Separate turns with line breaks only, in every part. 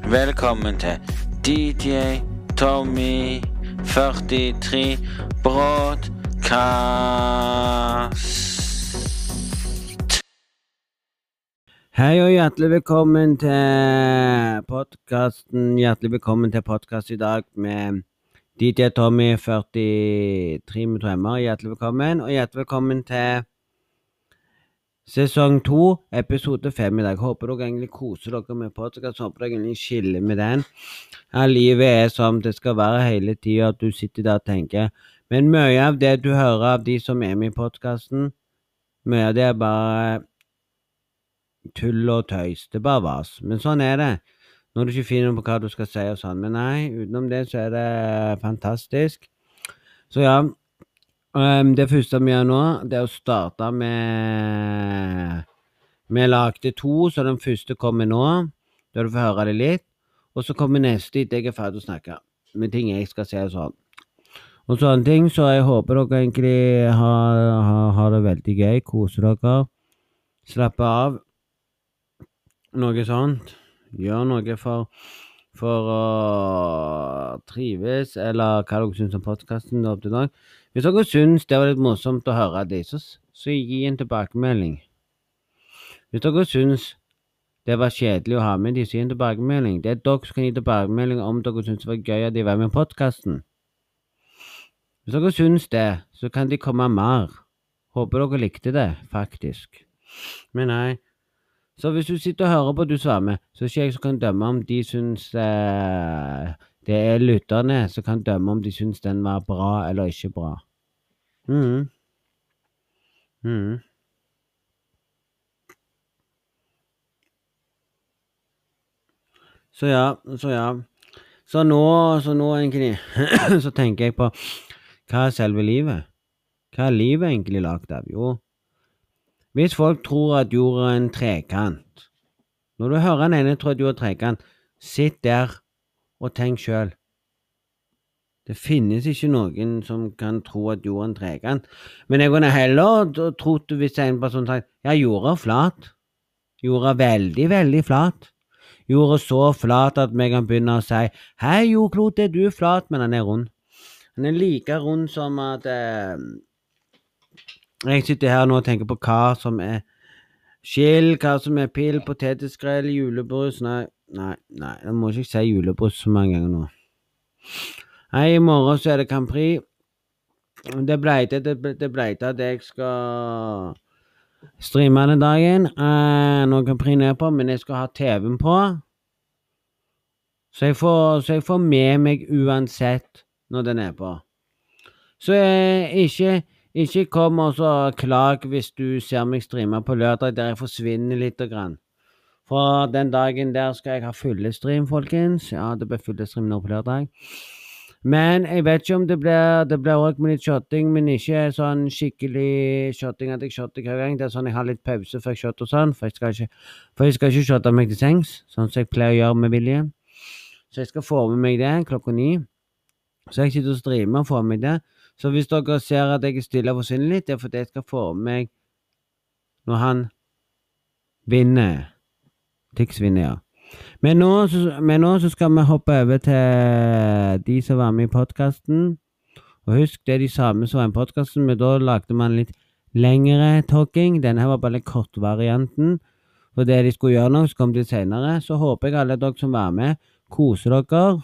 Velkommen til DJ Tommy 43 Broadcast. Hei og hjertelig velkommen til podkasten. Hjertelig velkommen til podkast i dag med DJ Tommy 43 med drømmer. Hjertelig velkommen. Og hjertelig velkommen til Sesong to, episode fem i dag. Håper dere egentlig koser dere med podkast. Håper dere egentlig skiller med den. Ja, livet er som det skal være hele tida, at du sitter der og tenker. Men mye av det du hører av de som er med i podkasten, mye av det er bare tull og tøys. Det er bare vas. Men sånn er det. Når du ikke finner på hva du skal si og sånn. Men nei, utenom det så er det fantastisk. Så ja, Ehm, det første vi gjør nå, det er å starte med Vi lagde to, så den første kommer nå. Da du får høre det litt. Og så kommer neste etter jeg er ferdig å snakke med ting jeg skal si og sånn. Og sånne ting, så jeg håper dere egentlig har, har, har det veldig gøy. Koser dere. Slappe av. Noe sånt. Gjør noe for for å trives, eller hva dere syns om podkasten opp til i dag. Hvis dere syns det var litt morsomt å høre det, så, så gi en tilbakemelding. Hvis dere syns det var kjedelig å ha med de, så gi en tilbakemelding. Det er dere som kan gi tilbakemelding om dere syns det var gøy at de var med i podkasten. Hvis dere syns det, så kan de komme mer. Håper dere likte det, faktisk. Men nei. Så hvis du sitter og hører på at du svarer, så er ikke jeg som kan dømme om de syns eh, Det er lytterne som kan dømme om de syns den var bra eller ikke bra. Mhm. Mhm. Så ja, så ja. Så nå, så nå egentlig, så tenker jeg på hva er selve livet? Hva er livet egentlig lagd av? Jo, hvis folk tror at jorda er en trekant Når du hører den ene tror at jorda er en trekant, sitt der og tenk sjøl. Det finnes ikke noen som kan tro at jorda er en trekant. Men jeg kunne heller t- trodd hvis en person sagt ja, jorda er flat. Jorda er veldig, veldig flat. Jorda er så flat at vi kan begynne å si hei, jordklote, du er flat, men den er rund. Den er like rund som at eh, jeg sitter her nå og tenker på hva som er skill, hva som er pill, poteteskrell, julebrus Nei, nei, nei, jeg må ikke si julebrus så mange ganger nå. Nei, i morgen så er det Grand Prix. Det bleite, det, ble- det bleite at jeg skal streame den dagen. Eh, når Grand Prix er på, men jeg skal ha TV-en på. Så jeg, får, så jeg får med meg uansett når den er på. Så eh, ikke, ikke kom og så klag hvis du ser meg streame på lørdag der jeg forsvinner lite grann. For den dagen der skal jeg ha fullestream, folkens. Ja, det blir fullestream nå på lørdag. Men jeg vet ikke om det blir Det blir òg med litt shotting, men ikke sånn skikkelig shotting at jeg shotter hver gang. Det er sånn jeg har litt pause før jeg shotter og sånn, for jeg skal ikke, for jeg skal ikke shotte meg til sengs, sånn som jeg pleier å gjøre med vilje. Så jeg skal få med meg det klokka ni. Så jeg sitter og streamer og får med meg det. Så hvis dere ser at jeg er stille og forsvinner litt, det er fordi jeg skal få med meg når han vinner. Tix vinner, ja. Men nå, så, men nå så skal vi hoppe over til de som var med i podkasten. Og husk, det er de samme som var med i podkasten, men da lagde man litt lengre talking. Denne her var bare kortvarianten. For det de skulle gjøre nå, så kom de senere. Så håper jeg alle dere som var med, koser dere.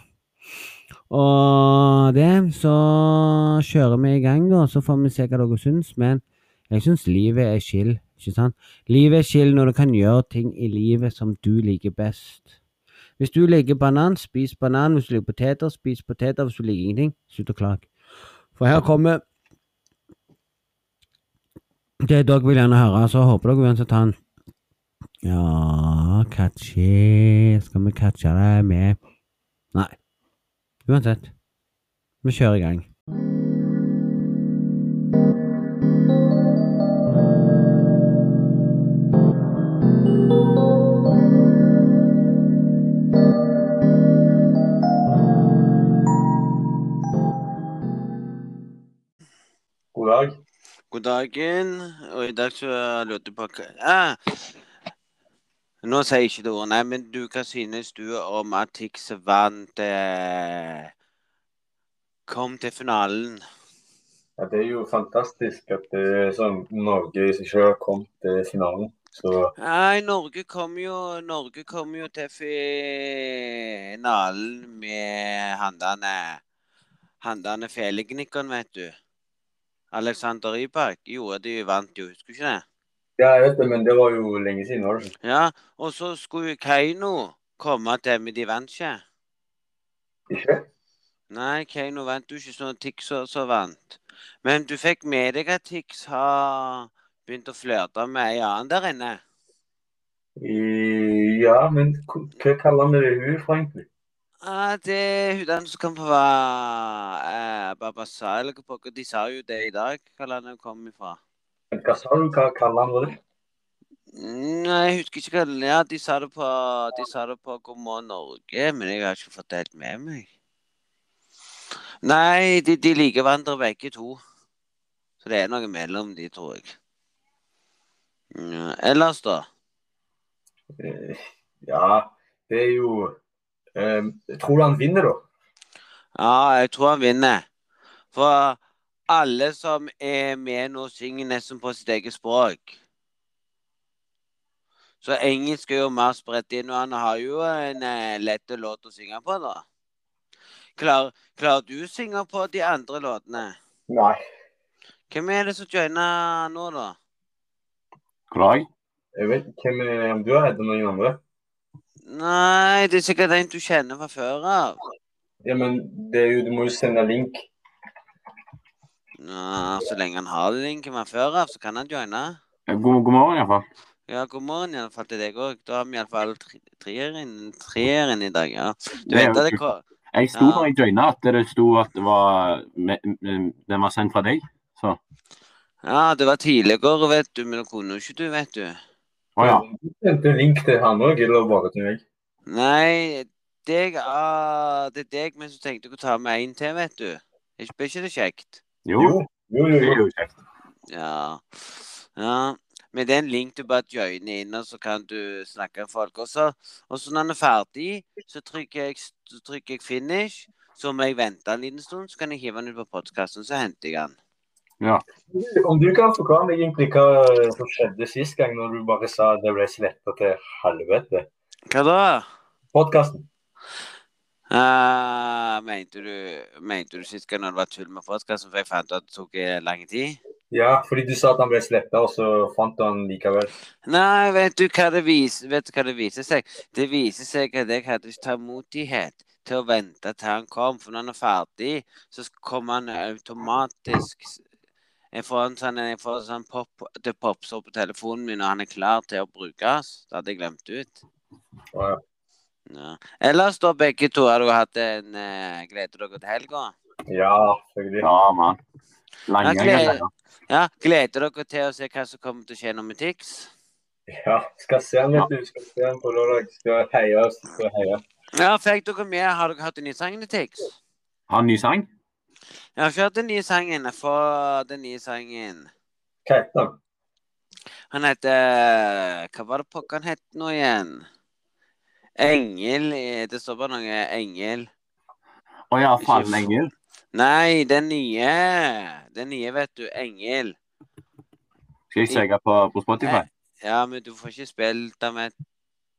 Og det, så kjører vi i gang, da. Så får vi se hva dere syns. Men jeg syns livet er chill, ikke sant? Livet er chill når du kan gjøre ting i livet som du liker best. Hvis du liker banan, spis banan. Hvis du liker poteter, spis poteter. Hvis du liker ingenting, slutt å klage. For her kommer det dere vil gjerne høre, så håper dere uansett han Ja, catchy Skal vi catche det med Nei. Uansett. Vi kjører i gang.
God dag.
God dagen, og i dag så lurte jeg på hva ah, Nå sier jeg ikke det ordet, nei, men du, hva synes du om at Tix vant eh, Kom til finalen?
Ja, det er jo fantastisk at eh, sånn, Norge i seg selv har kommet til finalen. Så
Nei, Norge kom jo, Norge kom jo til finalen med handene Handene felegnikeren, vet du. Alexander Rybak gjorde det, vant jo, husker du ikke det?
ja, jeg vet det, men det var jo lenge siden, var det ikke?
Ja, og så skulle jo Keiino komme til, men de vant ikke.
Ikke?
Nei, Keiino vant jo ikke, så Tix også vant. Men du fikk med deg at Tix har begynt å flørte med ei annen der inne.
I, ja, men hva hva kaller vi det hun for egentlig?
Ah, det er hun den som kom fra eh, Babasa, eller hva pokker. De sa jo det i dag, hva landet hun kom ifra.
Men Hva sa du, hva kaller han det?
Mm, Nei, jeg husker ikke hva den er. De sa det på, de sa det på God morgen Norge, men jeg har ikke fått det helt med meg. Nei, de, de liker hverandre begge to. Så det er noe mellom de, tror jeg. Ja, ellers, da?
Eh, Ja, det er jo eh, Tror du han vinner, da?
Ja, jeg tror han vinner. For alle som er med nå, synger nesten på sitt eget språk. Så engelsk er jo mer spredt inn, og han har jo en eh, lett låt å synge på, da. Klar, klarer du å synge på de andre låtene?
Nei.
Hvem er det som joiner nå, da?
God dag.
Jeg vet ikke hvem er- om du har hatt noen andre.
Nei, det er sikkert en du kjenner fra før av.
Ja, men det er jo, du må jo sende link.
Nå, så lenge han har linken fra før av, så kan han joine.
Eh, God, god morgen, iallfall.
Ja, god morgen i alle fall til deg òg. Da har vi iallfall treeren treeren i dag, ja. Du
Det er
vet
jo
at det
kult.
kom
Jeg sto
Ja.
når jeg joina at det sto at det var, me- me- den var sendt fra deg. Så
Ja, det var tidligere, vet du, men det kunne jo ikke du, vet du.
Å ja.
Du sendte link til han òg, eller bare til meg?
Nei, deg, ah, det er deg, men så tenkte jeg å ta med en til, vet du. Er ikke- Blir ikke det kjekt?
Jo,
Jo, jo,
det er
jo.
jo kjekt.
Ja. ja. Men det er en link du bare joiner inn, og så kan du snakke med folk. Og så, og så når den er ferdig, så trykker jeg, så trykker jeg finish. Så må jeg vente en liten stund, så kan jeg hive den ut på podkasten, så henter jeg den.
Om du kan forklare meg egentlig hva som skjedde sist gang, når du bare sa det ble sletta til helvete.
Hva da?
Podkasten.
Ah, mente du, mente du sist gang når det var tull med podkasten, for jeg fant ut at det tok eh, lang tid?
Ja, fordi du sa at han ble sletta, og så fant du han likevel.
Nei, vet du hva det viser, vet du hva det viser seg? Det viser seg at jeg hadde ikke tålmodighet til å vente til han kom, for når han er ferdig, så kommer han automatisk Jeg får en sånn, jeg får en sånn pop, det popper opp på telefonen min, og han er klar til å brukes. Det hadde jeg glemt ut.
Ja.
Ja. Ellers, da, begge to, har du hatt en eh, Gleder dere til helga?
Ja, selvfølgelig.
Ja, mann. Lange
Ok.
greier.
Ja, gleder dere til å se hva som kommer til å skje nå med Tix?
Ja, skal se han, vet du. Skal se han på lørdag. Skal heie oss. Skal heie.
Ja, fikk dere med Har dere hatt en ny sang til Tix?
Har en ny sang?
Jeg har ikke hatt den nye sangen. Jeg får den nye sangen.
Hva heter han?
Han heter Hva var det pokker han het nå igjen? Engel eh, Det står bare noe Engel.
Å ja, faen engel.
Nei, den nye. Den nye, vet du. Engel.
Skal jeg søke på, på Spotify?
Eh, Ja, men du får ikke spilt den med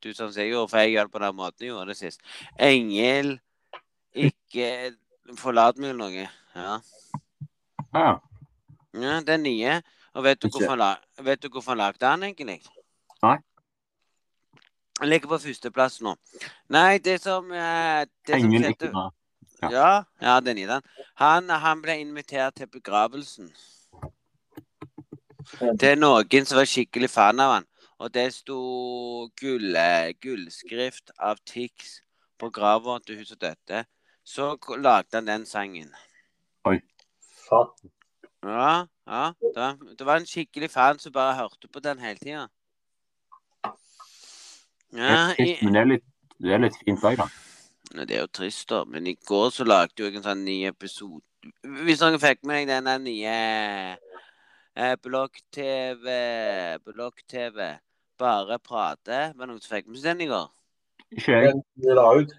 du som jeg gjorde, for jeg gjør det på den måten jeg gjorde det sist. Engel, ikke forlat meg eller noe. Ja.
Å ja.
Ja, den nye. Og vet du
Ikke.
hvorfor han, la- vet du hvorfor han lagde den, egentlig?
Nei.
Han ligger på førsteplass nå. Nei, det som eh, det som
Engel
skjedde-
ikke bra. ja.
Ja, ja den i den. Han, han ble invitert til begravelsen. Det er noen som var skikkelig fan av han. Og det sto gull, eh, gullskrift av Tix på grava til hun som døde. Så k- lagde han den sangen.
Faen.
Ja, ja. Det var, det var en skikkelig fan som bare hørte på den hele tida. Ja, i,
Men det er litt, det er litt fint lag, da.
Nei, det er jo trist, da. Men i går så lagde jeg en sånn ny episode Hvis dere fikk med deg den der nye eh, Blokk-TV Blokk-TV bare prater med noen som fikk med seg den i går.
Ikke jeg.
Det la ut.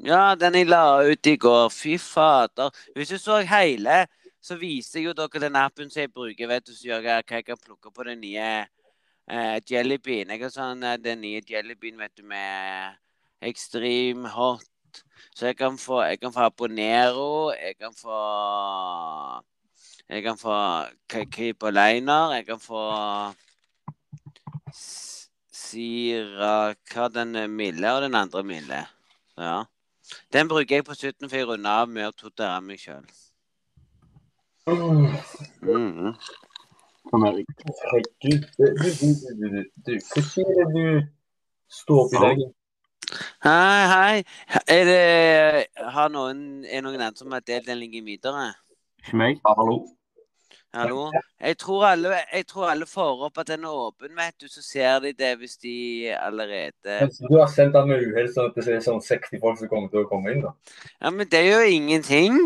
Ja, den jeg la ut i går. Fy fader. Hvis du så hele, så viser jeg jo dere den appen som jeg bruker. Vet du, så gjør jeg hva jeg kan plukke på den nye eh, Jellybean. Jeg har sånn eh, den nye Jellybean, vet du, med Extreme Hot. Så jeg kan få Jeg kan få Abonero. Jeg kan få Jeg kan få K- Keep Liner. Jeg kan få S- Sira Hva den eh, milde og den andre milde. Ja. Den bruker jeg på 17 for jeg runder av med å torturere meg sjøl.
Mm.
Kom her.
Herregud, du, du, du, du, du, du. Hva sier det du står oppi deg?
Hei, hei. Er det har noen, Er noen andre som har delt den linken videre?
Ikke meg.
Hallo.
Hallo? Jeg tror alle, jeg tror alle får opp at den er åpen, vet du. Så ser de det hvis de allerede
Kanskje du har sendt den med uhell, sånn at det er sånn 60 folk som kommer til å komme inn? da.
Ja, men det gjør ingenting.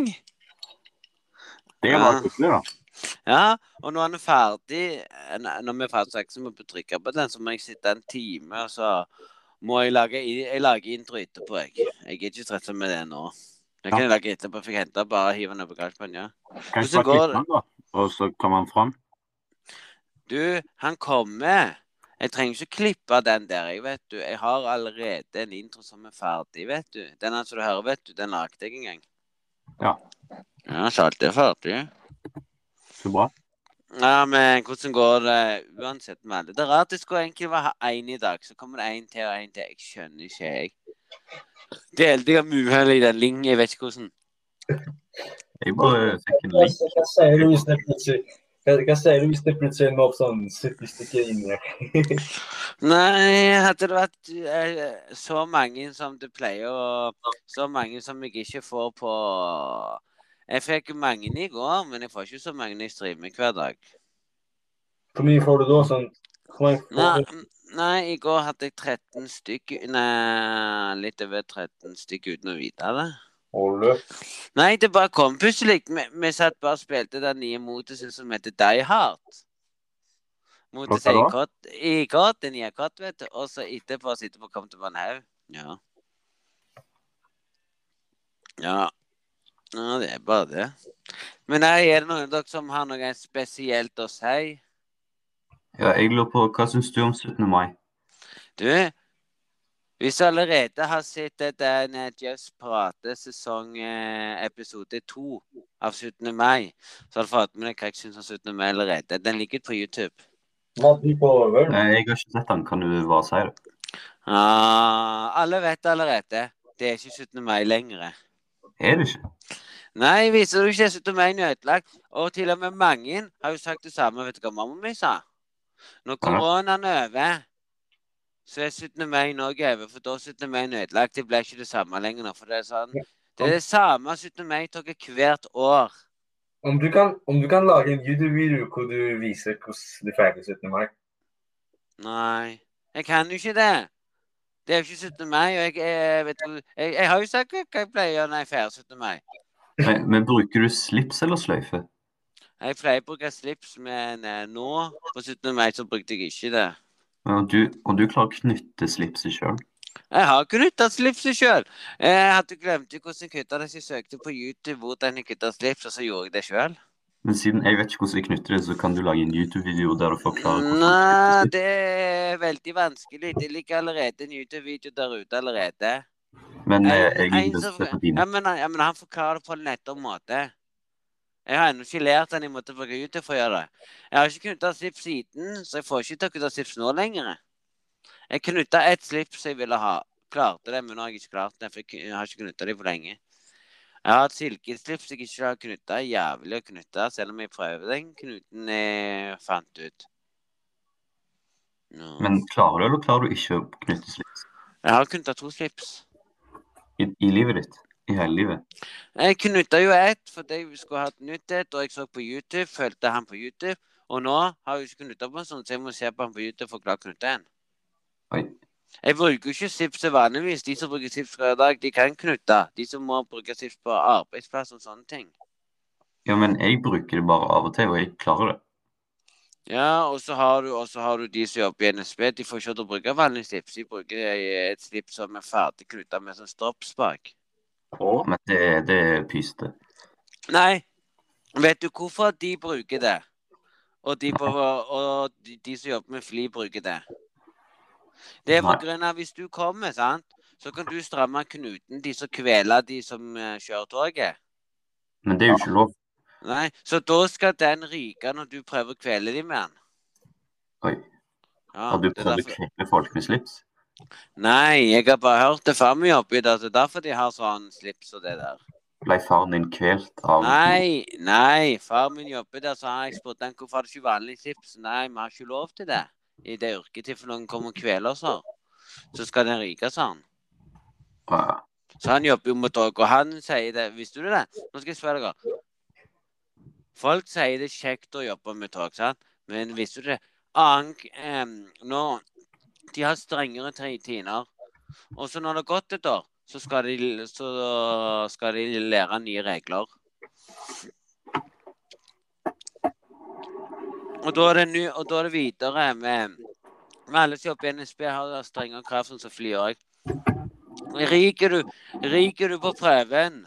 Det var hyggelig, da.
Ja, og når han er ferdig eh, nei, Når vi er ferdig, så er jeg ikke så må jeg trykke på den, så må jeg sitte en time, og så må jeg lage i- Jeg lager intro etterpå, jeg. Jeg er ikke stressa med det nå. Det kan jeg lage etterpå. Fikk hente bare hive den over gasspanna. Ja.
Kan
Hvordan
jeg bare
går
klippe den, da? Og så kommer han fram.
Du, han kommer. Jeg trenger ikke klippe den der, jeg, vet du. Jeg har allerede en intro som er ferdig, vet du. Den her som du hører, vet du, den lagde jeg en gang.
Ja.
Ja, så alt er ferdig.
Så bra.
Ja, men hvordan går det uansett med alle? Det er rart det skulle egentlig være én i dag, så kommer det én til og én til. Jeg skjønner ikke, jeg. Delte jeg av uhell i den linjen, jeg vet ikke hvordan.
Jeg bare second
Hva,
link.
hva sier du hvis det plutselig hva, hva sier du hvis det plutselig ender opp sånn 70 stykker inne?
Nei, hadde det vært eh, så mange som det pleier å Så mange som jeg ikke får på Jeg fikk mange i går, men jeg får ikke så mange jeg streamer hver dag.
Hvor mye får du da? sånn? Hvor mange
Nei,
får du?
nei, i går hadde jeg 13 stykker Nei, litt over 13 stykker uten å vite det.
Og løp.
Nei, det bare kom plutselig. Vi, vi satt bare og spilte den nye motusen som heter Die Hard. Motus
Hva
er
da?
i kott, i kott, den nye kott, vet du. Og så etterpå sitter vi og kommer til Vannhaug. Ja. ja. Ja, det er bare det. Men nei, er det noen av dere som har noe spesielt å si?
Ja, jeg lurer på, hva syns du om 17. mai?
Du, hvis du allerede har sett eh, den eh, Jeffs prate sesong eh, episode 2 av 17. mai, så har du fått med deg hva jeg syns om 17. mai allerede. Den ligger på YouTube.
Var du på
Eh,
Vøl?
Jeg har ikke sett den, kan du bare si det?
Ah, alle vet allerede. Det er ikke 17. mai lenger.
Er det ikke?
Nei, viser du ikke 17. mai er ødelagt? Og til og med mange har jo sagt det samme. Vet du hva mamma mi sa? Når koronaen er over, så er 17. mai i Norge over. For da er 17. mai ødelagt. Det blir ikke det samme lenger. nå, For det er sånn Det er det samme 17. mai tar hvert år.
Om du kan, om du kan lage en YouTube-video hvor du viser hvordan du feirer 17. mai
Nei, jeg kan jo ikke det. Det er jo ikke 17. mai, og jeg, jeg, vet, du- jeg, jeg har jo sagt hva jeg pleier å gjøre når jeg feirer 17. mai.
Nei, Men bruker du slips eller sløyfe?
Jeg pleier å bruke slips, men eh, nå på 17. mai så brukte jeg ikke det.
Men om du, om du klarer å knytte slipset sjøl?
Jeg har knytta slipset sjøl. Jeg hadde glemt jo hvordan jeg knytta det, så jeg søkte på YouTube hvordan jeg knytta slips, og så gjorde jeg det sjøl.
Men siden jeg vet ikke hvordan jeg knytter det, så kan du lage en YouTube-video der du forklarer hvordan
Nei,
du knytter slips.
det er veldig vanskelig. Det ligger allerede en YouTube-video der ute allerede.
Men eh,
En-
jeg
en
liker å
som-
se på
ja,
dine.
men, han- ja, men han forklarer det på en lettere måte. Jeg har ennå ikke lært han jeg måtte bruke YouTube for å gjøre det. Jeg har ikke knytta slips siden, så jeg får ikke til å knytte slips nå lenger. Jeg knytta ett slips jeg ville ha. Klarte det, men nå har jeg ikke klart det, for jeg kn- jeg har ikke knytta det på lenge. Jeg har et silkeslips jeg ikke har knytta. Jævlig å knytte, selv om jeg prøver den knuten jeg fant ut. Nå.
Men klarer du, eller klarer du ikke å knytte slips?
Jeg har knytta to slips.
I, I livet ditt? I hele livet?
Jeg knytta jo ett, for jeg skulle hatt nytt et, og jeg så på YouTube, fulgte han på YouTube. Og nå har jeg jo ikke knytta på en sånn, så jeg må se på han på YouTube for å klare å knytte en.
Oi.
Jeg bruker jo ikke sipset vanligvis. De som bruker sips hver dag, de kan knytte. De som må bruke sips på arbeidsplass og sånne ting.
Ja, men jeg bruker det bare av og til, og jeg klarer det.
Ja, og så har du, og så har du de som jobber i NSB. De får ikke lov til å bruke vanlig slips. De bruker eh, et slips som er ferdig knytta med sånn stoppspak.
Og
Men det, det er pyste.
Nei, vet du hvorfor de bruker det? Og de, på, og de, de som jobber med fly, bruker det. Det er på
Nei.
grunn av hvis du kommer, sant, så kan du stramme knuten de som kveler de som eh, kjører toget.
Men det er jo ikke lov.
Nei, så da skal den ryke når du prøver å kvele dem med den.
Oi.
Ja,
Har du
det er
prøvd å
derfor-
knekke folk med slips?
Nei, jeg har bare hørt det før vi jobbet der, så derfor de har sånn slips og det der.
Ble faren din kvelt av
Nei, nei, far min jobber der, så har jeg spurt han hvorfor har du ikke vanlig slips. Nei, vi har ikke lov til det. I det yrket til for noen kommer og kveler oss her. Så skal den ryke, sa han.
Ja,
Så han jobber jo mot dere, og han sier det. Visste du det? Nå skal jeg spørre dere. Folk sier det er kjekt å jobbe med tog, sant? Men visste du det? Ank, em, nå, de har strengere tre timer. Og så når det har gått et år, så skal de, så skal de lære nye regler. Og da er det, ny, og da er det videre med, med alle som jobber i NSB, har strengere krav sånn som fly òg. Ryker du Ryker du på prøven?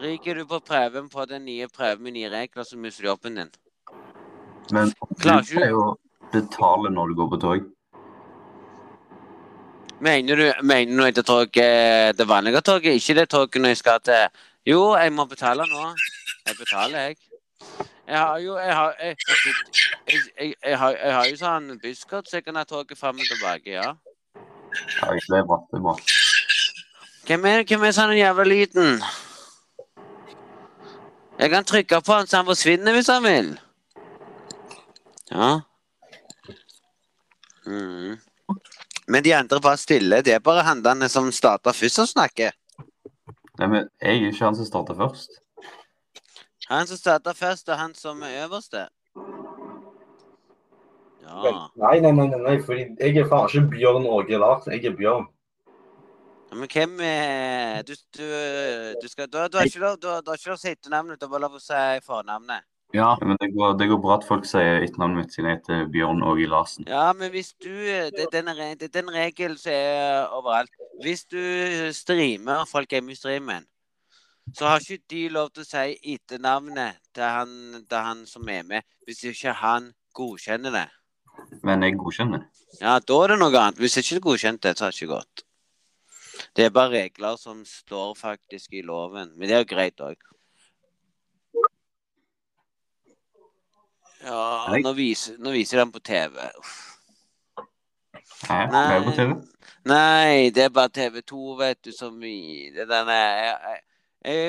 Ryker du på prøven på den nye prøven med nye regler, så mister du jobben din.
Men du
Klarer ikke du-
skal jo betale når du går på tog.
Mener du, mener du at det toget, eh, det vanlige toget, ikke det toget når jeg skal til Jo, jeg må betale nå. Jeg betaler, jeg. Jeg har jo jeg har, jeg, jeg, jeg, jeg, jeg, har, jeg har jo sånn busskort, så jeg kan ha toget fram og tilbake, ja.
Ja, det er bra. Det er bra.
Hvem er, hvem er sånn den jævla lyden? Jeg kan trykke på han så han forsvinner hvis han vil. Ja. Mhm. Men de andre bare stille. Det er bare handlende som starter først og snakker.
Nei, men jeg er ikke han som starter først.
Han som starter først, og han som er øverste. Ja.
Nei, nei, nei, nei, nei, fordi jeg er faen ikke Bjørn Åge Larsen. Jeg er Bjørn.
Men hvem er Du, du, du skal Du, du har ikke lov du har- du har ikke lov å si etternavnet, du har bare lov å si fornavnet.
Ja.
Ja, men det går, det går bra at folk sier etternavnet mitt siden jeg heter Bjørn Åge Larsen.
Ja, men hvis du eh, Det er den, re- det er den regelen som er eh, overalt. Hvis du eh, streamer folk hjemme i streamen, så har ikke de lov til å si etternavnet til han, til han som er med, hvis ikke han godkjenner det.
Men jeg godkjenner.
Ja, da er det noe annet. Hvis ikke du godkjente det, så har det ikke gått. Det er bare regler som står faktisk i loven. Men det er jo greit òg. Ja, nå viser, nå viser den på TV. Uff.
Hæ? Ble jeg på TV?
Nei, det er bare TV2, vet du, som vi Det der jeg, jeg,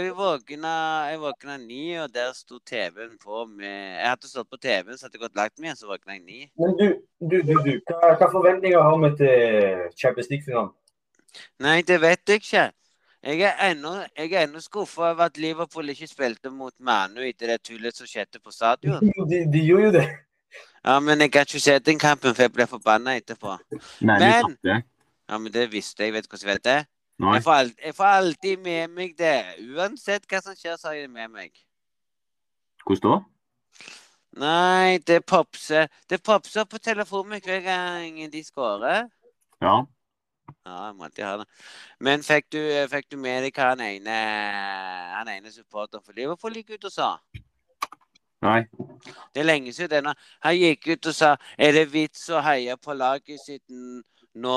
jeg våkna Jeg våkna ni, og der sto TV-en på med Jeg hadde stått på TV-en, så hadde jeg gått og lagt meg, og så våkna jeg ni.
Men du, du, du, du. Hva, hva forventninger har vi til Champions League-finalen?
Nei, det vet jeg ikke. Jeg er ennå, jeg er ennå skuffa over at Liverpool ikke spilte mot Manu etter det tullet som skjedde på stadion.
De, de gjorde jo det.
Ja, men jeg kan ikke se den kampen, for jeg ble forbanna etterpå.
Nei, du
Men-
tapte.
Ja, men det visste jeg. Vet du hvordan jeg vet det?
Nei.
Jeg får, alt, jeg får alltid med meg det. Uansett hva som skjer, så har jeg det med meg.
Hvordan da?
Nei, det popser Det popser på telefonen min hver gang de scorer.
Ja.
Ja, jeg må alltid ha det. Men fikk du, fikk du med deg hva han ene, han ene supporteren for Liverpool gikk ut og sa?
Nei.
Det er lenge siden det nå. Han gikk ut og sa Er det vits å heie på laget sitt n-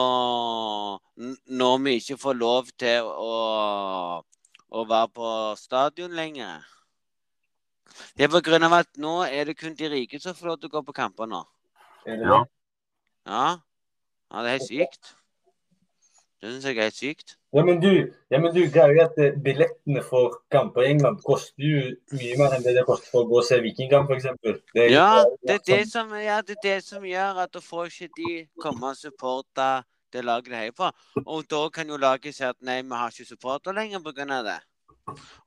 når, n- når vi ikke får lov til å, å være på stadion lenger? Det er på grunn av at nå er det kun de rike som får lov til å gå på kamper nå.
Er det-
Ja.
Ja. ja, det er helt sykt. Det syns jeg er helt sykt.
Ja, men du, ja, men du greier jo at eh, billettene for kamper i England koster jo mye mer enn det det koster for å gå og se Vikingkamp, f.eks. Det er sånn. jo-
Ja, det er det som, ja, det er det som gjør at da får ikke de komme og supporte det laget de heier på. Og da kan jo laget si at nei, vi har ikke supporter lenger pga. det.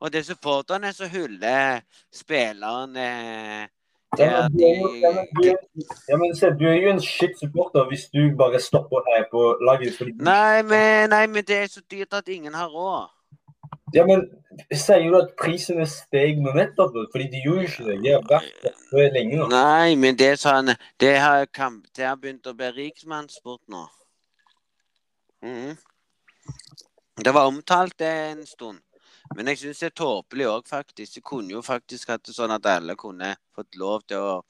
Og det er supporterne som hyller spillerne til
Ja,
at
men du
de
er jo- ja, men du er- ja, men se, du er jo en shit-supporter hvis du bare stopper her på laget. Fordi,
Nei, men, nei, men det er så dyrt at ingen har råd.
Ja, men sier du at prisene steg nå nettopp? da? Fordi de gjorde jo ikke det. De har vært oppe lenge nå.
Nei, men det sa han Det har, kam- det har begynt å bli riksmannssport nå.
Mm.
Mhm. Det var omtalt det en stund. Men jeg syns det er tåpelig òg, faktisk. Du kunne jo faktisk hatt det sånn at alle kunne fått lov til å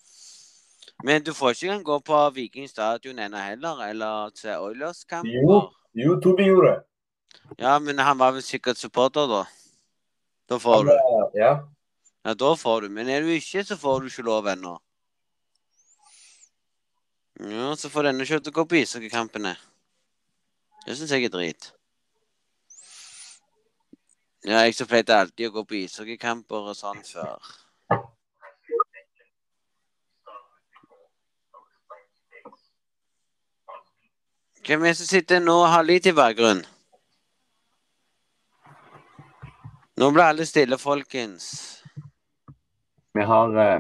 Men du får ikke engang gå på Viking stadion ennå heller, eller se Oilers-kamper.
Jo. Jo, Tobi gjorde det.
Ja, men han var vel sikkert supporter, da. Da får
Han
du.
var- Ja.
Ja, da får du. Men er du ikke, så får du ikke lov ennå. Ja, så får denne kjøttet gå på ishockeykampene. Det syns jeg er drit. Ja, jeg så pleide alltid å gå på ishockeykamper og sånn før. Hvem er det som sitter nå og har lyd i bakgrunnen? Nå ble alle stille, folkens.
Vi har eh,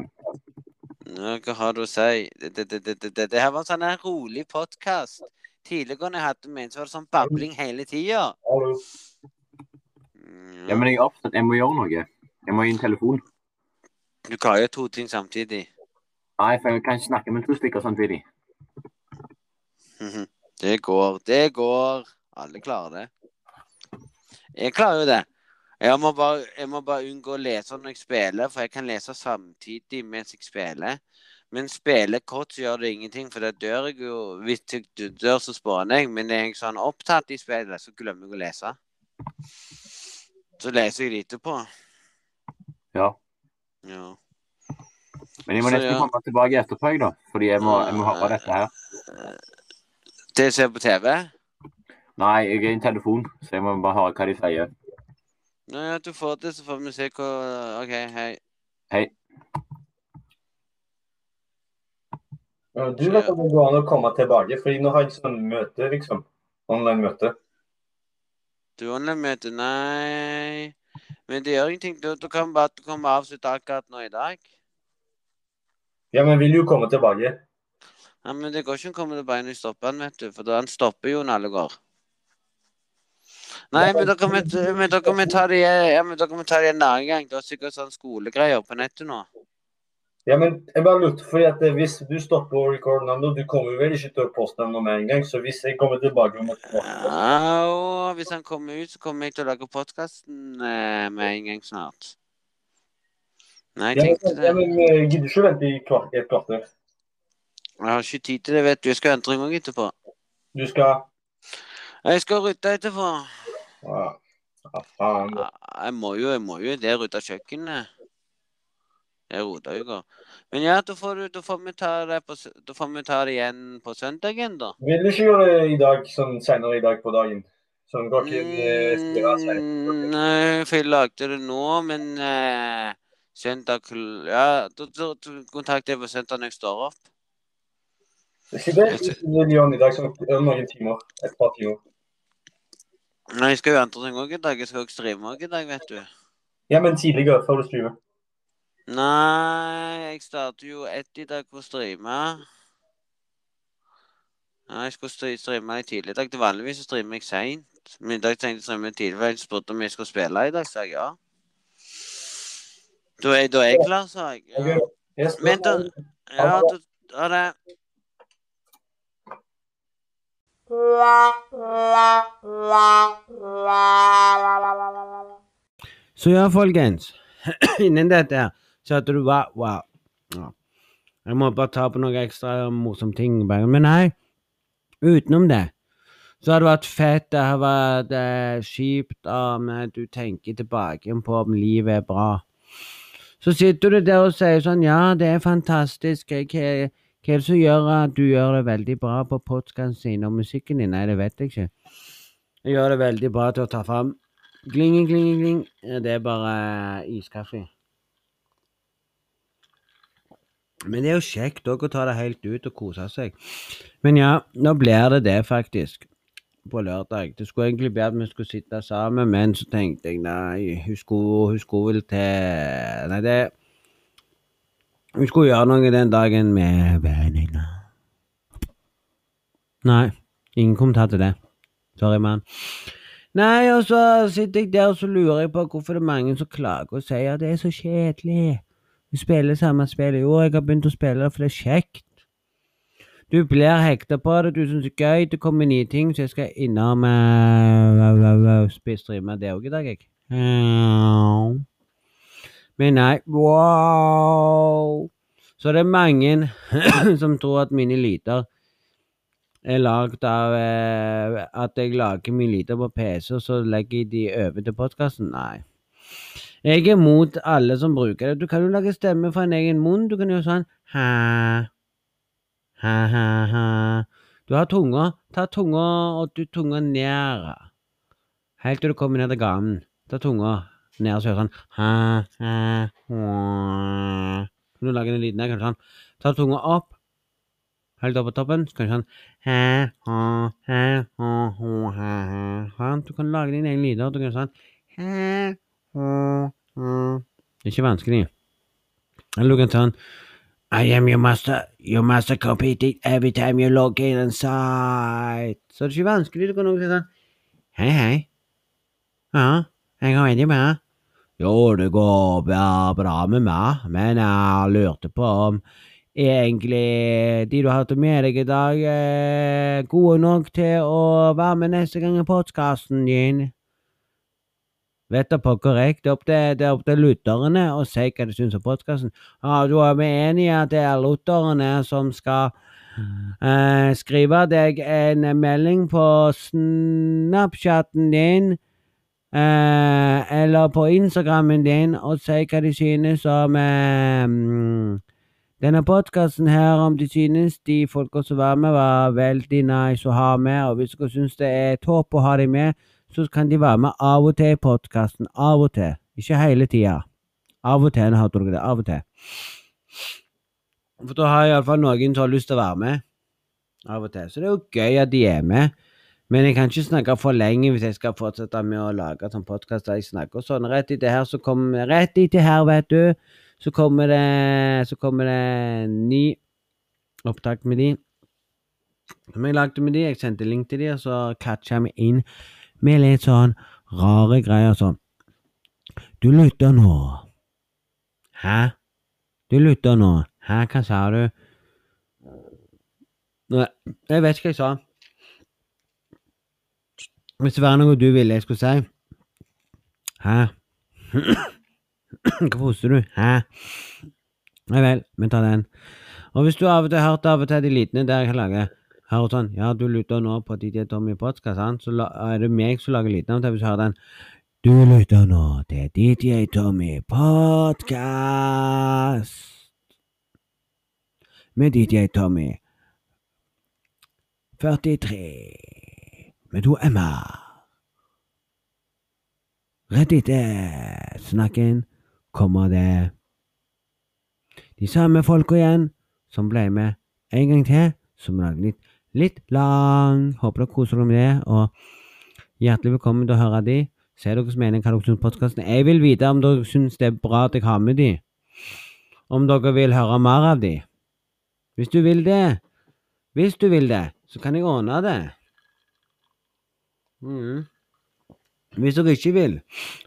Ja, hva har du å si? Det, det, det, det, det, det, det her var en sånn her rolig podkast. Tidligere når jeg hadde med, så var det sånn babling hele tida.
Hallo.
Ja, men jeg er opptatt. Jeg må gjøre noe. Jeg må gi en telefon.
Mm, Du kan jo to ting samtidig.
Nei, for jeg kan ikke snakke med to stykker samtidig.
Mhm. Det går, det går. Alle klarer det. Jeg klarer jo det. Jeg må bare, jeg må bare unngå å lese når jeg spiller, for jeg kan lese samtidig mens jeg spiller. Men spiller kort, så gjør det ingenting, for da dør jeg jo. Hvis jeg dør, så spåner jeg. Men er jeg sånn opptatt i spillet, så glemmer jeg å lese. Så leser jeg lite på.
Ja.
Ja.
Men jeg må
Så,
nesten
ja.
komme tilbake etterpå, jeg, da. Fordi jeg må, jeg må høre dette her.
Det ser jeg på TV.
Nei, jeg er i en telefon, så jeg må bare høre hva de sier.
Nå, ja, du får det, så får vi se hva OK, hei.
Ja, Du vet at det går an å komme tilbake, fordi nå har jeg sånn møte, liksom. Online-møte.
Du online-møte? Nei. Men det gjør ingenting. Du, du kan bare du kan bare avslutte akkurat nå i dag.
Ja, men vil jo komme tilbake.
Nei, men det går ikke å komme tilbake når jeg stopper han, vet du. For da han stopper jo når alle går. Nei, men dere må, men dere må ta det ja, men dere må ta det en annen gang. Du har sikkert sånn skolegreier på nettet nå.
Ja, men jeg bare lurte, fordi at eh, hvis du stopper å recorde nå, men du kommer vel ikke til å poste den med en gang, så hvis jeg kommer tilbake om et år
Ja, og hvis han kommer ut, så kommer jeg til å lage podkasten eh, med en gang snart. Nei, jeg
Ja,
tenkte
men-
det.
ja, men eh, gidder ikke vente i kvart, et kvarter.
Jeg har ikke tid til det, vet du. Jeg skal hente en gang etterpå.
Du skal
Jeg skal rydde etterpå.
Ja, ja, faen.
Ja, Jeg må jo, jeg må jo det rydde kjøkkenet. Jeg roter jo ikke. Men ja, da får, du, da, får vi ta det på, sø- da får vi ta det igjen på søndagen, da.
Vil du ikke gjøre det i dag, sånn senere i dag på dagen? Sånn klokken eh, fire, seks?
Mm, Nei, for jeg lagde det nå, men eh, søndag kl- Ja, da, da, da kontakter jeg på søndag når jeg står opp.
Ikke det? Vil du gjøre den i dag, sånn om noen timer? Et par timer.
Nei, jeg skal jo andre ting òg i dag. Jeg skal jo streame òg i dag, vet du.
Ja, men tidligere, før du skriver.
Nei, jeg starter jo ett i dag på å streame. Nei, jeg skulle stre- streame litt tidlig i dag. Til vanligvis så streamer jeg seint. Men i dag tenkte jeg å streame tidlig, for jeg spurte om jeg skulle spille i dag, sa jeg ja. Da er, da er jeg klar, sa jeg.
Ok,
Ja,
jeg spør-
Men da- ja da ha det.
Så ja, folkens. Innen dette her, så hadde du wow, wow. Ja. Jeg må bare ta på noe ekstra morsomme ting. bare. Men nei, utenom det, så har det vært fett. Det har vært eh, kjipt. ah, men du tenker tilbake på om livet er bra. Så sitter du der og sier sånn Ja, det er fantastisk. Hva, hva hva er det som gjør at du gjør det veldig bra på podkasten din og musikken din? Nei, det vet jeg ikke. Jeg gjør det veldig bra til å ta fram Gling, gling, gling. Ja, Det er bare eh, iskaffe. Men det er jo kjekt òg å ta det helt ut og kose seg. Men ja, nå blir det det, faktisk. På lørdag. Det skulle egentlig bli at vi skulle sitte sammen, men så tenkte jeg nei, hun skulle, hun skulle vel til Nei, det Hun skulle gjøre noe den dagen med vennene. Nei, ingen kommentar til det. Sorry, mann.
Nei, og så sitter jeg der og så lurer jeg på hvorfor det er mange som klager og sier at det er så kjedelig. Du spiller samme spill. Jo, jeg har begynt å spille det, for det er kjekt. Du blir hekta på det, du syns det er gøy, det kommer nye ting, så jeg skal innom uh, streame det òg i dag, jeg. Ja. Men nei, wow! Så det er mange som tror at mine lyder er lagd av eh, at jeg lager mye lyder på PC, og så legger jeg de over til podkasten. Nei. Jeg er mot alle som bruker det. Du kan jo lage stemme fra en egen munn. Du kan gjøre sånn hæ, hæ, hæ, hæ. Du har tunga. Ta tunga og du tunga ned. Helt til du kommer ned til ganen. Ta tunga ned og så gjør sånn hæ, hæ, hæ. Kan du lage den lyden der? Kan du sånn. Ta tunga opp. Helt opp på toppen. Så kan du sånn Hæ, hå, hæ, hå, hå, hæ, hæ. Sant? Sånn. Du kan lage dine egne lyder. Du kan sånn Hæ, hå, hå. Det er ikke vanskelig. Eller du kan sånn I am your master. Your master compete it every time you log in inside. Så det er ikke vanskelig. Du kan også si sånn Hei, hei. Ja, jeg har veldig bra. Jo, det går bra, bra med meg, men jeg lurte på om egentlig de du hadde med deg i dag, er gode nok til å være med neste gang i podkasten din. Vet da pokker jeg. Det er opp til, det er opp til lytterne å si hva de syns om podkasten. Ja, du er med enig i at det er lytterne som skal eh, skrive deg en melding på Snapchaten din? eh, eller på Instagrammen din og si hva de synes om eh, mm, denne podkasten her, om de synes de folka som var med, var veldig nice å ha med, og hvis dere synes det er topp å ha dem med, så kan de være med av og til i podkasten. Av og til. Ikke hele tida. Av og til, nå hørte dere det. Av og til. For da har jeg iallfall noen som har lyst til å være med. Av og til. Så det er jo gøy at de er med. Men jeg kan ikke snakke for lenge hvis jeg skal fortsette med å lage sånn podkast der jeg snakker sånn. Rett etter her, så kommer Rett etter her, vet du så kommer det så kommer det en ny opptak med de. Som jeg lagde med de, jeg sendte link til de, og så catcha jeg meg inn med litt sånn rare greier sånn. Du lytter nå. Hæ? Du lytter nå. Hæ, hva sa du? Nei, jeg vet ikke hva jeg sa. Hvis det var noe du ville jeg skulle si. Hæ? Hvorfor hoster du? Hæ? Nei vel, vi tar den. Og hvis du av og til har hørt av og til de litne der jeg lager Hører sånn Ja, du lytter nå på DJ Tommy Podcast, sant? Så la, er det meg som lager liten av og til hvis du hører den. Du lytter nå til DJ Tommy Podcast. Med DJ Tommy 43. Med to m-er. Rett etter snakken kommer det de samme folka igjen som ble med en gang til, som lagde litt, litt lang. Håper dere koser dere med det, og hjertelig velkommen til å høre de. Si deres mening hva dere syns om podkasten. Jeg vil vite om dere syns det er bra at jeg har med de. Om dere vil høre mer av de. Hvis du vil det, hvis du vil det, så kan jeg ordne det. Mm. Hvis dere ikke vil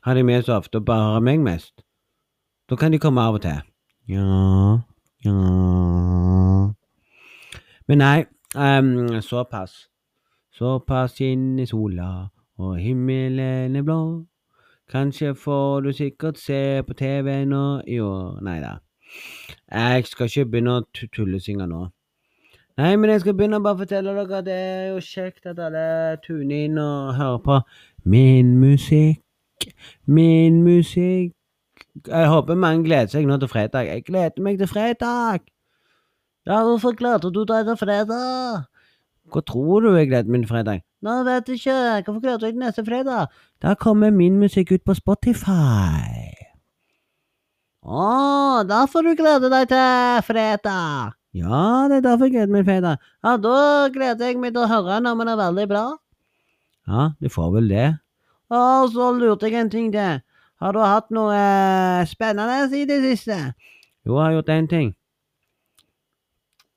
ha de med så ofte og bare ha meg mest, da kan de komme av og til. Ja, ja Men nei, ehm, såpass. Såpass inn i sola, og himmelen er blå. Kanskje får du sikkert se på TV nå i år Nei da. Jeg skal ikke begynne å tu- tullesynge nå. Nei, men jeg skal begynne å bare fortelle dere at det er jo kjekt at alle tuner inn og hører på min musikk, min musikk. Jeg håper mange gleder seg nå til fredag. Jeg gleder meg til fredag! Ja, hvorfor gleder du deg til fredag? Hva tror du jeg gleder meg til fredag? Nå vet jeg ikke. Hvorfor gleder du deg til neste fredag? Da kommer min musikk ut på Spotify. Å, derfor du gleder deg til fredag. Ja, det er derfor jeg gleder meg til fredag. Ja, da gleder jeg meg til å høre når man er veldig bra. Ja, du får vel det. Og så lurte jeg en ting til. Har du hatt noe eh, spennende i det siste? Jo, jeg har gjort én ting.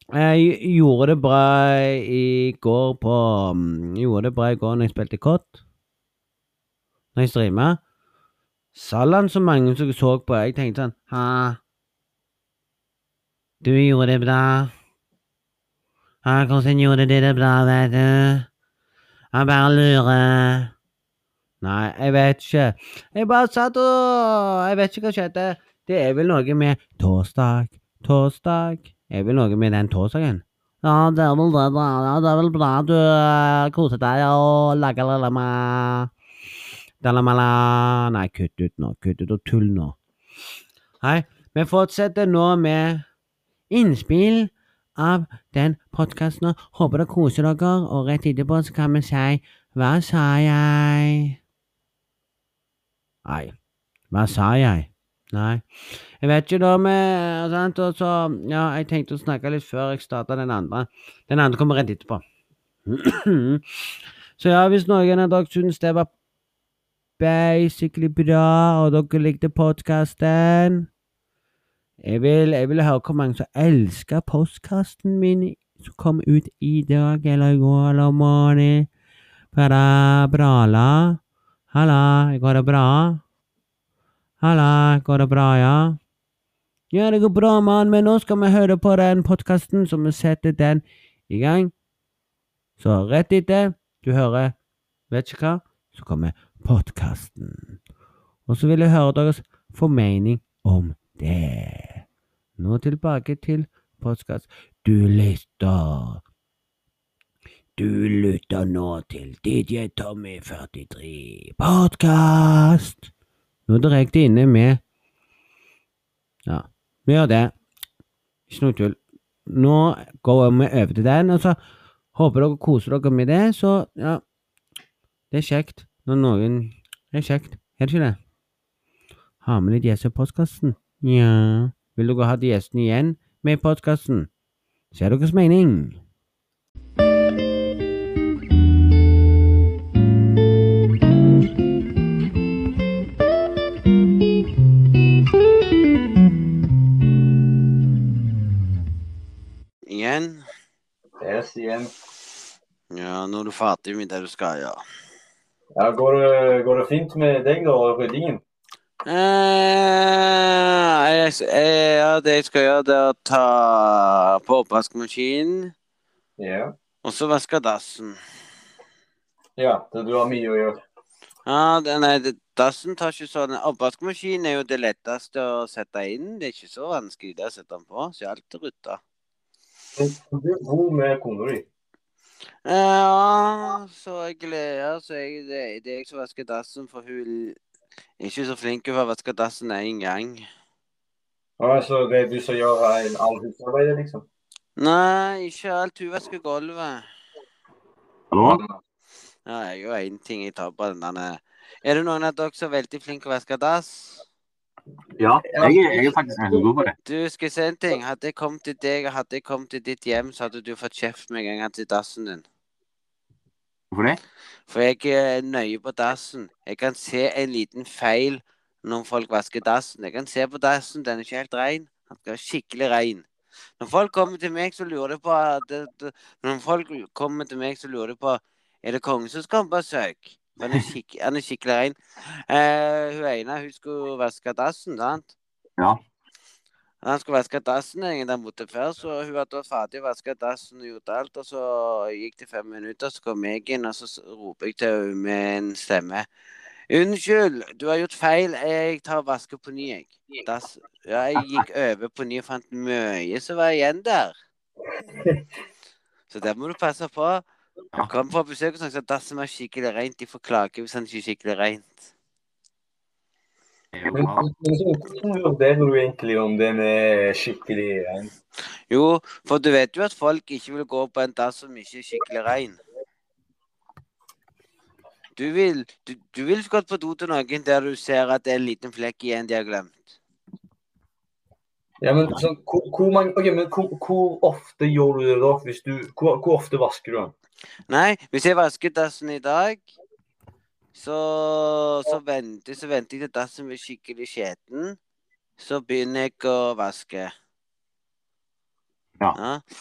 Jeg gjorde det bra i går på mm, Gjorde det bra i går når jeg spilte kott.
når jeg streama. Salan, så mange som så på. Jeg tenkte sånn Ha. Du gjorde det bra. Ja, hvordan gjorde de det bra, vet du? Jeg bare lurer. Nei, jeg vet ikke. Jeg bare satt og Jeg vet ikke hva skjedde. Det er vel noe med torsdag, torsdag Er vel noe med den torsdagen? Ja, det er vel det, da. Ja, det er vel bra du eh, koser deg og lager lalama. Dalamala. Nei, kutt ut nå. Kutt ut og tull nå. Hei, vi fortsetter nå med innspill av den podkasten. Håper dere koser dere, og rett etterpå så kan vi si Hva sa jeg? Nei. Hva sa jeg? Nei. Jeg vet ikke, da med sant? Og så, ja, jeg tenkte å snakke litt før jeg starta den andre. Den andre kommer rett etterpå. så ja, hvis noen av dere syns det var basically bra, og dere likte podkasten jeg vil, jeg vil høre hvor mange som elsker postkasten min som kom ut i dag eller i går eller om morgenen. Bare brala. Halla, går det bra? Halla, går det bra, ja? Ja, det går bra, mann, men nå skal vi høre på den podkasten, så vi setter den i gang. Så rett etter du hører Vet ikke hva, så kommer podkasten. Og så vil jeg høre deres formening om det. Nå tilbake til podkast. Du lytter. Du lytter nå til DJ Tommy 43 podkast. Nå direkte inne med Ja, vi gjør det. Ikke noe tull. Nå går vi over til den, og så håper dere koser dere med det. Så ja, det er kjekt når noen Det er kjekt, er det ikke det? Ha med litt gjester i postkassen. Nja Vil dere ha de gjestene igjen med i podkasten? Ser deres mening.
Igjen.
Yes, igjen.
Ja, nå er du ferdig med det du skal gjøre.
Ja, går, det- går det fint med deg, da, og ryddingen?
Eh, jeg, jeg, ja, det jeg skal gjøre, det er å ta på oppvaskmaskinen,
Ja.
og så vaske dassen.
ja. det- Du har mye å gjøre.
Ja, det, nei, det, dassen tar ikke sånn Oppvaskmaskinen er jo det letteste å sette inn. Det er ikke så vanskelig det å sette den på, så jeg er alltid rydda.
Du bor med kona di.
Ja, så jeg gleder så jeg, det, det er jeg som vasker dassen, for hun er ikke så flink til å vaske dassen én gang.
Ja, så det er du som gjør eh, all husarbeidet, liksom?
Nei, ikke alt. Hun vasker gulvet.
Hallo?
Ja, jeg gjør én ting jeg tar på den der Er det noen av dere som er veldig flink til å vaske dass?
Ja, jeg, er- jeg er faktisk ganske god på det.
Du, skal jeg si en ting? Hadde jeg kommet til deg, og hadde jeg kommet til ditt hjem, så hadde du fått kjeft med en gang til dassen din.
Hvorfor det?
For jeg er nøye på dassen. Jeg kan se en liten feil når folk vasker dassen. Jeg kan se på dassen, den er ikke helt rein. Den skal være skikkelig rein. Når folk kommer til meg, så lurer de på at det, det, Når folk kommer til meg, så lurer de på Er det kongen som skal på besøk? For han er, skikk, han er skikkelig rein. Eh, hun ene, hun skulle vaske dassen, sant?
Ja.
Han skulle vaske dassen egentlig der borte før, så hun hadde vært ferdig å vaske dassen og gjort alt. Og så gikk det fem minutter, så kom jeg inn, og så s- roper jeg til henne med en stemme. Unnskyld, du har gjort feil. Jeg tar og vasker på ny, jeg. Dass, ja, jeg gikk over på ny og fant mye som var igjen der. Så der må du passe på.
Ja.
Hun kom på besøk og sa at dassen var skikkelig rent. De får klage hvis han ikke er skikkelig rent.
Det er jo
Men
bra.
men så hvordan vurderer du egentlig om den er skikkelig eh, ren?
Jo, for du vet jo at folk ikke vil gå på en dass som ikke er skikkelig rein. Du vil, du, du vil ikke gå på do til noen der du ser at det er en liten flekk igjen de har glemt.
Ja, men sånn, hvor, hvor, mange, ok, men hvor, hvor ofte gjør du det da? Hvis du, hvor, hvor ofte vasker du den?
Nei, hvis jeg vasker dassen i dag, så, så, venter, så venter jeg til dassen blir skikkelig skjeten. Så begynner jeg å vaske.
Ja.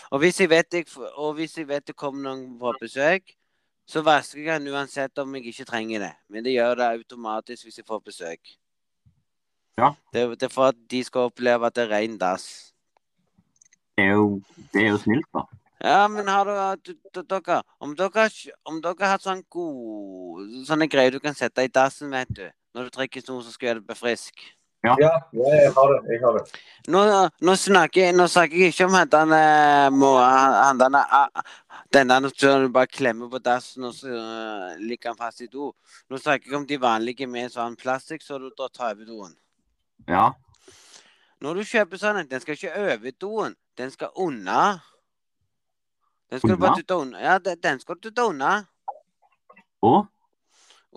Og hvis jeg vet, jeg, f- og hvis jeg vet det kommer noen på besøk, så vasker jeg den uansett om jeg ikke trenger det. Men det gjør det automatisk hvis jeg får besøk.
Ja.
Det, det er for at de skal oppleve at det er ren dass.
Det er jo, det er jo snilt, da.
Ja, men har du, du, du dere, om dere, har kj- om dere har sånn god, sånne greier du kan sette i dassen, vet du, når du drikker noe som skal gjøre deg frisk.
Ja, jeg har det. jeg har det.
Nå, nå, snakker, jeg- nå snakker jeg ikke om han denne må, han denne, ah, denne nå som du bare klemmer på dassen og så øh, ligger han fast i do. Nå snakker jeg om de vanlige med sånn plastikk, så du da tar over doen.
Ja.
Når du kjøper sånn, en, den skal ikke over doen, den skal unna. Den skal du bare
Unna?
dytte unna. Ja, den, den skal du dytte unna.
Og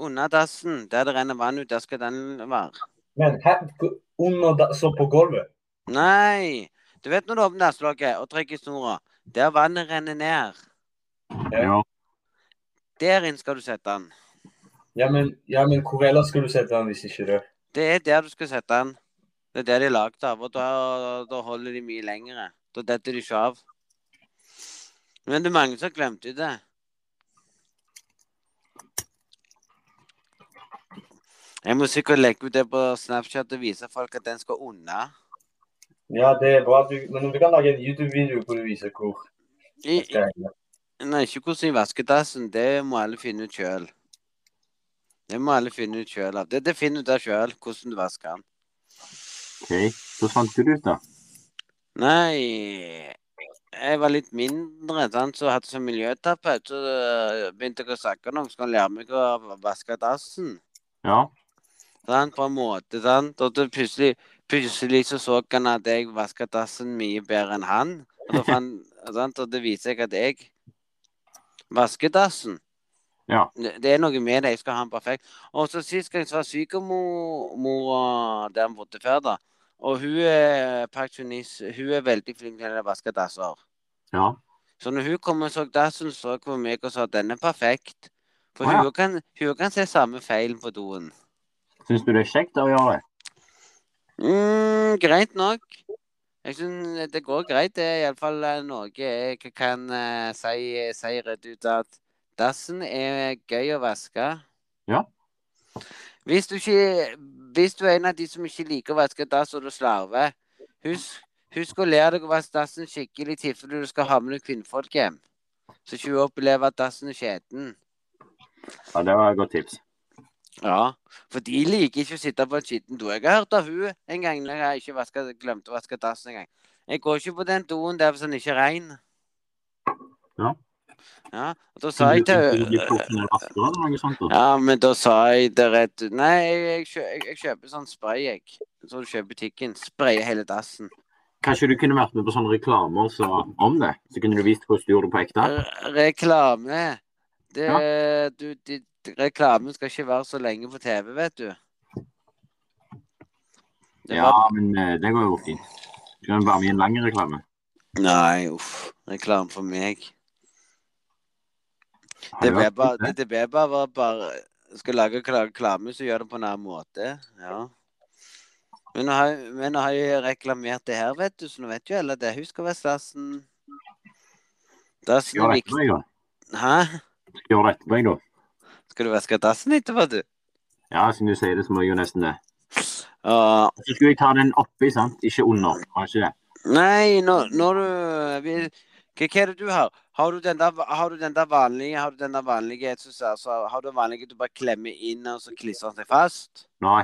Under dassen, der det renner vann ut, der skal den være.
Men hæ? under da- så på gulvet?
Nei! Du vet når du åpner dasslokket og trekker i snora, der vannet renner ned.
ja.
Der inn skal du sette den.
Ja men, ja, men hvor ellers skulle du sette den hvis ikke det?
Det er der du skal sette den. Det er der de er lagd av, og da, da holder de mye lengre. Da detter de ikke av. Men det er mange som har glemt ut det. Jeg må sikkert legge ut det på Snapchat og vise folk at den skal unna.
Ja, det er bra. at Du, men du kan lage en YouTube-video hvor du viser hvor.
I, i,
skal jeg-
Nei, ikke hvordan jeg vasker dassen. Det må alle finne ut sjøl. Det må alle finne ut sjøl. Det, det finner du ut av sjøl, hvordan du vasker den.
OK. Så fant du det ut, da.
Nei Jeg var litt mindre, sant, så hadde jeg som miljøterapeut. Så øh, begynte jeg å snakke om så kan jeg lære meg å vaske dassen.
Ja.
Sant, på en måte, sant. Og så plutselig, plutselig så, så han at jeg vasket dassen mye bedre enn han. Og, da fant, sant? og det viser jeg at jeg vasker dassen.
Ja.
Det det er noe med det. Jeg skal ha den perfekt. Og så sist gang så var sykemora der hun bodde før, da. Og hun er pensjonist. Hun er veldig flink til å vaske dasser.
Ja.
Så når hun kom og så dassen, så kom hun meg og sa at den er perfekt. For
Å, ja.
hun, kan, hun kan se samme feilen på doen.
Syns du det er kjekt å gjøre det?
Mm, greit nok. Jeg synes det går greit. Det er iallfall noe jeg kan eh, si, si rett ut at dassen er gøy å vaske.
Ja.
Hvis du, ikke, hvis du er en av de som ikke liker å vaske dass og du slarver, husk, husk å lære deg å vaske dassen skikkelig i tilfelle du skal ha med deg kvinnfolk hjem. Så ikke hun opplever at dassen er skjeten.
Ja, det var et godt tips.
Ja, for de liker ikke å sitte på en skitten do. Jeg har hørt av hun en gang når jeg ikke vasket, glemte å vaske dassen en gang. Jeg går ikke på den doen der hvis den ikke er rein.
Ja.
Ja, og da sa jeg til henne
henne
Ja, men da sa jeg det rett ut. Nei, jeg, kjø, jeg, jeg kjøper sånn spray, jeg. Så du kjøper i butikken. Sprayer hele dassen.
Kanskje du kunne vært med på sånne reklamer så, om det? Så kunne du vist hvordan du gjorde det på ekte?
R- Reklame. Det, du, de, reklamen skal ikke være så lenge på TV, vet du. Det
Ja, men eh, det går jo fint. Du kan være med i en lang reklame.
Nei, uff. Reklame for meg.
Har
Det
du
ble
hørt
bare,
om det?
det, det ble bare, var bare Skal lage kla- reklame, så gjør det på en annen måte. Ja. Men nå har, jeg- men nå har jeg reklamert det her, vet du, så nå vet jo alle det. Husk å være stassen. Dassen
Gjør
er
det
viktig.
etterpå, jeg, da.
Hæ?
Gjør det etterpå, jeg, da.
Skal du vaske dassen etterpå, du?
Ja, som du sier det, så må jeg jo nesten det.
Ja.
Så skulle jeg ta den oppi, sant? Ikke under. Var ikke det?
Nei, når, når du vil- hva, hva er det du har? Har du den der, har du den der vanlige, har du den der vanlige, så, så, så, har du den vanlige du bare klemmer inn, og så klistrer den seg fast?
Nei.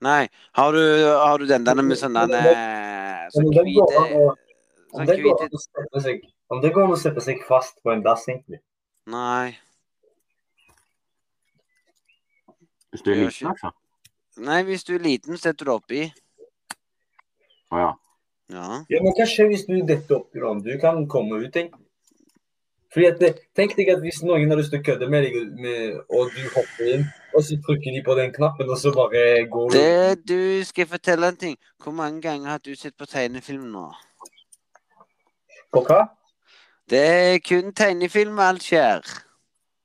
Nei. Har du, har du den der med sånn den eh, Sånn
Men den går an
hvite
å- om
Sånn
det går an
hvite
å sette seg- Om det går an å sette seg fast på en dass, egentlig.
Nei.
Hvis du er
Gjør ikke-
liten, altså.
Nei, hvis du er liten, setter du det oppi.
Å ja.
Ja.
Ja, men hva skjer hvis du detter opp i Du kan komme ut, egentlig. Fordi at det, Tenk deg at hvis noen har lyst til å kødde med deg, med, og du hopper inn, og så trykker de på den knappen, og så bare går du.
Det du skal jeg fortelle en ting. Hvor mange ganger har du sett på tegnefilm nå?
På hva?
Det er kun tegnefilm alt skjer.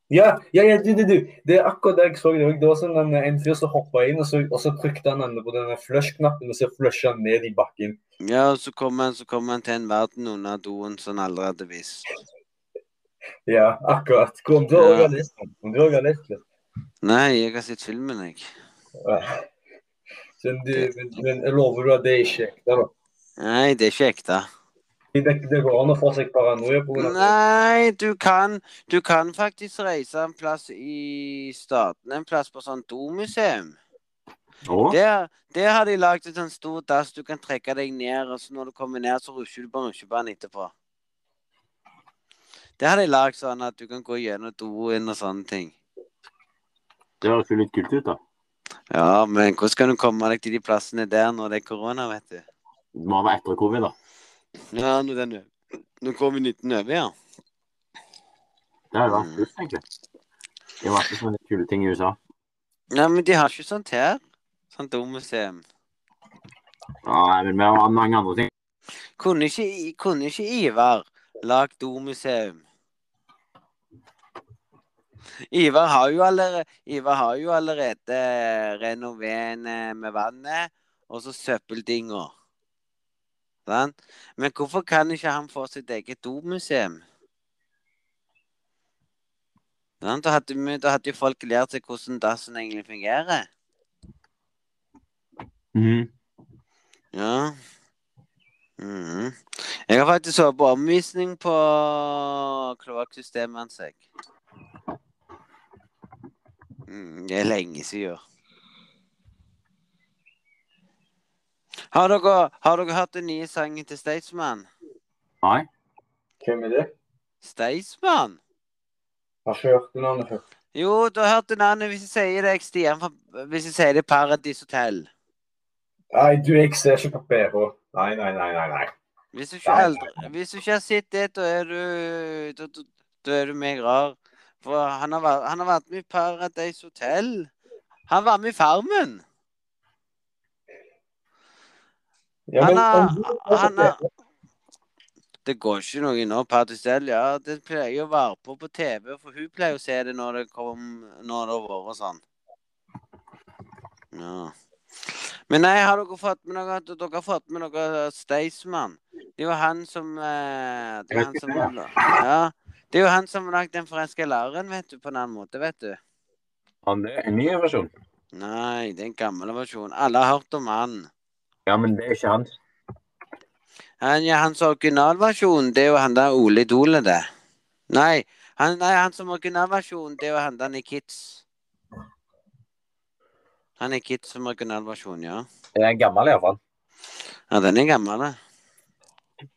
Ja, ja, ja, du, du, du. Det er akkurat det jeg så i dag. Det var sånn en, en fyr som hoppa inn, og så, og så trykte han andre på denne flush-knappen, og så flusha han ned i bakken.
Ja, og så kommer han, så kommer han til en verden under doen som han aldri hadde visst.
Ja, akkurat. Om du
Ja.
òg har lest den. Om du også har lest den.
Nei, jeg har sett filmen, jeg.
Så du, men, men jeg lover du at det er ikke ekte? da?
Nei, det er ikke ekte.
Det, det går an å få seg paranoia på grunn av det.
Nei, du kan, du kan faktisk reise en plass i staten, en plass på sånn domuseum.
Å,
Der, der har de lagd en sånn stor dass du kan trekke deg ned, og så når du kommer ned, så rusjer du på rusjebanen etterpå. Det har de lagd sånn at du kan gå gjennom doen og sånne ting.
det høres jo litt kult ut, da.
Ja, men hvordan kan du komme deg til de plassene der når det er korona, vet du?
Det må være etter covid, da.
Ja, nå den Nå kommer 19 over, ja.
Det hadde vært kult, egentlig. Det var ikke sånne kule ting i USA.
Nei, men de har ikke sånt her. Sånt domuseum.
Nei, men vi har mange andre ting.
Kunne ikke, I- kunne ikke Ivar lagd domuseum? Ivar har jo allerede, Ivar har jo allerede renovert med vannet og så søppeldinga. Sant? Men hvorfor kan ikke han få sitt eget domuseum? Sant? Sånn, Da hadde vi- da hadde jo folk lært seg hvordan dassen egentlig fungerer.
Mhm.
Ja. Mhm. Jeg har faktisk vært på omvisning på kloakksystemet hans. jeg. Mm, det er lenge siden. Har dere, har dere hørt den nye sangen til Staysman?
Nei.
Hvem er det?
Staysman?
Har ikke hørt den andre før.
Jo, du har hørt den andre hvis jeg sier det, jeg Stian, fra- hvis jeg sier det Paradis Hotel.
Nei, du, jeg ser ikke på PH. Nei, nei, nei, nei. nei.
Hvis du ikke,
Nei.
aldri, hvis du ikke har sett det, da er du Da, da, da er du meg rar. For han har, vært, han har vært med i Paradise Hotel. Han var med i Farmen.
Ja,
Han
men,
er-
om du ser på
han er-
PH,
Det går ikke noe nå. Paradise Hotel, ja, det pleier jeg å være på på TV, for hun pleier å se det når det kom, når det har vært og sånn. Ja. Men nei, har dere fått med noe Dere har fått med noe Staysman? Det er jo han som eh, Det er jo han som Ja. Det er jo han som har lagd Den forelska læreren, vet du, på en annen måte, vet du.
Ja, det er en ny versjon.
Nei, det er en gammel versjon. Alle har hørt om han.
Ja, men det er ikke hans.
Han, ja, hans originalversjon, det er jo han der Ole Idole, det. Nei, han, nei, hans originalversjon, det er jo han der Nikits. Han er Kids som originalversjon, ja.
Det er en gammel, iallfall.
Ja, den er gammel, da.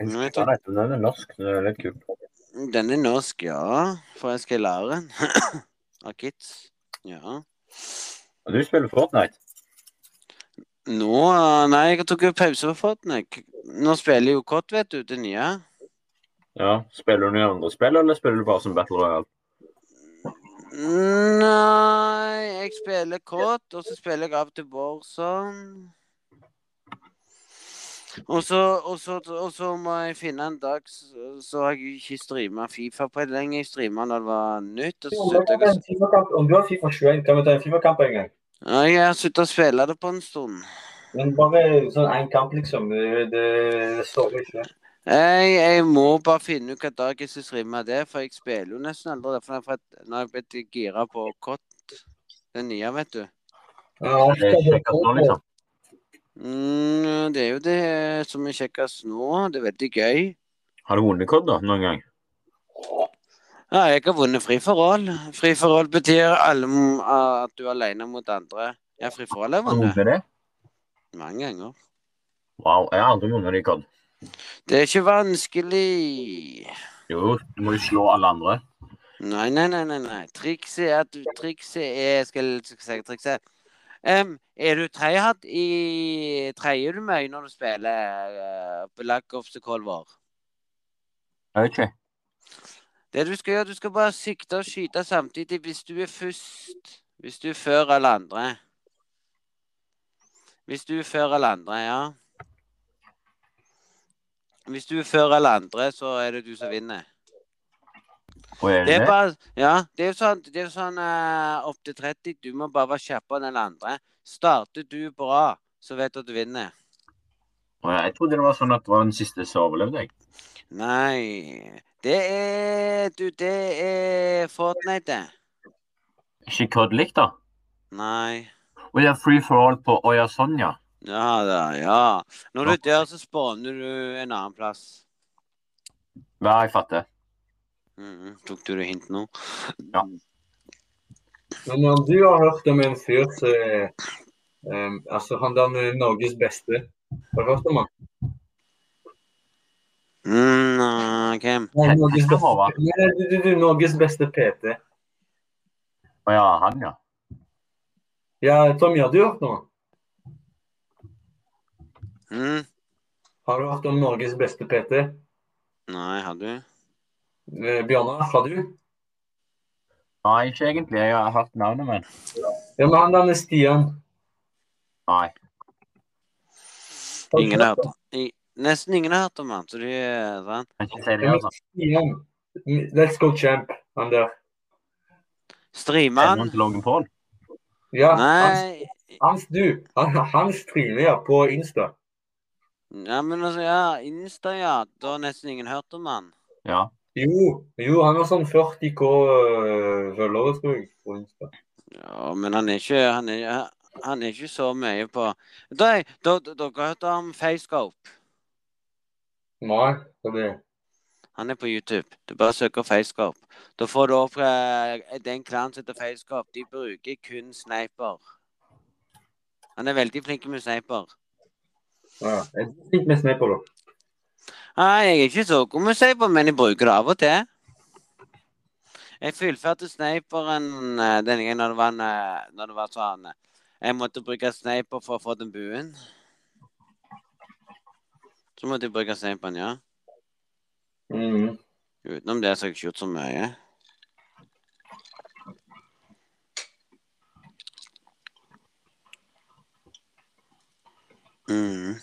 Jeg
Nå vet
husker den, men den er norsk. Den er litt kul.
Den er norsk, ja. Forelska i Laren. Av Kids. Ja.
Og Du spiller Fortnite.
Nå eh, Nei, jeg tok jo pause på Fortnite. Nå spiller jeg jo Kott, vet du, det nye.
Ja. Spiller du noen andre spill, eller spiller du bare som Battle Royale?
Nei, jeg spiller kort, og så spiller jeg av til Borson. Og så, og, så, og så må jeg finne en dag Så så har jeg ikke streama Fifa på det lenge. Jeg streama da det var nytt. Og så
om du
sluttet
har
jeg
en FIFA-kamp- Om du har Fifa 21, kan vi ta en Fifa-kamp en gang?
å- Ja, Jeg har slutta å spille det på en stund.
Men bare sånn én kamp, liksom. Det, det står ikke.
Jeg, jeg må bare finne ut hvilken dag jeg skal streame det, for jeg spiller jo nesten aldri det. For jeg- for at- nå har jeg blitt gira på kort. Den nye, vet du.
Ja,
Det er kjekkest nå, liksom.
Mm, det er jo det som er kjekkest nå. Det er veldig gøy.
Har du vunnet kod, da, noen gang?
Ja, jeg har vunnet fri for all. Fri for all betyr alle, m- at du er alene mot andre. Ja, fri for all har jeg
Har du
vunnet
vunnet det?
mange ganger.
Wow, jeg har aldri vunnet det i kod.
Det er ikke vanskelig.
Jo, du må jo slå alle andre.
Nei, nei, nei, nei. nei. Trikset er at du Trikset er Skal skal jeg si trikset? Em, er du treihatt i Treier du mye når du spiller uh, Black Ops the Cold War?
Jeg vet ikke.
Det du skal gjøre, du skal bare sikte og skyte samtidig hvis du er først. Hvis du er før alle andre. Hvis du er før alle andre, ja. Hvis du er før alle andre, så er det du som vinner.
Og er
Det
det
er
det?
bare Ja, det er jo sånn, det er jo sånn eh, opp til 30. Du må bare være kjappere enn alle andre. Starter du bra, så vet du at du vinner.
Og jeg trodde det var sånn at det var den siste som overlevde, jeg.
Nei Det er Du, det er Fortnite, det.
Ikke kødd likt, da.
Nei.
Og det er free for all på Oya Sonja.
Ja da, ja. Når du dør, så spawner du en annen plass.
Ja, jeg fatter.
Mhm, tok du det hint nå?
Men om du har hørt om en fyr som er, ehm, Altså, han der med Norges beste. Har du hørt om han?
Mm, nei, hvem?
Nei, Norges beste,
Hva var det?
nei, du, du, du, Norges beste PT.
Å ja, han, ja.
Ja, Tommy, har du hørt om han?
Mm,
Har du hørt om Norges beste PT?
nei, har du?
Eh, Bjørnar, har du?
Nei, ikke egentlig. Jeg har hørt navnet, men
Ja, men han der med Stian.
Nei.
Har du
Ingen har
hørt
hørt om i- Nesten ingen har hørt om han, så de er sant.
Jeg kan ikke si det,
om
altså.
Stian. Let's go champ, han der.
Streamer
Kjenner
han?
han til Logan Paul?
Ja, hans,
Nei
hans du. Han, han streamer på Insta.
Ja, men altså, ja. Insta, ja. Da har nesten ingen hørt om han.
Ja.
Jo, jo, han har sånn 40K eh, følgere, tror jeg, på Insta.
Ja, men han er ikke Han er, han er ikke så mye på Da- da- da- Dere har hørt om Facescope?
Nei, det er det.
Han er på YouTube. Du bare søker Facescope. Da får du opp eh, den klanen som heter Facescope. De bruker kun sniper. Han er veldig flink med sniper.
Ja, jeg fikk mest med på det.
Nei, jeg er ikke så god med sniper, men jeg bruker det av og til. Jeg fullførte sniperen eh, denne gangen når det var, en, eh, når det var sånn eh, Jeg måtte bruke sniper for å få den buen. Så måtte jeg bruke sniperen, ja.
Mm.
Utenom det så har jeg ikke gjort så mye. Mm.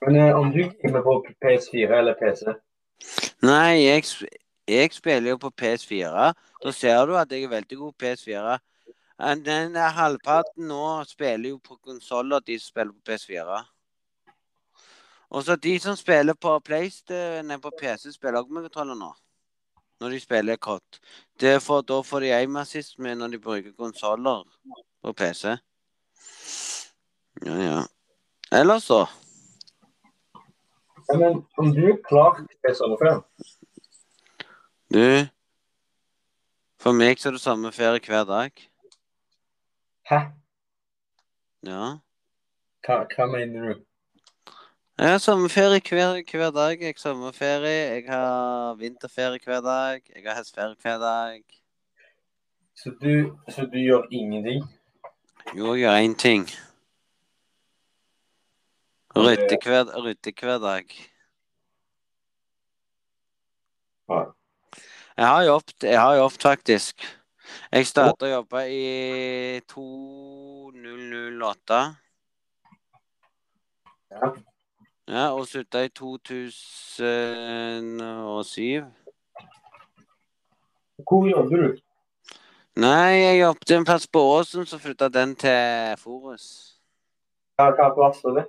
Men eh, om du gamer på PS4 eller PC
Nei, jeg, sp- jeg spiller jo på PS4. Da ser du at jeg er veldig god på PS4. Eh, Den er halvparten nå spiller jo på konsoller, de som spiller på PS4. Og så de som spiller på PlayStation, eh, nei, på PC, spiller også med kontroller nå. Når de spiller kort. Det får- da får de aimassist med når de bruker konsoller på PC. Ja, ja. Ellers så.
Ja, men om du er klar til PS5
Du, for meg så er det samme ferie hver dag.
Hæ?
Ja.
Hva, hva mener du?
Jeg har sommerferie hver, hver dag. Jeg har sommerferie, jeg har vinterferie hver dag. Jeg har høstferie hver dag.
Så du, så du gjør ingenting?
Jo, jeg gjør én ting. Rydde hver, rydde hver dag.
Ja.
Jeg har jobbet, jeg har jobbet faktisk. Jeg startet å jobbe i 2008.
Ja.
Ja, og slutta i 2007.
Hvor jobber du?
Nei, jeg jobbet en plass på Åsen, så flytta den til Forus.
Hva, hva plass er det?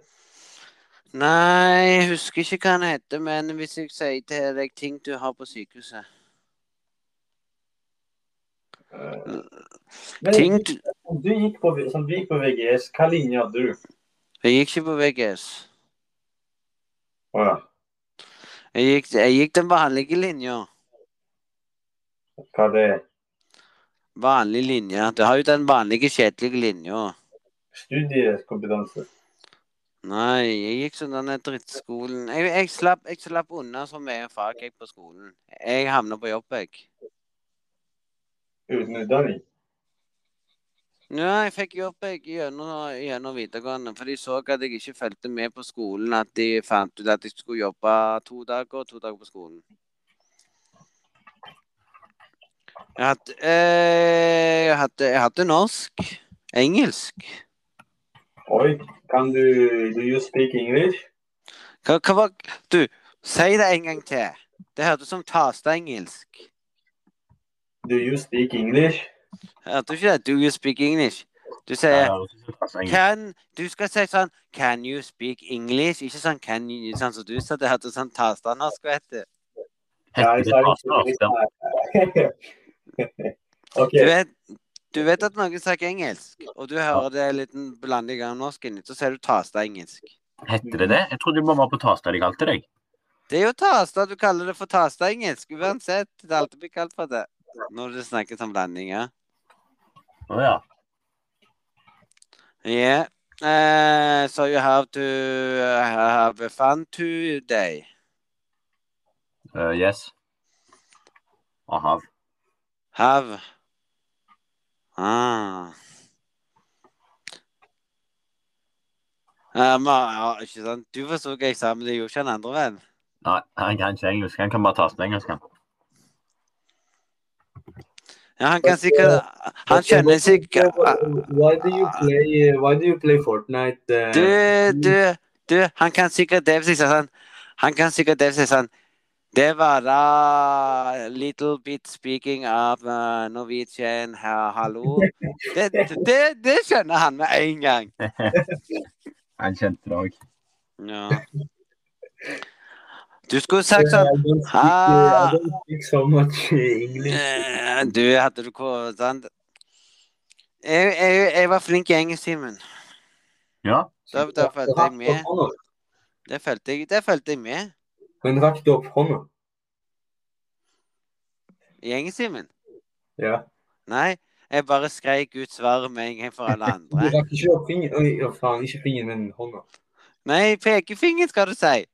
Nei, jeg husker ikke hva den heter, men hvis jeg sier til deg ting du har på sykehuset
Men
Ting du
om du gikk på, som du gikk på VGS, hva linje hadde du?
Jeg gikk ikke på VGS.
Å ja.
Jeg gikk, jeg gikk den vanlige linja.
Hva det er?
Vanlig linje. Du har jo den vanlige, kjedelige linja.
Studiekompetanse.
Nei, jeg gikk sånn denne drittskolen jeg, jeg, slapp, jeg slapp unna så mye fag jeg på skolen. Jeg havna på jobb, jeg.
Uten utdanning.
Ja, jeg fikk jobb jeg, gjennom, gjennom videregående, for de så at jeg ikke fulgte med på skolen. At de fant ut at jeg skulle jobbe to dager og to dager på skolen. Jeg hadde, eh, jeg hadde, jeg hadde norsk, engelsk
Oi, kan du Do you speak English?
hva, hva var Du, si det en gang til. Det hørtes som tasteengelsk.
Do you speak English?
Hørte du ikke det? Do you speak English? Du
Jeg
sier
hører ikke så pass engelsk.
Can, du skal si sånn Can you speak English? Ikke sånn can you, sånn som du sa. Det hørtes sånn tastanorsk, vet du.
Ja,
Hetter
jeg
det
sa jo
passer ofte.
ikke- OK.
Du vet, du vet at noen snakker engelsk, og du hører det er en liten blanding av norsk inni, så sier du tasta engelsk.
Heter det det? Jeg trodde det bare var på Tasta de kalte deg.
Det er jo tasta, du kaller det for tasta engelsk, uansett. Det er alltid blitt kalt for det. Når det snakkes om blandinger.
Å ja.
Yeah. Eh, so you have to eh, have fun today.
Eh, yes. Aha.
Have. Ah. Eh, ma- ja, ikke sant? Du forsto hva jeg sa, men det gjorde ikke han andre, vel?
Nei, han kan ikke engelsk. Han kan bare Tasta engelsk. han.
Ja, han kan sikkert Han skjønner sikkert
Why do you play, eh, why do you play Fortnite? eh?
Du, du, du, han kan sikkert det si sånn Han kan sikkert det si sånn Det var da little bit speaking of uh, Norwegian her, hallo. Det, det, det skjønner han med en gang.
Han kjente det òg.
Ja. Du skulle
Eh, I
sagt sånn
don't speak, eh,
Ah.
I don't speak so much eh, English.
eh, Du, hadde du ko- sant? Jeg, jeg, jeg var flink i engelsktimen.
Ja.
Da, da fulgte jeg med.
Rakte opp hånda.
Det fulgte jeg, det fulgte jeg med
Hun rakte opp hånda.
i engelsktimen.
Ja.
Nei, jeg bare skreik ut svaret med en gang for alle
Du
andre.
rakk ikke opp fingeren. Oi, å faen, ikke fingeren, men hånda.
Nei, pekefingeren skal du si.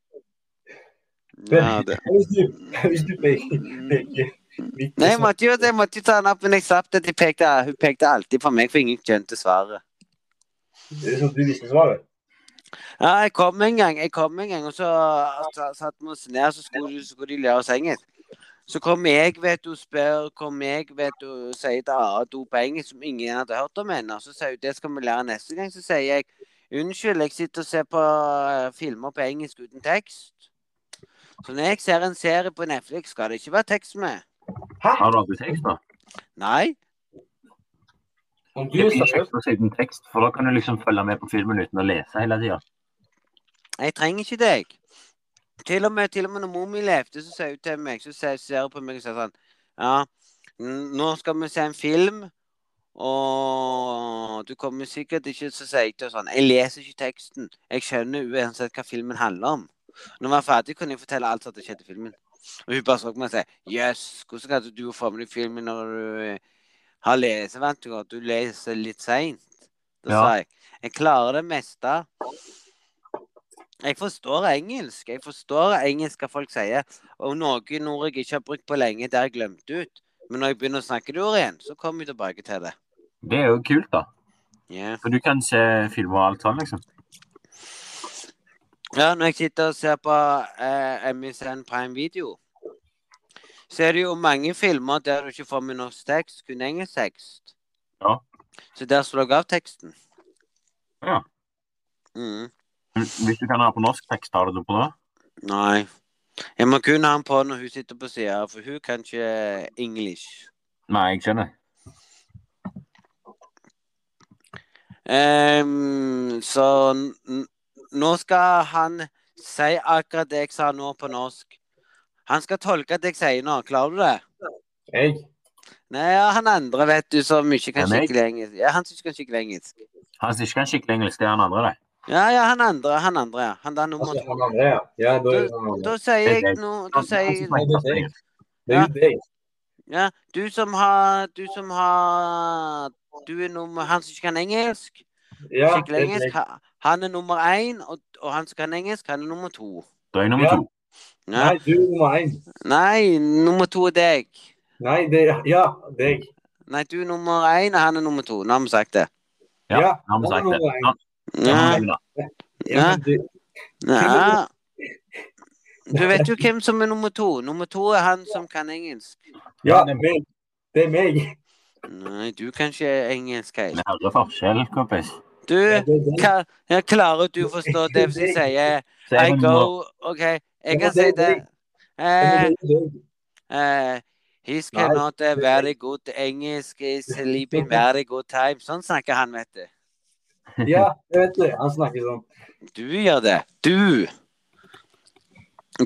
Ja, det.
Hvis du, hvis du peker, peker.
Nei, jeg måtte jo, jeg måtte jo ta den opp, men jeg slapp det. De pekte, hun pekte alltid på meg, for ingen skjønte svaret.
Det er sånn at du visste svaret.
Ja, jeg kom en gang, jeg kom en gang, og så sa- satt vi oss ned, så skulle, så skulle de lære oss engelsk. Så kom jeg, vet du, og spør, kom jeg, vet du, og sier et annet ord på engelsk som ingen hadde hørt om ennå. Så sier hun, det skal vi lære neste gang. Så sier jeg, unnskyld, jeg sitter og ser på eh, filmer på engelsk uten tekst. Så når jeg ser en serie på Netflix, skal det ikke være tekst med.
Har du aldri tekst, da?
Nei,
Om du
Det
er
er
seriøs,
kjekt å se uten tekst, for da kan du liksom følge med på filmen uten å lese hele tida.
jeg trenger ikke deg. Til og med, til og med når mor mi levde, så sier hun til meg, så ser ser hun på meg og sier sånn Ja, n- nå skal vi se en film, og du kommer sikkert ikke Så sier jeg til henne sånn Jeg leser ikke teksten. Jeg skjønner uansett hva filmen handler om. Når vi var ferdig, kunne jeg fortelle alt som hadde skjedd i filmen. Og hun bare så på meg og sa Jøss, hvordan kan du få med deg filmen når du eh, har lesevansker? Du leser litt seint. Da
Ja.
sa jeg Jeg klarer det meste. Jeg forstår engelsk. Jeg forstår engelsk hva folk sier. Og noen ord jeg ikke har brukt på lenge, det har jeg glemt ut. Men når jeg begynner å snakke det ordet igjen, så kommer jeg tilbake til det.
Det er jo kult, da.
Ja.
For du kan se filmer og alt sånn, liksom.
Ja, når jeg sitter og ser på eh, MSN Prime Video, så er det jo mange filmer der du ikke får med norsk tekst, kun engelsk tekst.
Ja.
Så der slår jeg av teksten.
Ja.
Mm.
Men Hvis du kan ha på norsk tekst, har du det på det?
Nei. Jeg må kun ha den på når hun sitter på sida, for hun kan ikke English.
Nei, jeg skjønner.
Ehm, så n- n- nå skal han si akkurat det jeg sa nå på norsk. Han skal tolke det jeg sier nå. Klarer du det?
jeg.
Nei, ja, han andre vet du som ikke kan
Ja, meg?
skikkelig engelsk. Ja, han som ikke kan skikkelig engelsk.
Han som ikke kan skikkelig engelsk, det er han andre, det.
Ja, ja, han andre. Han andre, ja. Han der nummer
Altså,
to.
han andre, ja. Ja, da er det han andre.
Da sier
Det er
jeg nå Da
Han-
sier
han som
jeg
Nei,
snakker
det er
engelsk.
Det er jo deg.
Ja, du som har Du som har Du er nummer Han som ikke kan engelsk.
Ja,
Skikkelig
det er
engelsk.
deg.
ha- Han er nummer én, og, og han som kan engelsk, han er nummer to.
Da er jeg nummer
Ja.
to.
Ja.
Nei, du er nummer én.
Nei, nummer to er deg.
Nei, det er Ja, deg.
Nei, du er nummer én, og han er nummer to. Nå har vi sagt det.
Ja,
Ja,
nå har vi
han er
sagt det.
nummer én.
Ja, det har
Ja.
vi da.
Ja, men du-
ja. Du vet jo hvem som er nummer to. Nummer to er han som kan engelsk.
ja, det er meg. Det er meg.
Nei, du kan ikke engelsk helt.
Vi hører forskjell, kompis.
Du,
Ja, det er deg.
ka, ja, klarer du å forstå det som sier
Så
I
jeg må-
go OK, jeg kan si det. Eh, eh, His cannot a very good English is sleeping very good time. Sånn snakker han, vet du.
Ja, jeg vet det. Han snakker sånn.
Du gjør det. Du.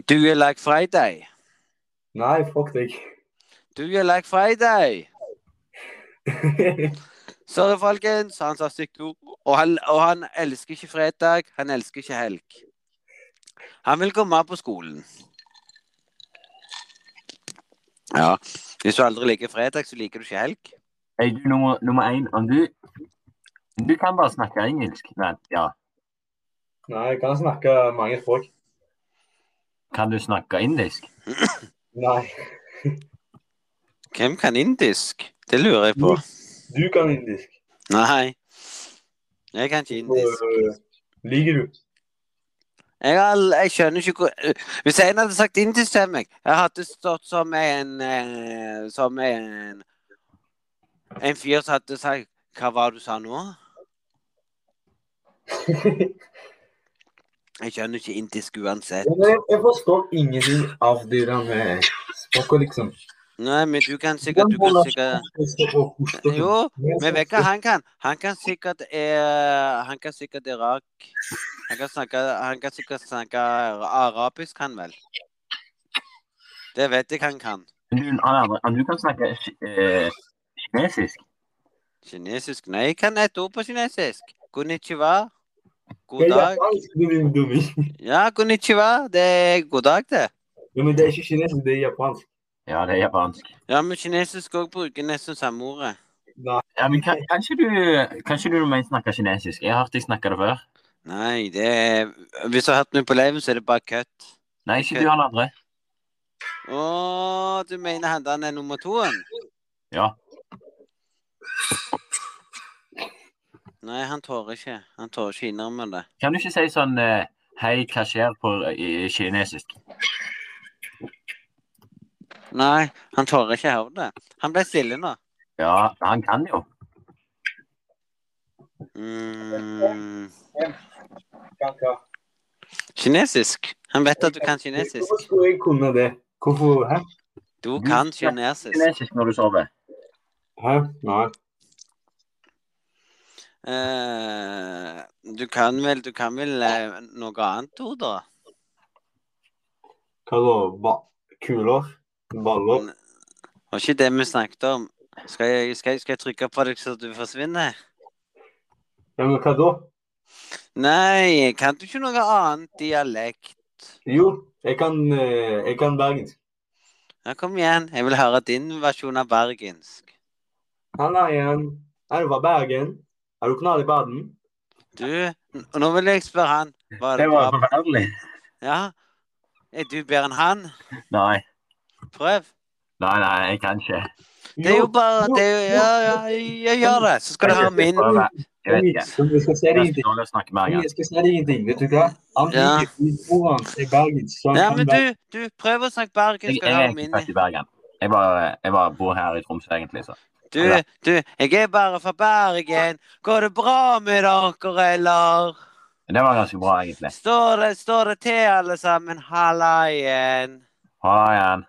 Du er like Friday.
Nei, fuck deg.
Do you like Friday? Sorry, folkens. Han sa stygt ord. Og han, og han elsker ikke fredag. Han elsker ikke helg. Han vil gå mer på skolen. Ja. Hvis du aldri liker fredag, så liker du ikke helg.
Hey, du, nummer, nummer én, om du Du kan bare snakke engelsk. Nei, ja.
Nei, jeg kan eh, snakke mange språk.
Kan du snakke indisk?
Nei.
Hvem kan indisk? Det lurer jeg på.
Du kan indisk.
Nei. Jeg kan ikke indisk.
Øh, Liker du?
Jeg, har, al- jeg skjønner ikke hvor Hvis en hadde sagt indisk til meg, jeg hadde stått som en eh, Som en En fyr som hadde sagt Hva var det du sa nå? Jeg skjønner ikke indisk uansett.
Ja, men jeg, jeg forstår ingenting av det der med språket, liksom.
Nei, men du kan sikkert Du kan sikkert Jo, vi vet hva han kan. Han kan sikkert eh, Han kan sikkert Irak Han kan, snakke, han kan sikkert snakke arabisk, han vel? Det vet jeg han kan.
Du, han andre, om du kan snakke ki- eh, kinesisk?
Kinesisk? Nei, jeg kan ett ord på kinesisk. Konnichiwa.
Det
God
er
dag.
japansk, du din dummi.
Ja, konnichiwa. Det er god dag, det.
Jo, men det er ikke kinesisk, det er japansk.
Ja, det er japansk.
Ja, men kinesisk òg bruker nesten samme ordet.
Nei,
Ja, men kan, kanskje du Kanskje du mener snakke kinesisk? Jeg har hørt deg snakke det før.
Nei, det er Hvis du har hørt meg på leiven, så er det bare kødd.
Nei, ikke du, han andre.
Å, du mener han der er nummer toen?
Ja.
Nei, han tør ikke. Han tør ikke innrømme det.
Kan du ikke si sånn eh, Hei, hva skjer på eh, kinesisk?
Nei, han tør ikke hevde det. Han ble stille nå.
Ja, han kan jo.
Mm.
kan ikke.
Kinesisk. Han vet at du kan kinesisk.
Hvorfor skulle jeg kunne det? Hvorfor? Hæ?
Du kan kinesisk.
Kinesisk når du sover.
Hæ? Nei.
Eh, du kan vel Du kan vel eh, noe annet ord, da?
Hva da? Ba kuler? Baller?
Var ikke det vi snakket om? Skal jeg, skal, jeg, skal jeg trykke på deg så du forsvinner?
Ja, men hva da?
Nei, kan du ikke noe annet dialekt?
Jo, jeg kan, eh, jeg kan bergensk.
Ja, kom igjen. Jeg vil høre din versjon av bergensk.
Halla igjen. Er du fra Bergen? Er du knall i baden?
Du, n- nå vil jeg spørre han. Var
Det
det
var
bra?
forferdelig.
Ja? Er du bedre enn han?
Nei,
Prøv.
nei, nei, jeg kan ikke.
Det er jo bare det er jo, Ja, ja, jeg gjør det. Så skal du ha min.
Prøve. Jeg vet ikke.
Men Vi skal se
Jeg
det
er
ingenting.
så dårlig å snakke med
Jeg
Ergen.
skal si deg ingenting, vet du hva? Han
Ja.
liker ikke ordene til Bergens. så han
Ja,
kan
men
bare-
du, du prøv å snakke bergensk.
Jeg,
Skal
jeg
du ha
er ikke
min?
født i Bergen. Jeg bare, jeg bare bor her i Tromsø, egentlig. så.
Du, du, jeg er bare fra Bergen. Går det bra med dere, eller?
Men Det var ganske bra, egentlig.
Står det, står det til, alle sammen? Hallaien.
Ha igjen.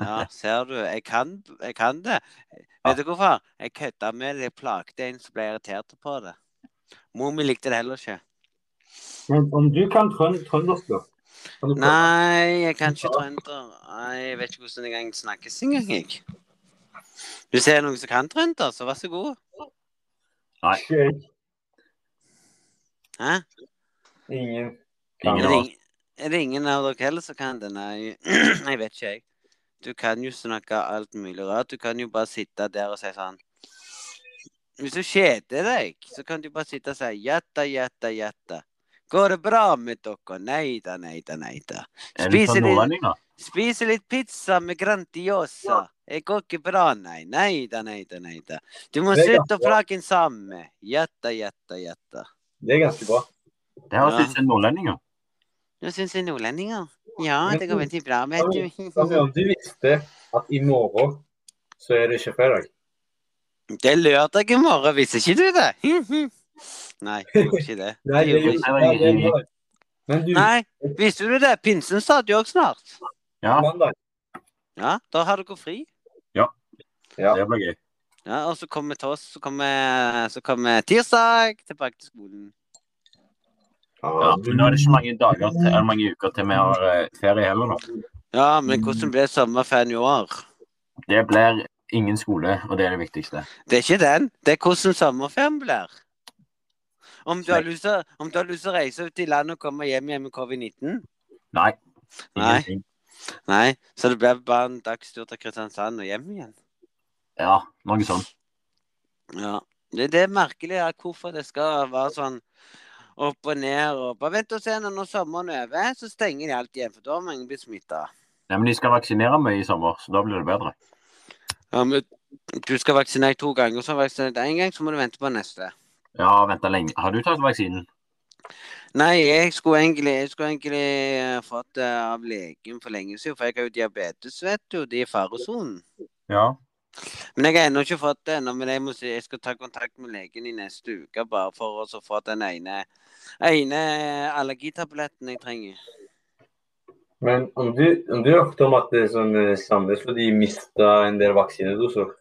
Ja, ser du. Jeg kan, jeg kan det. Vet du hvorfor? Jeg kødda med det. Jeg plagde en som ble irritert på det. Mor mi likte det heller ikke.
Men om du kan trønd- trøndersk, da? Kan du prøve?
Nei, jeg kan ikke trønder. Nei, Jeg vet ikke hvordan jeg engang snakkes engang, jeg. Hvis det er noen som kan trønder, så vær så god.
Shit.
Hæ?
Ingen.
Er
Ingen
det,
av oss.
ingen, er det ingen av dere heller som kan det? Nei, jeg vet ikke, jeg. Du kan jo snakke alt mulig rart. Du kan jo bare sitte der og si sånn Hvis du kjeder deg, så kan du bare sitte og si jatta, jatta, jatta. Går det bra med dere? Nei da, nei da, nei da.
Er du sånn fra
Spiser de-
Nordlending, da?
Spiser litt pizza med Grandiosa. Det går ikke bra, nei. Nei da, nei da, nei da. Du må
Det er
slutte å plage en sammen. Jatta, jatta, jatta.
Det er ganske bra.
Det høres
Ja.
ut som nordlendinger.
Nå syns jeg nordlendinger. Ja, det går veldig bra, vet du.
Altså, om du visste at i morgen så er det ikke fredag.
Det er lørdag i morgen, visste ikke du det? Nei, jeg gjorde ikke det. Det
Nei, det er
gjorde
jo
ikke.
ikke.
Nei, det er jo- Men du,
Nei, visste du det? Pinsen starter jo også snart.
Ja,
mandag
Ja, da har dere fri.
det blir gøy.
Ja, og så kommer til oss, så kommer, så kommer tirsdag tilbake til skolen.
Ja, men nå er det ikke mange dager til, eller mange uker til vi har eh, ferie heller nå.
Ja, men hvordan ble samme fan i år?
Det blir ingen skole, og det er det viktigste.
Det er ikke den. Det er hvordan sommerferien blir. Om du har lyst til å- om du har lyst til å reise ut i landet og komme hjem igjen med covid-19?
Nei.
Nei.
Ingenting.
Nei, så det blir bare en dagstur til Kristiansand og hjem igjen.
Ja, noe sånt.
Ja. Det, det er merkelig ja, hvorfor det skal være sånn opp og ned og Bare vent og se når når sommeren er over, så stenger de alt igjen, for da har mange blitt smitta.
Nei, men de skal vaksinere meg i sommer, så da blir det bedre.
Ja, men du skal vaksinere to ganger, så har du vaksinert én gang, så må du vente på neste.
Ja, venta lenge. Har du tatt vaksinen?
Nei, jeg skulle egentlig, jeg skulle egentlig eh, fått det av legen for lenge siden, for jeg har jo diabetes, vet du, og det er i faresonen.
Ja.
Men jeg har ennå ikke fått det ennå, men jeg må si jeg skal ta kontakt med legen i neste uke, bare for å så få den ene, ene allergitabletten jeg trenger.
Men om du, om du hørte om at det er sånn eh, Sandnes for de mista en del vaksinedoser?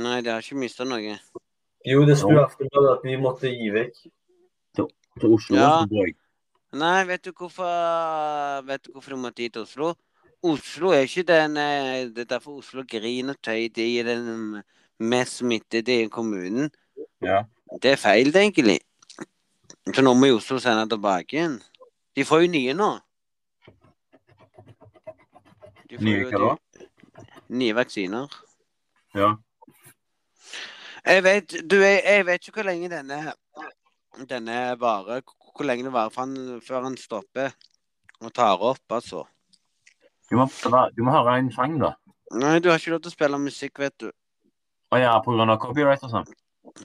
Nei, det har ikke mista noe.
Jo, det sto i
Jo.
Aftenbladet at de måtte gi vekk.
Til Oslo.
Ja.
så blir jeg-
Nei, vet du hvorfor, vet du hvorfor du måtte hit til Oslo? Oslo er ikke den eh, Det er derfor Oslo griner tøy. De er den mest smittede i kommunen.
Ja.
Det er feil, det, egentlig. Så nå må jo Oslo sende tilbake igjen. De får jo nye nå. De får
Nye
jo
hva
de-
da?
Nye vaksiner.
Ja.
Jeg vet, du, jeg, jeg vet ikke hvor lenge denne, denne varer. hvor- Hvor lenge det varer før han, før han stopper og tar opp, altså.
Du må, prøve- du må høre en sang, da.
Nei, du har ikke lov til å spille musikk, vet du.
Å ja, på grunn av copyright og sånn.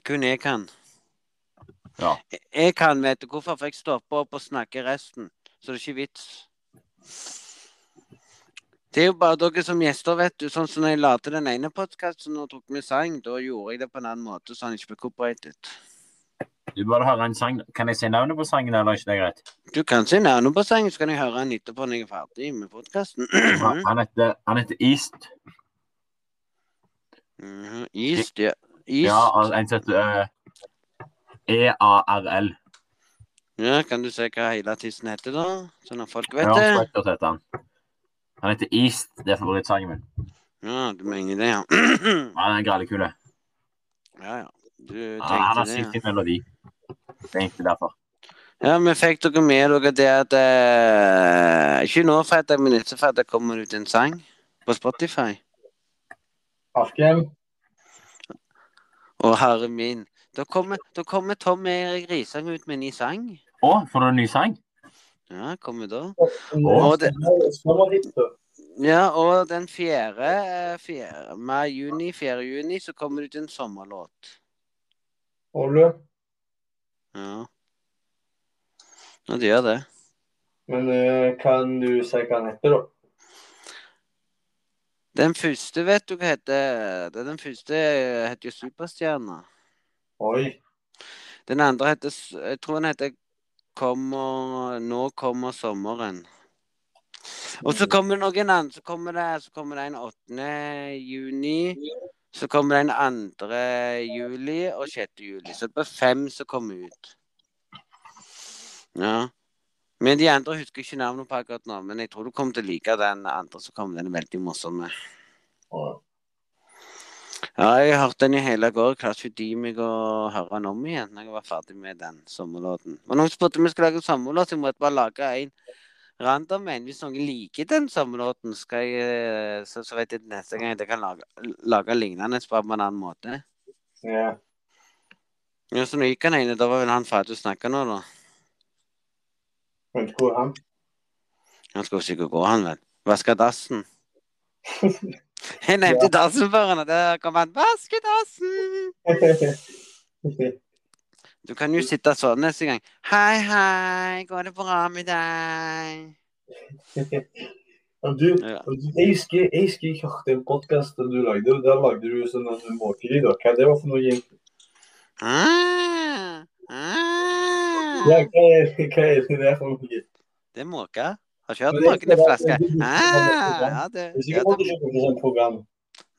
Kun jeg kan.
Ja.
Jeg, jeg kan, vet du hvorfor? For jeg stopper opp og snakker resten. Så det er ikke vits. Det er jo bare dere som gjester, vet du. Sånn som når jeg la til den ene podkasten og tok med sang, da gjorde jeg det på en annen måte, så han ikke ble copyrighted.
Du burde høre en sang. Kan jeg si navnet på sangen, eller er ikke det greit?
Du kan si navnet på sangen, så kan jeg høre den etterpå når jeg er ferdig med Mhm. podkasten.
Han- Han heter, han heter East.
Mhm. Is, ja. Is.
Ja,
Ja,
altså, en som heter eh, E E-A-R-L.
kan du se hva hele artisten heter, da? Sånn at folk
Ja,
vet det.
Spectors heter han. Han heter East. Det er favorittsangen min.
Ja, du mener det, ja.
Han er en grallekule.
Ja, ja. Du
Ja, Ah, han
tenkte
har
det,
sykt
ja.
fin melodi. Det er egentlig derfor.
Ja, men fikk dere med dere det at eh, Ikke nå, fredag, men etter fredag kommer det ut en sang på Spotify.
Askem,
Å, herre min. Da kommer, da kommer Tom Erik Risang ut med en ny sang.
Å, får du en ny sang?
Ja, kommer da.
nå-
det-
nå- sommerhipster.
Ja, og den 4. mai, juni, 4. juni, så kommer det ut en sommerlåt.
Ole.
Ja. Ja, det gjør det.
Men eh, kan du si hva han heter, da?
Den første, vet du hva heter? Det er Den første eh, heter jo Superstjerna.
Oi.
Den andre heter s- Jeg tror den heter kommer, 'Nå kommer sommeren'. Og så kommer det noen andre. Så kommer det, så kommer det en 8. juni. Så kommer det en 2. juli og 6. juli. Så det blir fem som kommer ut. Ja. Men de andre husker ikke navnet på akkurat nå. Men jeg tror du kommer til å like den andre som kommer. Den er veldig morsom.
Ja.
Ja, jeg hørte den i hele går. Jeg klarte ikke å dy meg å høre den om igjen når jeg var ferdig med den sommerlåten. Men noen spurte om jeg skulle lage en sommerlåt, så jeg måtte bare lage en random en. Hvis noen liker den sommerlåten, skal jeg, eh, så, så vet jeg til neste gang at jeg kan lage, lage lignende bare på en annen måte.
Ja.
Ja, så nå gikk han inn, og da var vel han ferdig å snakke nå, da.
Vet du hvor er han?
Han skulle sikkert gå, han vel. Vaske dassen. Jeg nevnte dassen før han, og der kom han. Vaske dassen! Du kan jo sitte sånn neste gang. Hei, hei, går det bra med deg?
Og du,
Ja.
og du- jeg husker jeg husker jeg hørte en podkast du lagde, og der lagde du sånn en måkelyd. og Hva det var for noe? egentlig?
Ah, ah.
Ja, hva er, hva er det der for noe?
Det er måke. Har ikke hørt måken i flaske. Ah, ja, det,
Hvis
ja,
ikke måtte du
det,
ikke på sånt program.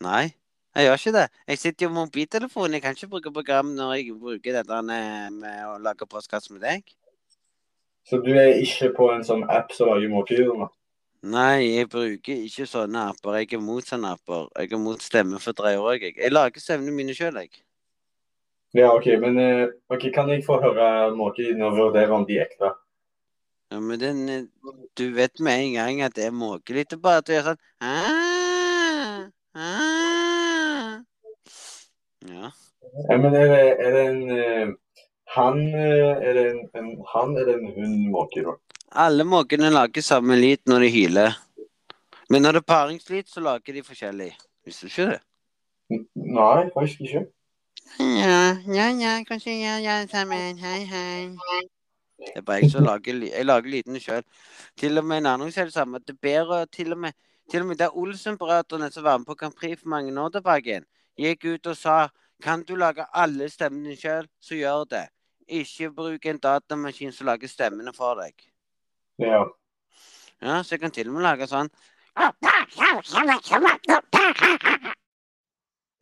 nei, jeg gjør ikke det. Jeg sitter jo med mobiltelefonen. Jeg kan ikke bruke program når jeg bruker dette eh, med å lage postkast med deg.
Så du er ikke på en sånn app som lager måkelyder? nå?
Nei, jeg bruker ikke sånne apper. Jeg er mot sånne apper. Jeg er mot stemmefortreier òg, jeg. Jeg lager stemmene mine sjøl, jeg.
Ja, OK, men eh, ok, kan jeg få høre noe inn og vurdere om de er ekte?
Ja, men den, eh, du vet med en gang at det er måkelyt. Det er bare at du gjør sånn «Ah, ah». Ja.
Ja, men er det, er det en eh, han, eh, er det en, en han, er det en hund måke, da?
Alle måkene lager samme lyd når de hyler. Men når det er paringslyd, så lager de forskjellig. Visste du ikke det?
N- Nei, faktisk ikke.
Ja, ja, ja, kanskje ja, ja, sammen. Hei, hei. Det er bare jeg som lager, ly- jeg lager lydene sjøl. Til og med en annen gang er det samme. Det er bedre til og med Til og med der Olsen-brødrene som var med på Grand Prix for mange år tilbake, igjen, gikk ut og sa kan du lage alle stemmene sjøl, så gjør det. Ikke bruk en datamaskin som lager stemmene for deg.
Ja.
Ja, så jeg kan til og med lage sånn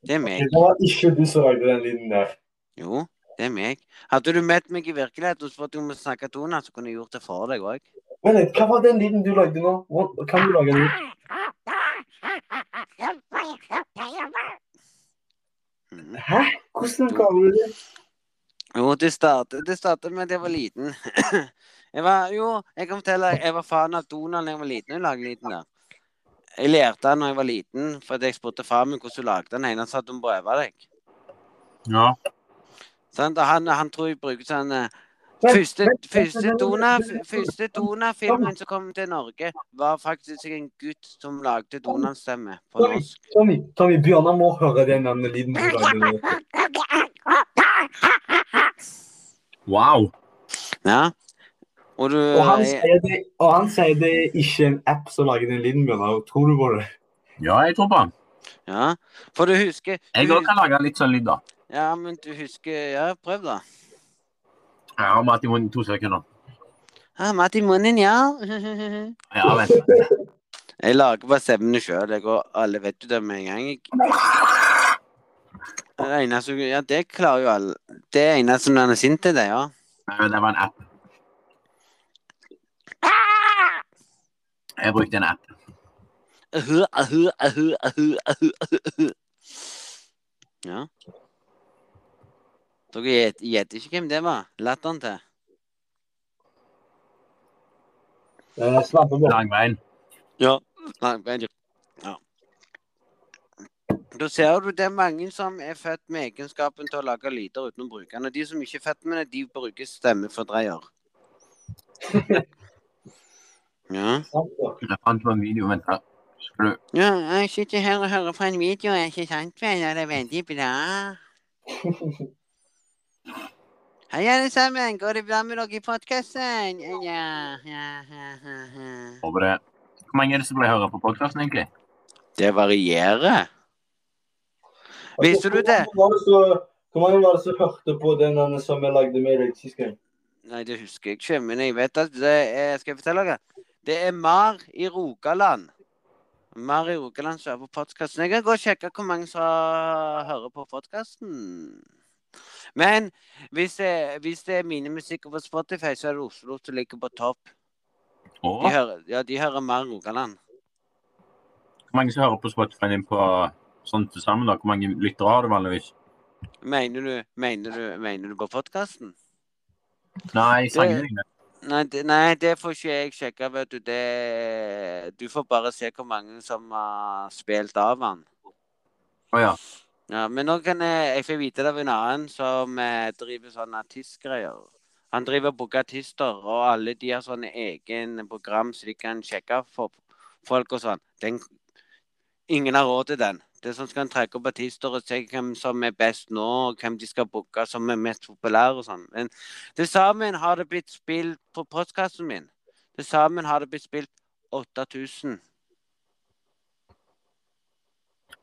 Det er meg.
Det var ikke du som lagde den lyden der.
Jo, det er meg. Hadde du møtt meg i virkeligheten og spurt om å snakke toner, så kunne jeg gjort det for deg òg.
Men eh, hva var den lyden du lagde nå? Hva- Kan du lage en lyd? Hæ? Hvordan kan du det?
Jo, det startet, det startet med at jeg var liten. jeg var, jo, jeg kan fortelle deg, jeg var fan av Donald da jeg var liten. Jeg lagde liten der. Jeg lærte han da jeg var liten, fordi jeg spurte far min hvordan du lagde den. ene, Han sa at hun prøver deg.
Ja.
Sant? Og han, han tror jeg bruker sånn eh,
Men-
Første,
men-
første,
men-
Dona- f- første Dona-filmen som kom til Norge, var faktisk en gutt som lagde Donald-stemme på
Tommy,
norsk.
Tommy, Tommy, Bjørnar må høre den andre lyden du lagde nå.
Wow.
Ja. Og du
Og han
jeg-
sier det, og han sier det er ikke en app som lager den lyden, Bjørnar. Tror du på det?
Ja, jeg tror på han.
Ja. For du husker
Jeg
du,
òg kan lage litt sånn lyd, da.
Ja, men du husker Ja, prøv, da.
Jeg har mat i munnen i to sekunder.
Ja, mat i Ah, munnen, ja.
Ja, vent.
Jeg lager bare stemmene sjøl, jeg, og alle vet jo det med en gang. Jeg... Det eneste Ja, det klarer jo alle. Det eneste når han er sint, er det, ja.
Nei, Eh, Det var en app. Jeg brukte en app.
Ahu, ahu, ahu, ahu, ahu, ahu, ahu. Ja. Dere gjet- gjetter ikke hvem det var? Latteren til?
Eh, Slapp av.
Langveien.
Ja. Nei, vent litt. ja. Da ser du det er mange som er født med egenskapen til å lage lyder uten å bruke den. Og de som ikke er født med det, de bruker stemmefordreier. ja.
Slapp av.
Jeg fant på en video. Vent her. Skal du
ja. Jeg sitter her og hører på en video, er ikke sant vel? Og det er veldig bra. Hei, alle sammen. Går det bra med dere i podkasten? Ja, ja, ja, ja, ja.
over det? Hvor mange er det som pleier å høre på podkasten, egentlig?
Det varierer. Visste du det?
Hvor mange var det som- Hvor mange var det som hørte på den andre som jeg lagde med deg sist gang?
Nei, det husker jeg ikke, men jeg vet at det er Skal jeg fortelle dere? Det er Mar i Rogaland. Mar i Rogaland som er på podkasten. Jeg kan gå og sjekke hvor mange som hører på podkasten. Men hvis det, hvis det er mine musikker på Spotify, så er det Oslo som ligger på topp.
Og
De hører, ja, de hører Mar Rogaland.
hvor mange som hører på Spotify din på sånn til sammen? da? Hvor mange lyttere har du vanligvis?
Mener du, mener du, mener du på podkasten?
Nei, sangene dine.
Nei, det, nei, det får ikke jeg sjekke, vet du. Det, du får bare se hvor mange som har spilt av han.
Å ja.
Ja, men nå kan jeg, jeg får vite det av en annen som eh, driver sånne artistgreier. Han driver og booker artister, og alle de har sånne egen program så de kan sjekke for folk og sånn. Den, ingen har råd til den. Det er sånn skal han trekke opp artister og se hvem som er best nå, og hvem de skal booke som er mest populære og sånn. Men til sammen har det blitt spilt på postkassen min. Til sammen har det blitt spilt 8000.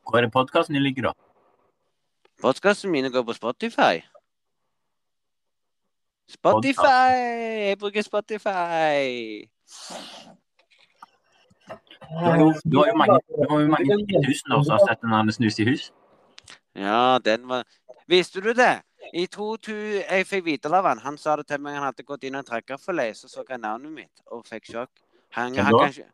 Hvor er det podkasten din ligger, da?
Podkasten mine går på Spotify. Spotify! Jeg bruker Spotify.
Du har jo, du har jo mange, du har jo mange titusener som har sett en annen snus i hus.
Ja, den var Visste du det? I 2000 Jeg fikk vite det av han. Han sa det til meg. Han hadde gått inn og trekket for lei, så så han navnet mitt og fikk sjokk. Han,
Hvem
han
da?
kan ikke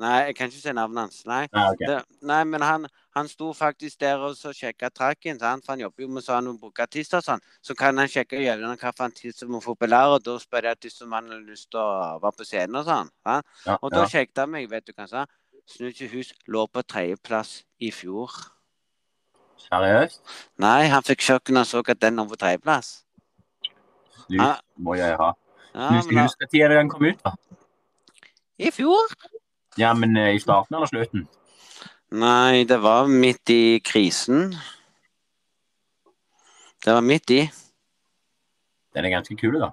Nei, jeg kan ikke si navnet hans. Nei.
Ja, ok.
Det, nei, men han, han sto faktisk der og så sjekka trakken, sant? for han jobber jo med sånn bruker tiss og sånn. Så kan han sjekke gjennom hvilken tiss som er populær, og da spør jeg tiss om han har lyst til å være på scenen og sånn. sant?
Ja,
Og da
ja.
sjekket han meg, vet du hva han sa? Snutjehus lå på tredjeplass i fjor.
Seriøst?
Nei, han fikk sjokk når han så at den lå på tredjeplass.
Snus
Ja.
må jeg ha.
Ja,
Snus i
men da-
huset til den kom ut, da.
I fjor?
Ja, men eh, i starten eller slutten?
Nei, det var midt i krisen. Det var midt i.
Den er ganske kul, da.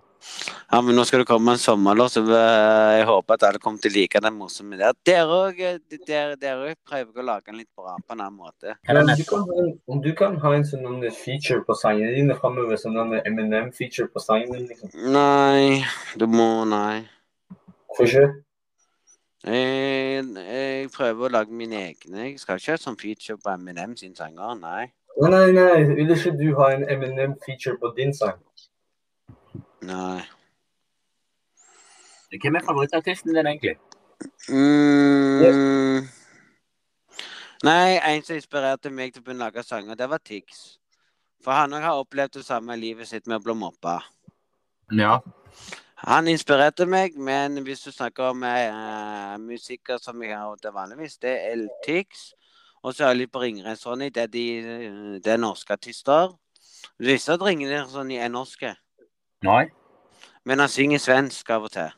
Ja, men nå skal det komme en sommerlåt, så eh, jeg håper at alle kommer til å like den morsomme der. Dere òg dere, dere også prøver å lage den litt bra på en annen måte.
Hva
Men
er den
om du
neste?
kan ha en- om du kan ha en sånn noen feature på sangene dine framover, sånn noen Eminem-feature på sangen din, liksom.
Nei, du må Nei.
Hvorfor ikke?
Jeg, jeg prøver å lage mine egne. Jeg skal ikke ha sånn feature på Eminem sin sanger, nei.
Nei, nei, nei. Vil ikke du ha en Eminem-feature på din sang?
Nei.
Hvem er favorittartisten din, egentlig?
Mm. Nei, en som inspirerte meg til å begynne å lage sanger, det var Tix. For han òg har opplevd det samme i livet sitt med å bli mobba.
Ja.
Han inspirerte meg, men hvis du snakker om eh, musikker som jeg har til vanligvis, det er Tix. Og så er jeg litt på Ringreis Ronny, det er, de, eh, det er norske artister. Du visste at Ringreis Ronny er sånn norske,
Nei?
men han synger svensk av og til.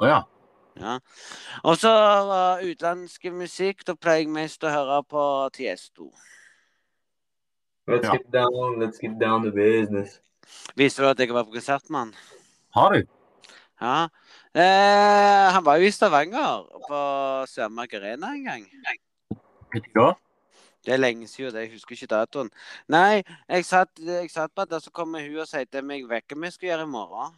Å ja.
Ja. Og så uh, utenlandsk musikk, da pleier jeg mest å høre på Tiesto.
Let's
Ja.
get down, let's get down to business.
Visste du at jeg var på konsert med han?
Har du?
Ja. Eh, han var jo i Stavanger, på Sørmark Arena en gang.
Vet du hva?
Det er lenge siden, det. jeg husker ikke datoen. Nei, jeg satt, jeg satt på det, så kom hun og sa til meg hva vi skulle gjøre i morgen.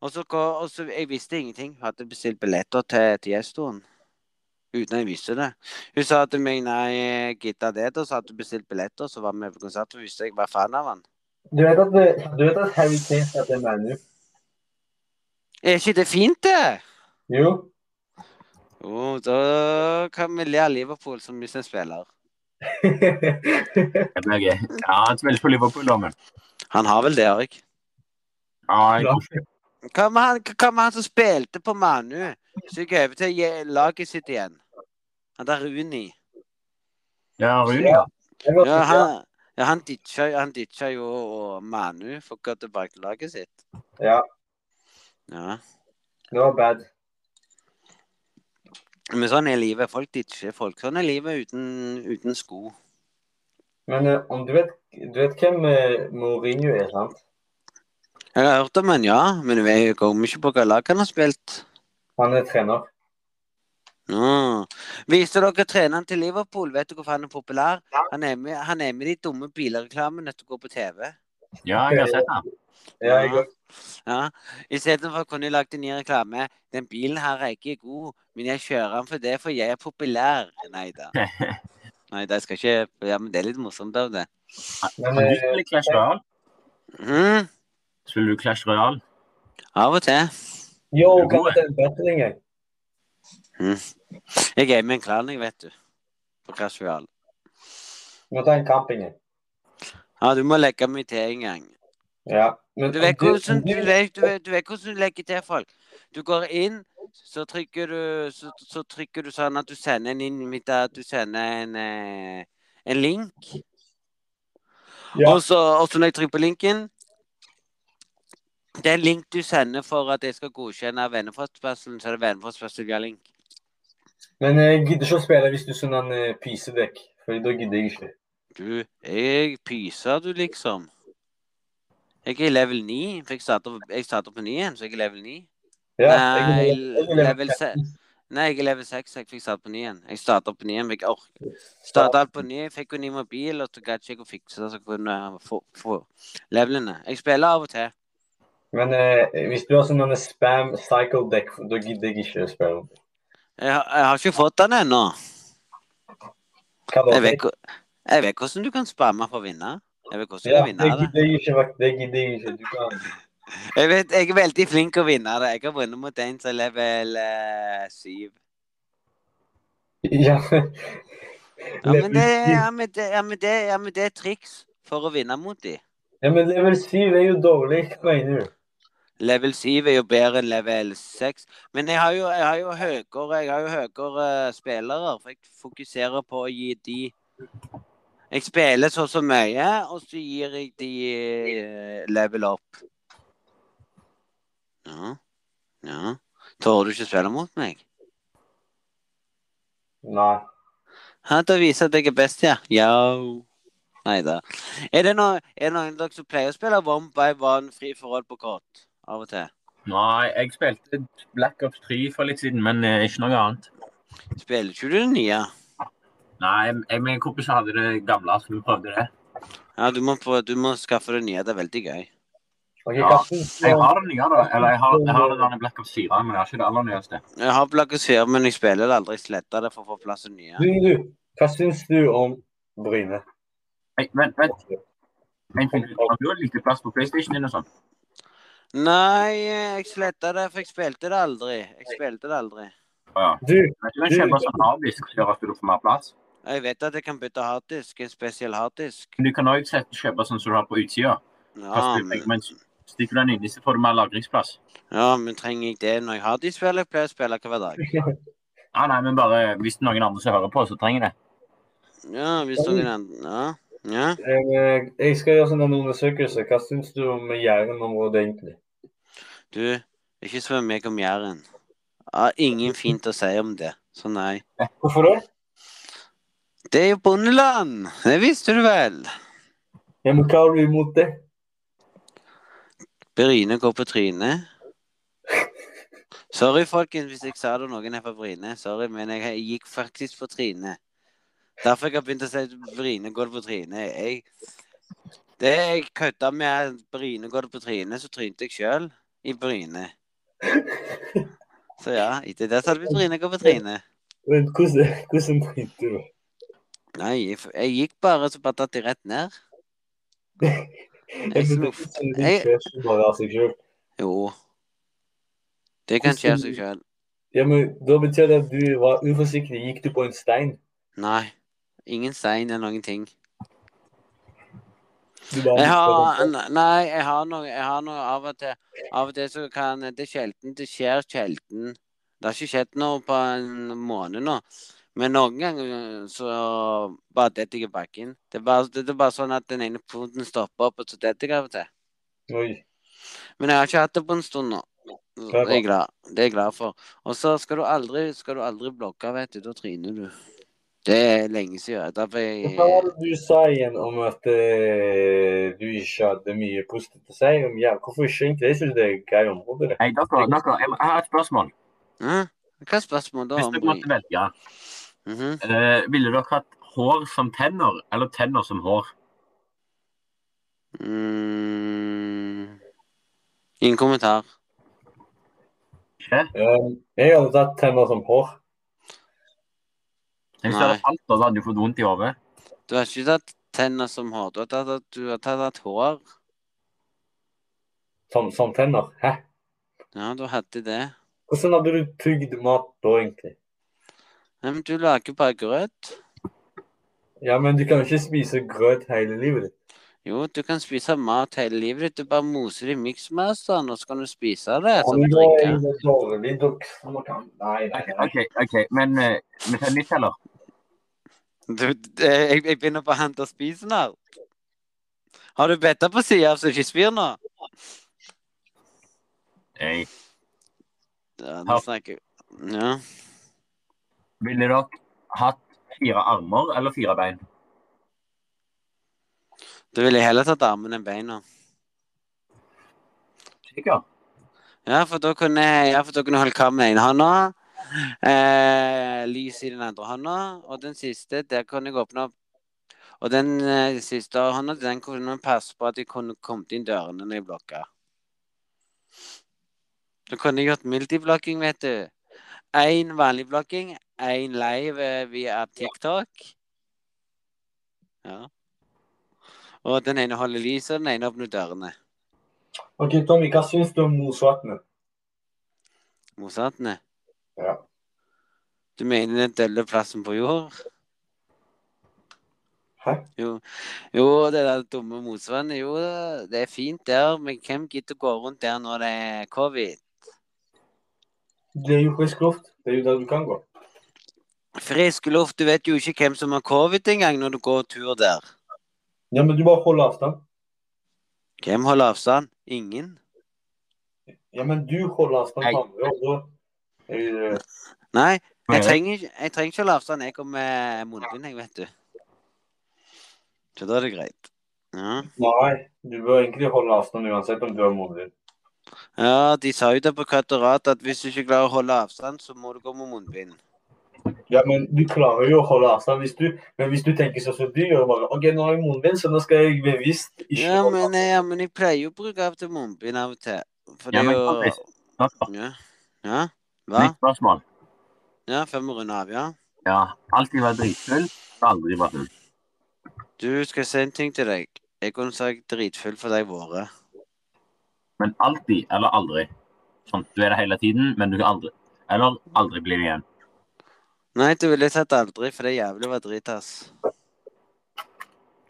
Og så, gå- og så Jeg visste ingenting. Hun hadde bestilt billetter til Tiestoen. Uten at jeg visste det. Hun sa til meg nei, gidda det, og så hadde hun bestilt billetter, så var vi på konsert, og visste jeg var fan av han.
Du vet at, det- du vet at Harry Kane sa til ManU?
Er ikke det fint, det?
Jo.
Jo, da kan vi le av Liverpool som hvis en spiller.
Det blir gøy. Ja, han spiller for Liverpool, da, men.
Han har vel det, Erik?
Ja, jeg
Ja.
tror ikke.
Hva med han, hva med han som spilte på Manu? Så gikk over til je- laget sitt igjen. Han der Runi.
Ja, Rune, ja.
Jeg var-
Ja, han, ja, han, ditcha, han ditcha jo og Manu for å gå tilbake til laget sitt.
Ja.
Ja.
Det var bad.
Men sånn er livet. Folk ditcher folk. Sånn er livet uten, uten sko.
Men eh, om du vet, du vet hvem eh, Mourinho er, sant?
Jeg har hørt om han, ja. Men jeg kommer ikke på hva lag han har spilt.
Han er trener.
Mm. Viste dere treneren til Liverpool? Vet du hvorfor han er populær? Han er med, han er med i de dumme bilreklamene som går på TV.
Ja, jeg har sett han.
Ja, jeg,
Ja. Istedenfor kunne jeg lagt en ny reklame. Den bilen her er ikke god, men jeg kjører den for det, for jeg er populær. Nei da. Nei, det skal ikke Ja, men det er litt morsomt av det.
men
Kan du
eh,
spille Clash Royale?
Mhm.
Spiller du Clash Royale?
Av og til.
yo, kan jeg ta en battling, jeg?
Jeg er med i en klan, jeg, vet du. På Casual.
Må ta en camping, jeg.
Ja, du må legge meg til en gang.
Ja. Men
Du
om
vet hvordan
om
du, vet, du, vet, du, vet hvordan du legger til folk. Du går inn, så trykker du, så, så trykker du sånn at du sender en invita- at du sender en, eh, en link.
Ja.
Og, så, og så når jeg trykker på linken Det er en link du sender for at jeg skal godkjenne venneforespørselen, så er det venneforespørsel via link.
Men jeg gidder ikke å spille hvis du sånn en eh, pysedekk. For da gidder jeg ikke.
Du, jeg pyser, du, liksom. Jeg er i level 9, for jeg starter, jeg starter på 9 igjen, så jeg er level 9. Nei,
Ja, jeg gidder- jeg gidder-
level se Nei, jeg er level 6. Jeg fikk starte på 9 igjen. Jeg starta på 9 igjen. Fikk ork. Starta alt på 9, jeg fikk jo ny mobil, og så gadd ikke jeg å fikse det, så kunne jeg få, få levelene. Jeg spiller av og til.
Men eh, hvis du har sånn en spam cycle deck, da gidder jeg ikke å spille.
Jeg, har- jeg har ikke fått den ennå.
Hva da?
Jeg vet, hvor- jeg vet hvordan du kan spamme for å vinne. Jeg vet hvordan du
ja,
kan
det
vinne det.
gidder jeg ikke. Mark. Det gidder jeg ikke. Du kan
Jeg vet, jeg er veldig flink å vinne det. Jeg har vunnet mot en som er level eh, 7.
Ja.
Ja, men det,
ja.
ja, men det, ja, men det, ja, men det er triks for å vinne mot de.
men level 7 er jo dårlig, hva mener du?
Level 7 er jo bedre enn level 6. Men jeg har jo, jeg har jo høyere, jeg har jo høyere eh, spillere, for jeg fokuserer på å gi de Jeg spiller så og så mye, og så gir jeg de eh, level opp. Ja. Ja. Tør du ikke spille mot meg?
Nei.
Ja, da viser jeg at jeg er best, ja. Yo. Nei da. Er det noen, er det noen av dere som pleier å spille One by One fri forhold på kort? Av og til?
Nei, jeg spilte Black Ops 3 for litt siden, men eh, ikke noe annet.
Spiller ikke du det nye?
Nei, jeg med en kompis hadde det gamle, så vi prøvde det.
Ja, du må, få, du må skaffe det nye. Det er veldig gøy.
Ok,
Ja.
Karsten.
Jeg har det nye, da. Eller jeg har, jeg har det der Black Ops 4, men jeg har ikke det aller nyeste.
Jeg har Blackers 4, men jeg spiller det aldri. Sletta det for å få plass til nye.
Du, du, hva syns du om Bryne?
Nei, Vent, vent. en ting. Har du lite plass på PlayStation din og sånn?
Nei, jeg sletta det, for jeg spilte det aldri. Jeg spilte det aldri.
Ja.
Du,
Men ikke den kjempe sånn harddisk som gjør at du får mer plass.
Jeg vet at jeg kan bytte harddisk. En spesiell harddisk.
Men du kan òg kjøpe sånn som du har på utsida.
Ja, Ah, men,
men stikker du den inni, så får du mer lagringsplass.
ja, men trenger jeg det når jeg har de spillene jeg pleier å spille hver dag?
Ah, Nei, nei, men bare hvis det er noen andre som hører på, så trenger det.
Ja, hvis noen andre Ja. ja.
eh, jeg skal gjøre sånn en undersøkelse. Hva syns du om Jæren-området, egentlig?
Du, ikke spør meg om Jæren. Jeg har ingen fint å si om det. Så nei.
Hvorfor det?
Det er jo bondeland! Det visste du vel?
Ja, men hva har du imot det?
Bryne går på trynet. Sorry, folkens, hvis jeg sa det noen er fra Bryne. Sorry, men jeg gikk faktisk på trynet. Derfor jeg har begynt å si at Bryne går på trynet. Jeg, det jeg kødda med at Bryne går på trynet, så trynte jeg sjøl i Bryne. Så ja, etter det så hadde det blitt Bryne går på trynet.
Men hvordan, hvordan tenkte du?
Nei, jeg, f- jeg gikk bare så bare datt jeg rett ned. Jeg slo f- jeg-
Jeg kjøper bare av seg selv.
Jo. Det kan skje av seg sjøl.
Ja, men Da betyr det at du var uforsiktig. Gikk du på en stein?
Nei. Ingen stein eller noen ting.
Du bare-
Jeg har, nei, jeg har noe, jeg har noe av og til Av og til så kan Det er sjelden det skjer sjelden. Det har ikke skjedd noe på en måned nå. Men noen ganger så bare detter jeg i bakken. Det er bare, det er bare sånn at den ene foten stopper opp, og så detter jeg av og til.
Oi.
Men jeg har ikke hatt det på en stund nå. Så
Det er bra.
Jeg er glad. Det er jeg glad for. Og så skal du aldri, skal du aldri blogge, vet du. Da tryner du. Det er lenge siden. Derfor
Hva var
jeg
det du sa igjen om at eh, du ikke hadde mye positivt å si om Jæren? Hvorfor ikke egentlig? Jeg syns det er et gøy område. det.
Hei, dere, dere, jeg, jeg har et spørsmål.
Hæ? Hva er spørsmålet da?
Hvis dere måtte velge,
Mhm.
eh, ville dere hatt hår som tenner, eller tenner som hår?
Mm. Ingen kommentar.
Ikke?
Um, jeg hadde tatt tenner som hår.
Hvis det
Nei.
hadde falt, da hadde sånn, du fått vondt i hodet.
Du har ikke tatt tenner som hår. Du har tatt, at- du har tatt, at hår.
Som, som tenner. Hæ?
Ja, du hadde det.
Hvordan hadde du tygd mat da, egentlig?
Nei, men du lager bare grøt.
Ja, men du kan jo ikke spise grøt hele livet ditt.
Jo, du kan spise mat hele livet ditt. Du bare moser det i miksmasteren, og så kan du spise det. Så
Men
du
da er
drikker.
det dårlig, da- man kan- Nei, nei, nei.
OK, ok, men eh, vi tar nytt heller.
Du, det- jeg, jeg begynner på å hente spisen her. Har du betta på sida så du ikke spyr nå?
Hey.
Ja,
Ja.
nå snakker jeg. Ja.
Ville dere hatt fire armer eller fire bein?
Du ville heller tatt armene enn beina.
Sikkert.
Ja, for da kunne ja, for da kunne jeg holde kammen med ene hånda, eh, lys i den andre hånda, og den siste, der kunne jeg åpne opp. Og den eh, siste hånda, den kunne jeg passe på at jeg kunne kommet inn dørene når jeg blokka. Da kunne jeg gjort multiblokking, vet du. Én vanlig blokking, én live eh, via TikTok. Ja. Og den ene holder lyset, og den ene åpner dørene.
Ok, Tommy, hva syns du om Mosvatnet?
Mosatene?
Ja.
Du mener den dølle plassen på jord?
Hæ?
Jo, jo det der dumme mosvannet. Jo, det er fint der, men hvem gidder å gå rundt der når det er covid?
Det er jo frisk luft. Det er jo der du kan gå.
Frisk luft, du vet jo ikke hvem som har covid engang når du går tur der.
Ja, men du bare holder avstand.
Hvem holder avstand? Ingen?
Ja, men du holder avstand
Nei.
fra andre, og da Eh, er jo det-
Nei, jeg
Men-
trenger, ikke- jeg trenger ikke holde avstand. Jeg går med munnbind, jeg, vet du. Så da er det greit. Ja.
Nei, du bør egentlig holde avstand uansett om du har moren din.
ja, de sa jo det på Kvaterat at hvis du ikke klarer å holde avstand, så må du gå med munnbind.
Ja, men du klarer jo å holde avstand hvis du Men hvis du tenker sånn som du gjør, bare OK, nå har jeg moren min, så nå skal jeg bevisst ikke
Ja,
holde
men, ja, men jeg pleier jo å bruke av og til munnbind av og til. For
Ja,
det er
men
jo
Kattis, Spørsmål.
Ja. ja. Hva?
Nytt spørsmål.
Ja, før vi runder av, ja.
Ja. Alltid vært dritfull, og aldri vært full.
Du skal si en ting til deg. Jeg kunne sagt dritfull for deg våre.
Men alltid eller aldri. Sånn, du er det hele tiden, men du kan aldri Eller aldri bli det igjen.
Nei, du ville sagt aldri, for det er jævlig å være dritass.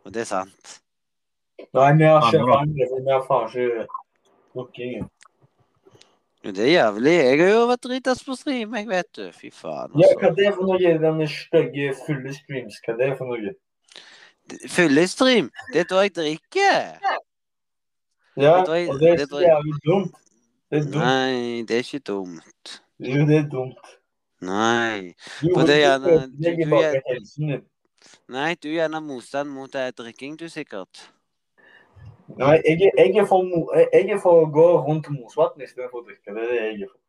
Og det er sant.
Nei, vi har
Ja,
ikke
men da.
faen Vi har faen ikke drukket.
Jo, det er jævlig. Jeg har jo vært dritass på stream, jeg vet du. Fy faen,
Ja, hva
altså.
er det for noe? Den stygge, fulle streams, hva er det for noe?
Fyllestream, det er da jeg drikker.
Ja,
Det drøy-
og det er
det
så
drøy-
jævlig dumt. Det er dumt.
Nei, det er ikke dumt.
Jo, det er dumt.
Nei.
Du
Og det er gjerne-
ødelegger
du- du
bare
er-
helsen din.
Nei, du er gjerne motstand mot eh, drikking, du sikkert.
Nei, jeg, er- jeg, er for, mo- jeg- jeg er for å gå rundt Mosvatn istedenfor å drikke. Det er det jeg er for.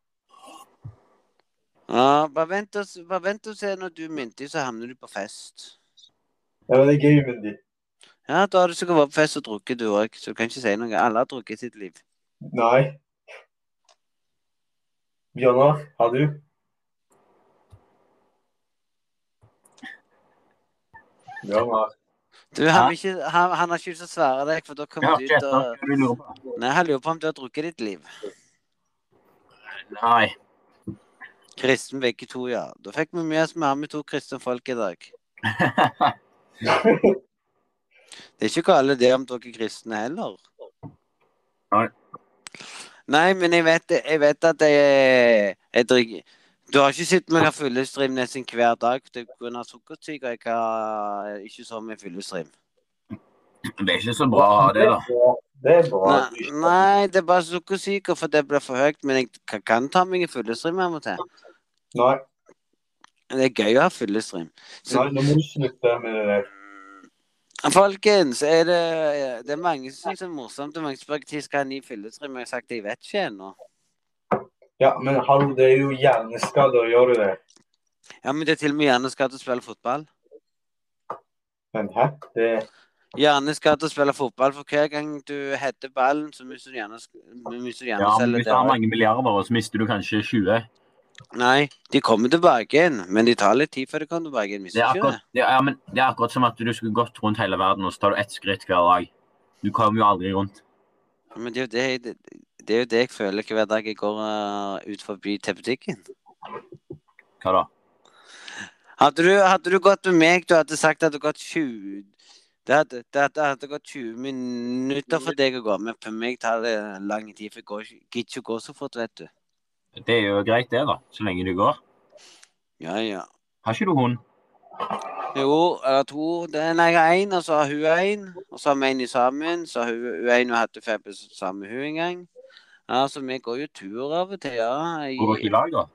Ja, bare vent og, s- bare vent og se når du er myndig, så havner du på fest.
Ja, men det er gøy med de.
Ja, da har du sikkert vært på fest og drukket, du òg, så du kan ikke si noe. Alle har drukket i sitt liv.
Nei. Bjørnar, har du? Bjørnar.
Du, han, vil ikke, han, han har ikke lyst til å svære deg, for da
Jeg
kommer
har
du
ikke
ut
etter
og
hva du lurer på.
Nei, han lurer på om du har drukket i ditt liv.
Nei.
Kristen begge to, ja. Da fikk vi med oss mer med to kristne folk i dag. Det er ikke gale det om dere er kristne heller.
Nei.
Nei, men jeg vet, jeg vet at jeg, jeg drikker Du har ikke sett meg ha fyllestream nesten hver dag pga. sukkersyke, og jeg har ikke så mye fyllestream.
Det er ikke så bra å ha det, da.
Det er bra.
Nei, nei, det er bare sukkersyke, for det blir for høyt. Men jeg ka- kan ta meg en fyllestream av og til.
Nei,
Det er gøy å ha fyllestream.
nei, nå må du slutte med det der.
Folkens, er det, det er mange som syns det er morsomt. Det er mange som spør når skal ha ny fyllestream. og Jeg har sagt jeg vet ikke ennå.
Ja, men hallo, det er jo hjerneskader, gjør du det?
Ja, men det er til og med hjerneskadd å spille fotball.
Men hæ? Det
Hjerneskadd å spille fotball, for hver gang du header ballen, så mister du hjernes- mister du
Ja, men
hjerneceller.
Hvis du har
Ja,
mange milliarder, og så mister du kanskje 20
Nei, de kommer tilbake igjen, men de tar litt tid før de kommer tilbake
det er,
igjen. Mister du ikke
akkurat,
det?
ja, ja, men det er akkurat som at du skulle gått rundt hele verden, og så tar du ett skritt hver dag. Du kommer jo aldri rundt.
Men det er jo det, jeg- det, det, er jo det jeg føler hver dag jeg går eh, ut forbi til butikken.
Hva da?
Hadde du, hadde du gått med meg, du hadde sagt at det hadde gått 20 det hadde, det, hadde, det hadde gått 20 minutter for deg å gå med. For meg tar det lang tid, for jeg går ikke- gidder ikke å gå så fort, vet du.
Det er jo greit, det, da. Så lenge du går.
Ja, ja.
Har ikke du hund?
Jo, jeg har to. Det- Nei, jeg har én, og så har hun én. Og så har vi en sammen. Så har hun hun ene hatt feber sammen med hun en gang. Ja, så vi går jo tur av og til, ja.
Går dere
Jeg,
i lag, da?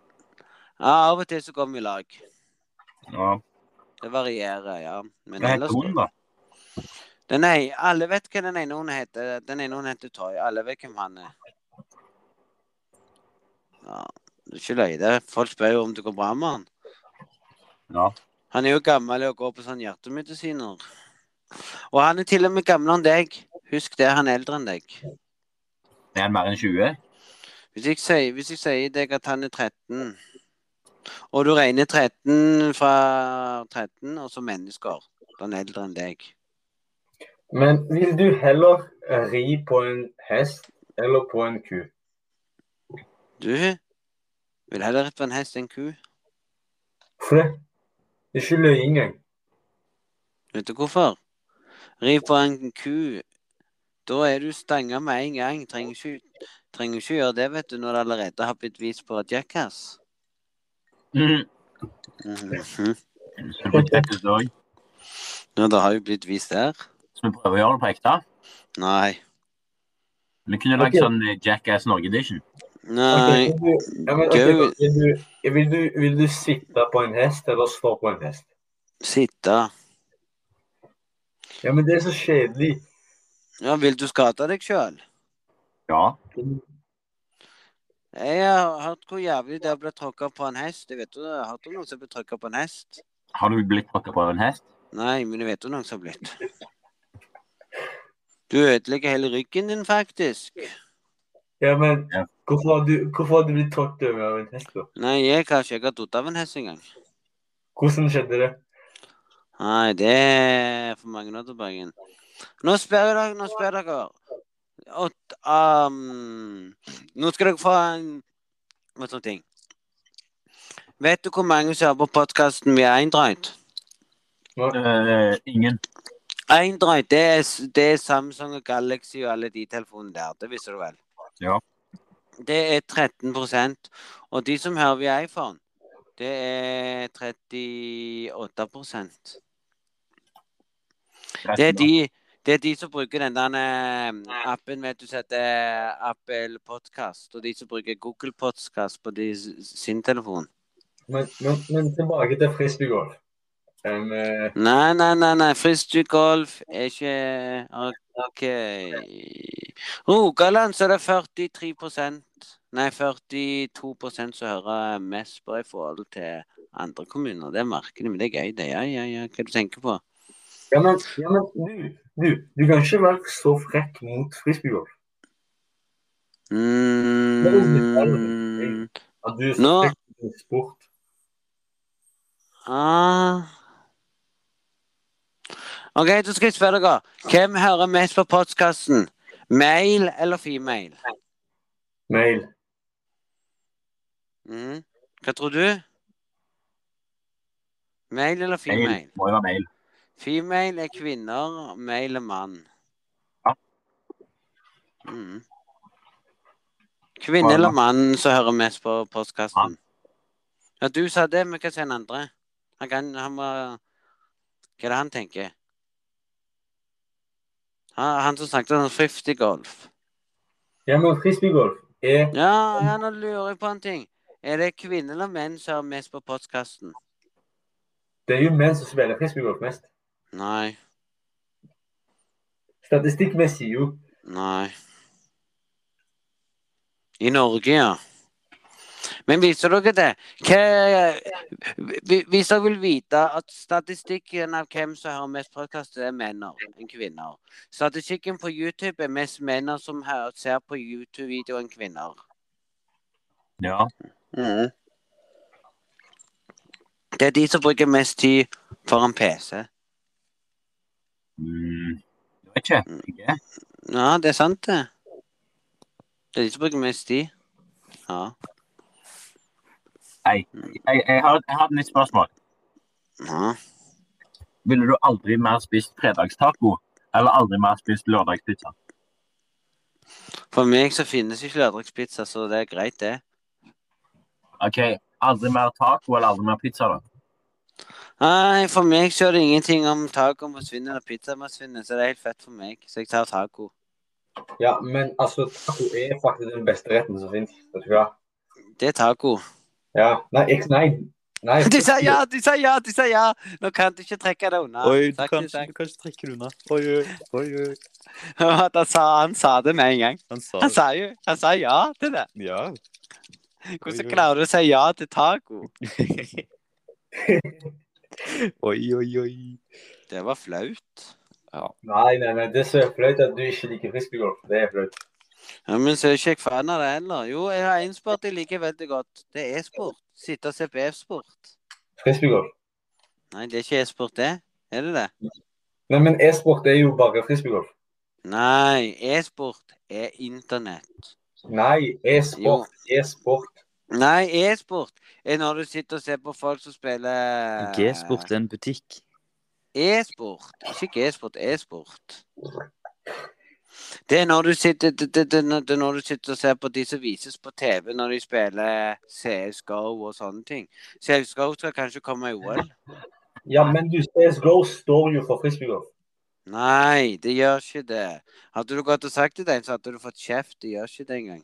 ja av og til så går vi i lag.
Ja.
Det varierer, ja. Men
Hva heter
ellers
hunden, da?
Den er, alle vet hva den ene hun heter. Den ene hun heter Toy. Alle vet hvem han er. Ja, det er ikke løye. det. Folk spør jo om det går bra med han.
Ja.
Han er jo gammel og går på sånn hjertemedisiner. Og han er til og med gamlere enn deg. Husk det, han er eldre enn deg.
Er han mer enn 20?
Hvis jeg sier, hvis jeg sier deg at han er 13, og du regner 13 fra 13, og så mennesker, da er han eldre enn deg.
Men vil du heller ri på eh, en hest eller på en ku?
Du vil heller rippe en hest enn ku.
For det det er ikke løye engang.
Vet du hvorfor? Riv på en ku. Da er du stanga med en gang. Trenger ikke, trenger ikke gjøre det, vet du, når det allerede har blitt vist på Jackass.
Mm.
Mhm.
Som vi tenkte også,
Ja, det har jo blitt vist der.
så vi prøver å gjøre det på ekte.
Nei.
Vi kunne lagd
Ok.
sånn eh, Jackass Norge-edition.
Nei.
Ok, vil du- ja, men, ok,
Gøy.
vil, du, vil, du, vil du sitte på en hest eller stå på en hest?
Sitte.
Ja, men det er så kjedelig.
Ja, vil du skade deg sjøl?
Ja.
Jeg har hørt hvor jævlig det er å bli tråkka på en hest. Jeg vet jo, jeg har hørt om noen som blir tråkka på en hest.
Har du blitt tråkka på av en hest?
Nei, men jeg vet jo noen som har blitt. Du ødelegger hele ryggen din, faktisk.
Ja, men
Ja.
hvorfor har du, hvorfor har du blitt tråkket over av en hest? da?
Nei, jeg har ikke jeg har tatt av en hest engang.
Hvordan skjedde det?
Nei, det er for mange år tilbake. Nå spør dere, nå spør dere. Åt, um, nå skal dere få en hva sånn ting. Vet du hvor mange som hører på podkasten via Eindreit?
Eh, ingen.
Eindreit, det er, s- det er Samsung og Galaxy og alle de telefonene der. Det visste du vel?
Ja.
Det er 13 Og de som hører via iPhone, det er 38 Det er de, det er de som bruker den der eh, appen vet du som heter eh, Apple Podcast, og de som bruker Google Podcast på de, s- sin telefon.
Men, men, men tilbake til frisbeegolf. Um, eh,
Nei, nei, nei, nei. Frisbee golf er ikke OK. Rogaland så er det 43 Nei, 42 som hører eh, mest på i forhold til andre kommuner. Det er markedet, men det er gøy, det. Ja, ja, ja. Hva du tenker på?
ja, men, ja, men du, du, du kan ikke være så frekk mot frisbeegolf.
Mm.
At du er så
Nå-
frekk mot sport.
Ah. OK, da skal jeg spørre dere. Hvem hører mest på podkasten? Male eller female?
Mail.
Mhm. Hva tror du? Male eller
Mail.
female?
Må jo være mail.
Female er kvinner, male er mann.
Ja.
Mhm. Kvinne eller mann som hører mest på podkasten? Ja, du sa det, men hva sier den andre? Han kan han må Hva er det han tenker? Han, han som snakket om Fifty Golf.
Ja, men frisbeegolf Eh, er
Ja, ja, nå lurer jeg på en ting. Er det kvinner eller menn som hører mest på podkasten?
Det er jo menn som spiller frisbeegolf mest.
Nei.
Statistikkmessig jo.
Nei. I Norge, ja. Men viser dere det? Hva, vi- hvis dere vil vite at statistikken av hvem som hører mest podkast, er menn enn kvinner. Statistikken på YouTube er mest menn som hører, ser på YouTube-videoer enn kvinner.
Ja.
Det er de som bruker mest tid foran PC.
Mm. Jeg vet ikke. Ikke?
Ja, det er sant, det. Det er de som bruker mest tid. Ja.
Jeg, jeg, har, jeg har et nytt spørsmål.
ja.
Ville du aldri mer spist fredagstaco? Eller aldri mer spist lørdagspizza?
For meg så finnes ikke lørdagspizza, så det er greit, det.
OK, aldri mer taco eller aldri mer pizza, da?
Nei, for meg så er det ingenting om tacoen forsvinner eller pizzaen forsvinner, så det er helt fett for meg. Så jeg tar taco.
Ja, men altså, taco er faktisk den beste retten som finnes. Vet du hva?
Det er taco.
Ja. nou, Nei, ikke nei. Nei.
De sa Dus, ja, de sa ja, de sa ja! Nå kan du ikke trekke det unna.
Oi, du
Takk,
kan,
takk.
du kan ikke trekke det unna. Oi, oi, oi, oi.
Han sa, han sa det med en gang.
Han sa
Han sa jo han sa ja til det.
ja. Oi,
Hvordan
oi.
klarer du å si ja til taco?
Oi, oi, oi.
Det var flaut.
Nei, nei, nei, det er så flaut at du ikke liker frisbeegolf. Det er flaut.
Ja, Men så er ikke jeg fan av det heller. Jo, jeg har én sport jeg liker veldig godt. Det er e-sport. Sitte og se på e-sport.
Frisbeegolf.
Nei, det er ikke e-sport, det. Er det det?
Nei, men e-sport er jo bare eh, frisbeegolf.
Nei, e-sport er internett.
Nei,
Jo.
e-sport. E-sport.
Nei, e-sport er når du sitter og ser på folk som spiller
G-sport er en butikk.
E-sport. Ikke e-sport, e-sport. Det er når du sitter det, det, det, det er når du sitter og ser på de som vises på TV når de spiller CSGO og sånne ting. CSGO skal kanskje komme i OL?
Ja, men du, CSGO står jo for frisbeegolf.
Nei, det gjør ikke det. Hadde du gått og sagt det til en, så hadde du fått kjeft. Det gjør ikke det engang.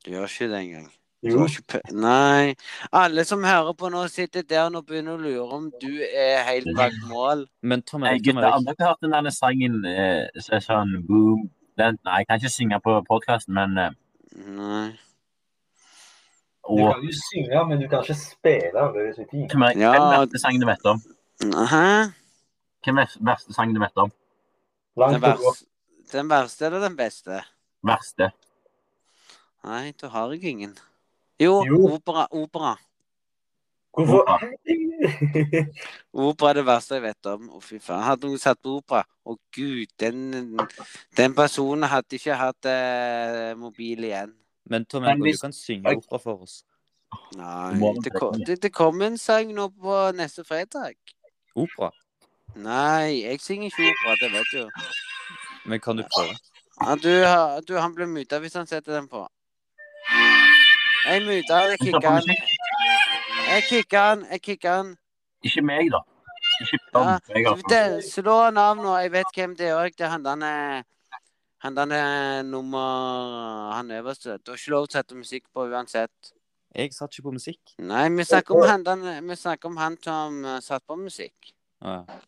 Det gjør ikke det engang. Du
Jo.
har ikke pe- Nei. Alle som hører på nå, sitter der og nå begynner å lure om du er helt bak mål.
Men Tom
Nei,
Erik, Tom
gutter, har
Erik.
dere hørt den der sangen eh, som er sånn boom? Den, nei, jeg kan ikke synge på podkasten, men eh,
Nei.
Du
og,
kan jo synge, men du kan ikke spille. Det er så fint.
Hvem er
Ja.
hvem er den verste sangen du vet om?
Hæ?
Hvem er den verste sangen du vet om?
Den
Langt å gå.
verste, den verste eller den beste?
Verste.
Nei, da har jeg ingen. Jo,
Jo.
opera. Opera
Hvorfor?
Opera er det verste jeg vet om. Å, fy faen. Hadde noen satt på opera Å, gud, den, den personen hadde ikke hatt eh, mobil igjen.
Men Tom
Men
Erik,
hvis-
du kan synge opera for oss.
Nei,
Du må ha
det,
den
ko-
tretten.
det, det kommer en sang nå på neste fredag.
Opera?
Nei, jeg synger ikke opera, det vet du.
Men kan du prøve?
Ja, du, har- du, han blir muta hvis han setter den på. Jeg muta, jeg
Ikke,
kicka han. Jeg kicka han, jeg kicka han.
ikke meg, da. Ikke Tom.
Ja,
jeg, altså.
det, slå han av nå. Jeg vet hvem det er òg. Det er han derne Han derne nummer Han øverste. Du har ikke lov til å sette musikk på uansett.
Jeg satt ikke på musikk.
Nei, vi snakker om han, derne, vi snakker om han som eh, satt på musikk.
Å, ja.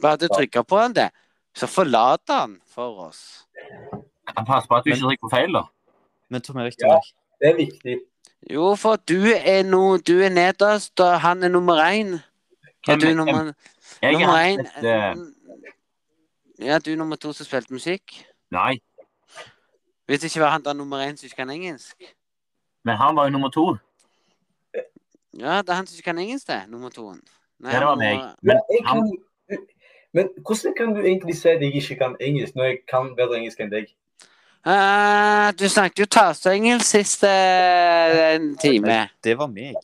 Bare du trykker på han det, så forlater han for oss.
Pass på at du
Men-
ikke trykker på feil, da.
Men Tom Erik,
Ja.
Tom Erik.
Det er viktig.
Jo, for du er, no, du er nederst, og han er nummer én. Og
Hvem-
du er nummer,
Jeg er
nummer
helt
én
et, eh,
Ja, du er nummer to som spilte musikk.
Nei,
Hvis det ikke var han der nummer én som ikke kan engelsk.
men han var jo nummer to.
Ja, det er han som ikke kan engelsk, det. Nummer toen. Nei,
Ja, det var
han
meg.
nummer-
Men
Ja, jeg
han,
kan... Men hvordan kan du egentlig si at jeg ikke kan engelsk, når jeg kan bedre engelsk enn deg?
Ah, du snakket jo taseengelsk siste eh, en time.
Det var meg.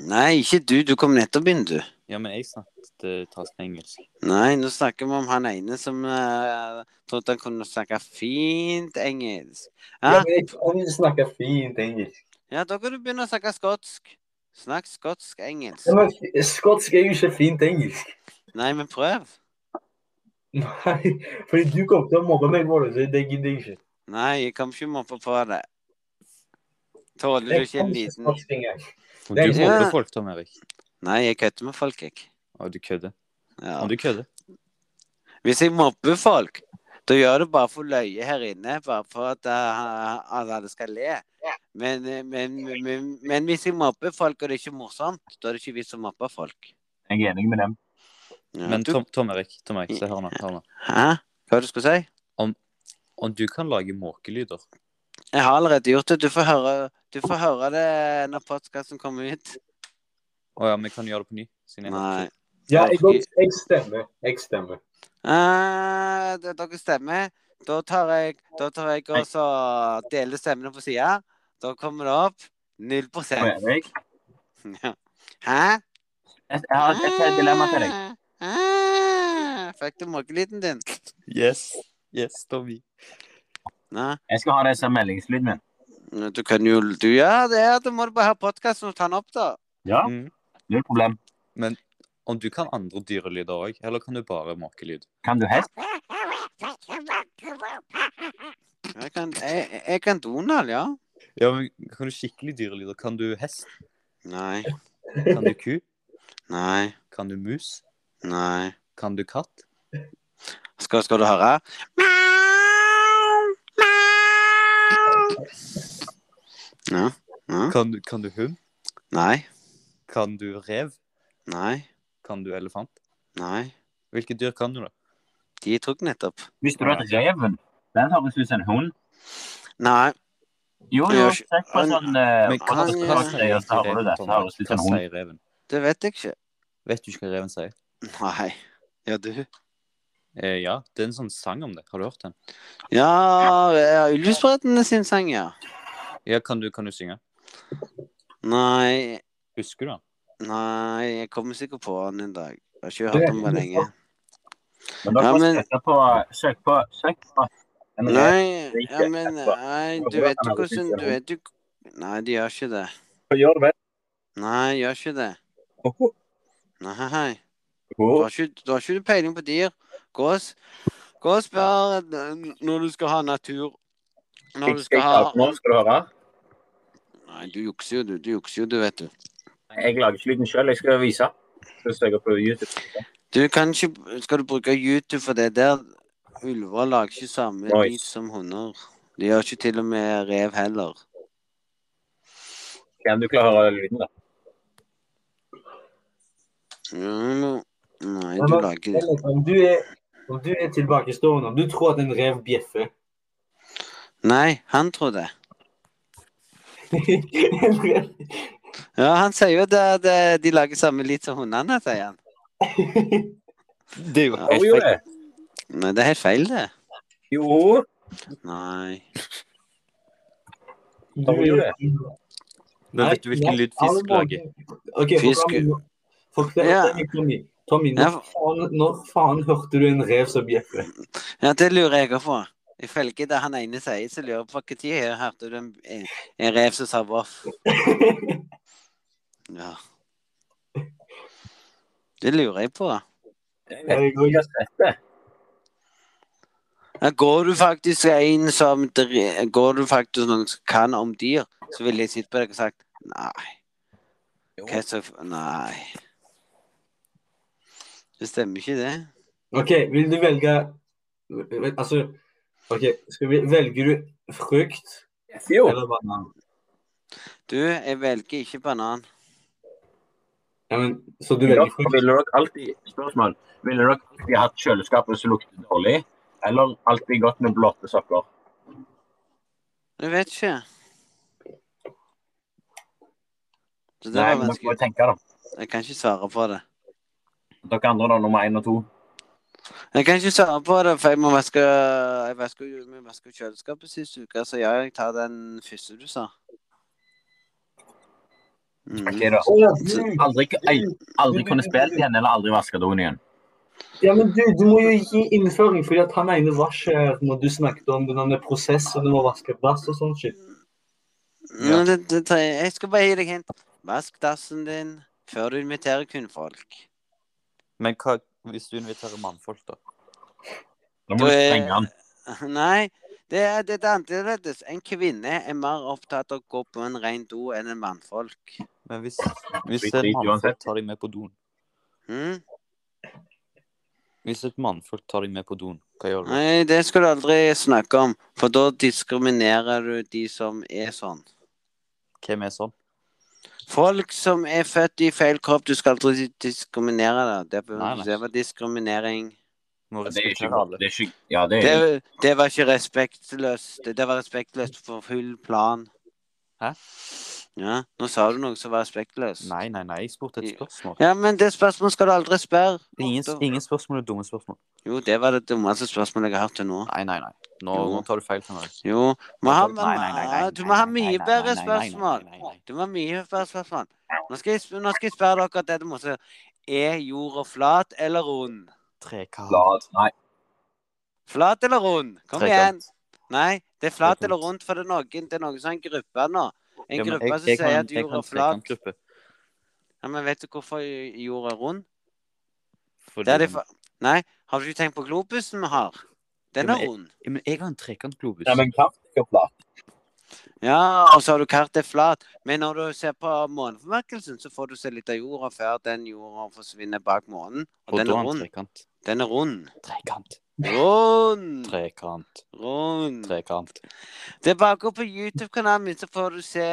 Nei, ikke du. Du kom nettopp inn, du.
Ja, men jeg snakket eh, tasten engelsk.
Nei, nå snakker vi om han ene som eh, trodde han kunne snakke fint engelsk.
Ja,
Ja,
men jeg kan jo snakke fint engelsk.
ja da kan du begynne å snakke skotsk. Snakk skotsk-engelsk.
Ja, men skotsk er jo ikke fint engelsk.
Nei, men prøv.
Nei, fordi du kom til å mobbe meg for det, så det gidder jeg ikke.
Nei, jeg kom ikke moppe på det. Tåler du
Jeg
ikke
kan
en
ikke
liten
skotsk engang.
Du
Det er-
mobber folk, Tom Erik.
Nei, jeg kødder med folk, jeg.
Å, du kødder.
Ja.
Om du kødder.
Hvis jeg mobber folk, da gjør jeg det bare for løye her inne, bare for at eh, alle alle skal le. Men, eh, men, men, men hvis jeg mobber folk, og det er ikke morsomt, da er det ikke vits å mobbe folk.
jeg er enig med dem.
Ja,
Men
du,
Tom, Tom Erik, Tom Erik, se her nå. Hør nå.
Hæ? Hva var det du skulle si?
Om du kan lage måkelyder
Jeg har allerede gjort det. Du får høre, du får høre det når podkasten kommer ut.
Å ja, vi kan gjøre det på ny. Siden jeg
Nei.
Ja, jeg, går- jeg stemmer. Jeg stemmer.
Eh, det- dere stemmer. Da tar jeg, da tar jeg og så deler stemmene på sida. Da kommer det opp null
Og
prosent.
Erik,
Ja. Hæ?
jeg, jeg har et et dilemma til deg.
Ah, Fikk du måkelyden din?
Yes. Yes, Tommy.
Nei,
Jeg skal ha det som meldingslyden min.
du kan jo du, Ja, det er, du må du bare ha podkasten og ta den opp, da.
Ja,
Mm.
null problem.
Om du kan andre dyrelyder òg, eller kan du bare måkelyd?
Kan du hest?
Jeg kan, jeg, jeg kan Donald, ja.
Ja, men Kan du skikkelig dyrelyder? Kan du hest?
Nei,
Kan du ku?
nei,
Kan du mus?
nei.
Kan du katt?
Skal, skal du høre? Ja. ja.
Kan du, kan du hund?
Nei,
Kan du rev?
nei,
Kan du elefant?
nei.
Hvilke dyr kan du, da?
De tok nettopp.
Visste du at reven den høres ut som en hund?
Nei.
Jo, jo,
Jeg gjør
sjekk på
Men-
sånn eh,
Men
på
hva,
sånn
hva
språk,
sier
og så hører du det.
reven,
Så
Tom?
høres det ut
Hva
som en hund.
sier reven?
Det vet jeg ikke.
Vet du ikke hva reven sier?
Nei. Ja, du.
Eh, ja, det er en sånn sang om det. Har du hørt den?
Ja, eh, Ullespredene sin sang, ja.
Ja, Kan du, kan du synge?
Nei,
Husker du den?
nei, jeg kommer sikkert på den en dag. Jeg har ikke hørt om den lenge.
Men dere
Ja, men-
må søke på Søk på Søk på en
Nei,
det er
ja,
ikke
men
etterpå.
nei,
Det
du
er
vet
bra
jo
at han hadde
hvordan
sett
Du
det.
vet jo Nei, de gjør ikke det.
Gjør det vel.
Nei, gjør ikke det.
Oho.
Nei. Du
Oho.
har ikke, du har ikke peiling på dyr. Gå og, s- gå og spør n- når du skal ha natur. Når du
Jeg
skal
skal
ha
ikke alt nå, skal du høre.
Nei, du jukser jo, du. Du jukser jo, du, vet du.
Jeg lager ikke lyden sjøl, jeg skal vise. Så søker jeg på YouTube.
Du kan ikke Skal du bruke YouTube for det der Ulver lager ikke samme
Nice.
lyd som hunder. De gjør ikke til og med rev heller.
Kan du klare å høre lyden, da?
Mm, Nei,
Ja,
du
men-
lager
Om du er, om du er tilbakestående, om du tror at en rev bjeffer
Nei, han tror det.
En rev
Ja, han sier jo at det- det- de lager samme lyd som hundene, sier han.
Det er jo
Ja.
Jo,
helt
jo,
feil.
det.
Nei, det er helt feil, det.
jo.
Nei.
Du
Hva gjør det?
Men vet du hvilken lyd fisk lager?
Ok,
Fisk-
forklar- forklar-
Ja.
Tommy, Tommy
Ja.
når, faen, når faen hørte du en rev som bjeffer?
Ja, det lurer jeg òg på. Ifølge det han ene sier, så lurer jeg på hva tid jeg hørte du en, en, en rev som sa voff. Ja. Det lurer jeg på.
Jeg går-
Jeg har sett det.
Ja, går du faktisk en som dre- Går du faktisk noen som kan om dyr, så ville jeg sett på deg og sagt nei. Hva så f- Nei. Det stemmer ikke, det.
Ok, vil du velge Altså, ok, skal vi, velger du frukt
Jo.
eller banan?
Du, jeg velger ikke banan.
Ja, men, så du velger
Dere-
frukt?
Ville dere alltid spørsmål, ville dere alltid hatt kjøleskapet som lukter dårlig, eller alltid gått med blotte sokker?
Jeg vet ikke. Så det
Nei,
var
men dere må
vanskelig.
tenke da.
Jeg kan ikke svare på det.
Dere andre da, nummer én og to.
Mm. Jeg kan ikke svare på det, for jeg må vaske Jeg vasker jo vi vasker jo kjøleskapet sist uke, så ja, jeg tar den første du sa. Mm.
Ok da.
Å, ja,
Så
du,
Aldri, ei- aldri kunne spilt igjen, eller aldri vasket doen igjen.
ja, men du, du må jo gi innføring, fordi at han ene var ikke her når du snakket om den andre prosessen med å vaske dass og sånn shit.
Nå, det, det tar jeg. jeg skal bare gi deg hint. Vask dassen din før du inviterer kvinnfolk.
Men hva hvis du inviterer mannfolk, da?
Nå må du
Du er-
sprenge den.
Nei, det er, det er annerledes. En kvinne er mer opptatt av å gå på en ren do enn en mannfolk.
Men hvis, hvis
Drit-
et
drit uansett.
mannfolk tar de med på doen
Mm?
Hvis et mannfolk tar de med på doen, hva gjør du?
Nei, det skal du aldri snakke om, for da diskriminerer du de som er sånn.
Hvem er sånn?
Folk som er født i feil kropp, du skal aldri diskriminere det. Det, bør
Nei, nei.
det var diskriminering.
Må
Det er ikke
respektere
godt.
alle.
Det er ikke, ja, det er,
Det, det var ikke respektløst. Det, det var respektløst for full plan.
Hæ?
Ja, nå sa du noe som var respektløst.
Nei, nei, nei, jeg spurte et spørsmål.
Ja, men det spørsmålet skal du aldri spørre.
Ingen, ingen spørsmål er dumme spørsmål.
Jo, det var det dummeste spørsmålet jeg har hørt til nå.
Nei, nei, nei. Nå,
Jo.
nå tar du feil. Henrik.
Jo, må ha,
Nei, nei, nei, nei,
eh, du må ha
nei, nei,
mye
nei,
bedre
nei, nei, nei,
spørsmål.
nei, nei, nei.
Du må ha mye bedre spørsmål. Nå skal jeg, sp- nå skal jeg spørre dere dette morsomme. Er jorda flat eller rund?
Trekant.
Glad. Nei,
Flat eller rund? Kom igjen.
Trekant.
Nei, det er flat
Trekant.
eller rundt, for det er noen, det er noen sånn gruppe nå. En
Ja, men
gruppe
jeg-
som
jeg
sier
kan-
at
jeg
jorda
kan
er flat.
trekantgruppe,
Ja, men vet du hvorfor jorda er rund?
fordi
Det er de
den-
fa... Nei, har du ikke tenkt på globusen vi har? Den
Ja,
er
men
rund.
Ja, Men jeg har en trekantglobus.
Nei, men kraft er plat.
Ja, og så har du kartet flat. Men når du ser på måneformerkelsen, så får du se litt av jorda før den jorda forsvinner bak månen. Og,
Og da
den er
er den
rund.
trekant.
Den er rund.
Trekant.
Rund!
Trekant.
Rund.
Trekant.
Det er bare å gå på YouTube-kanalen min, så får du se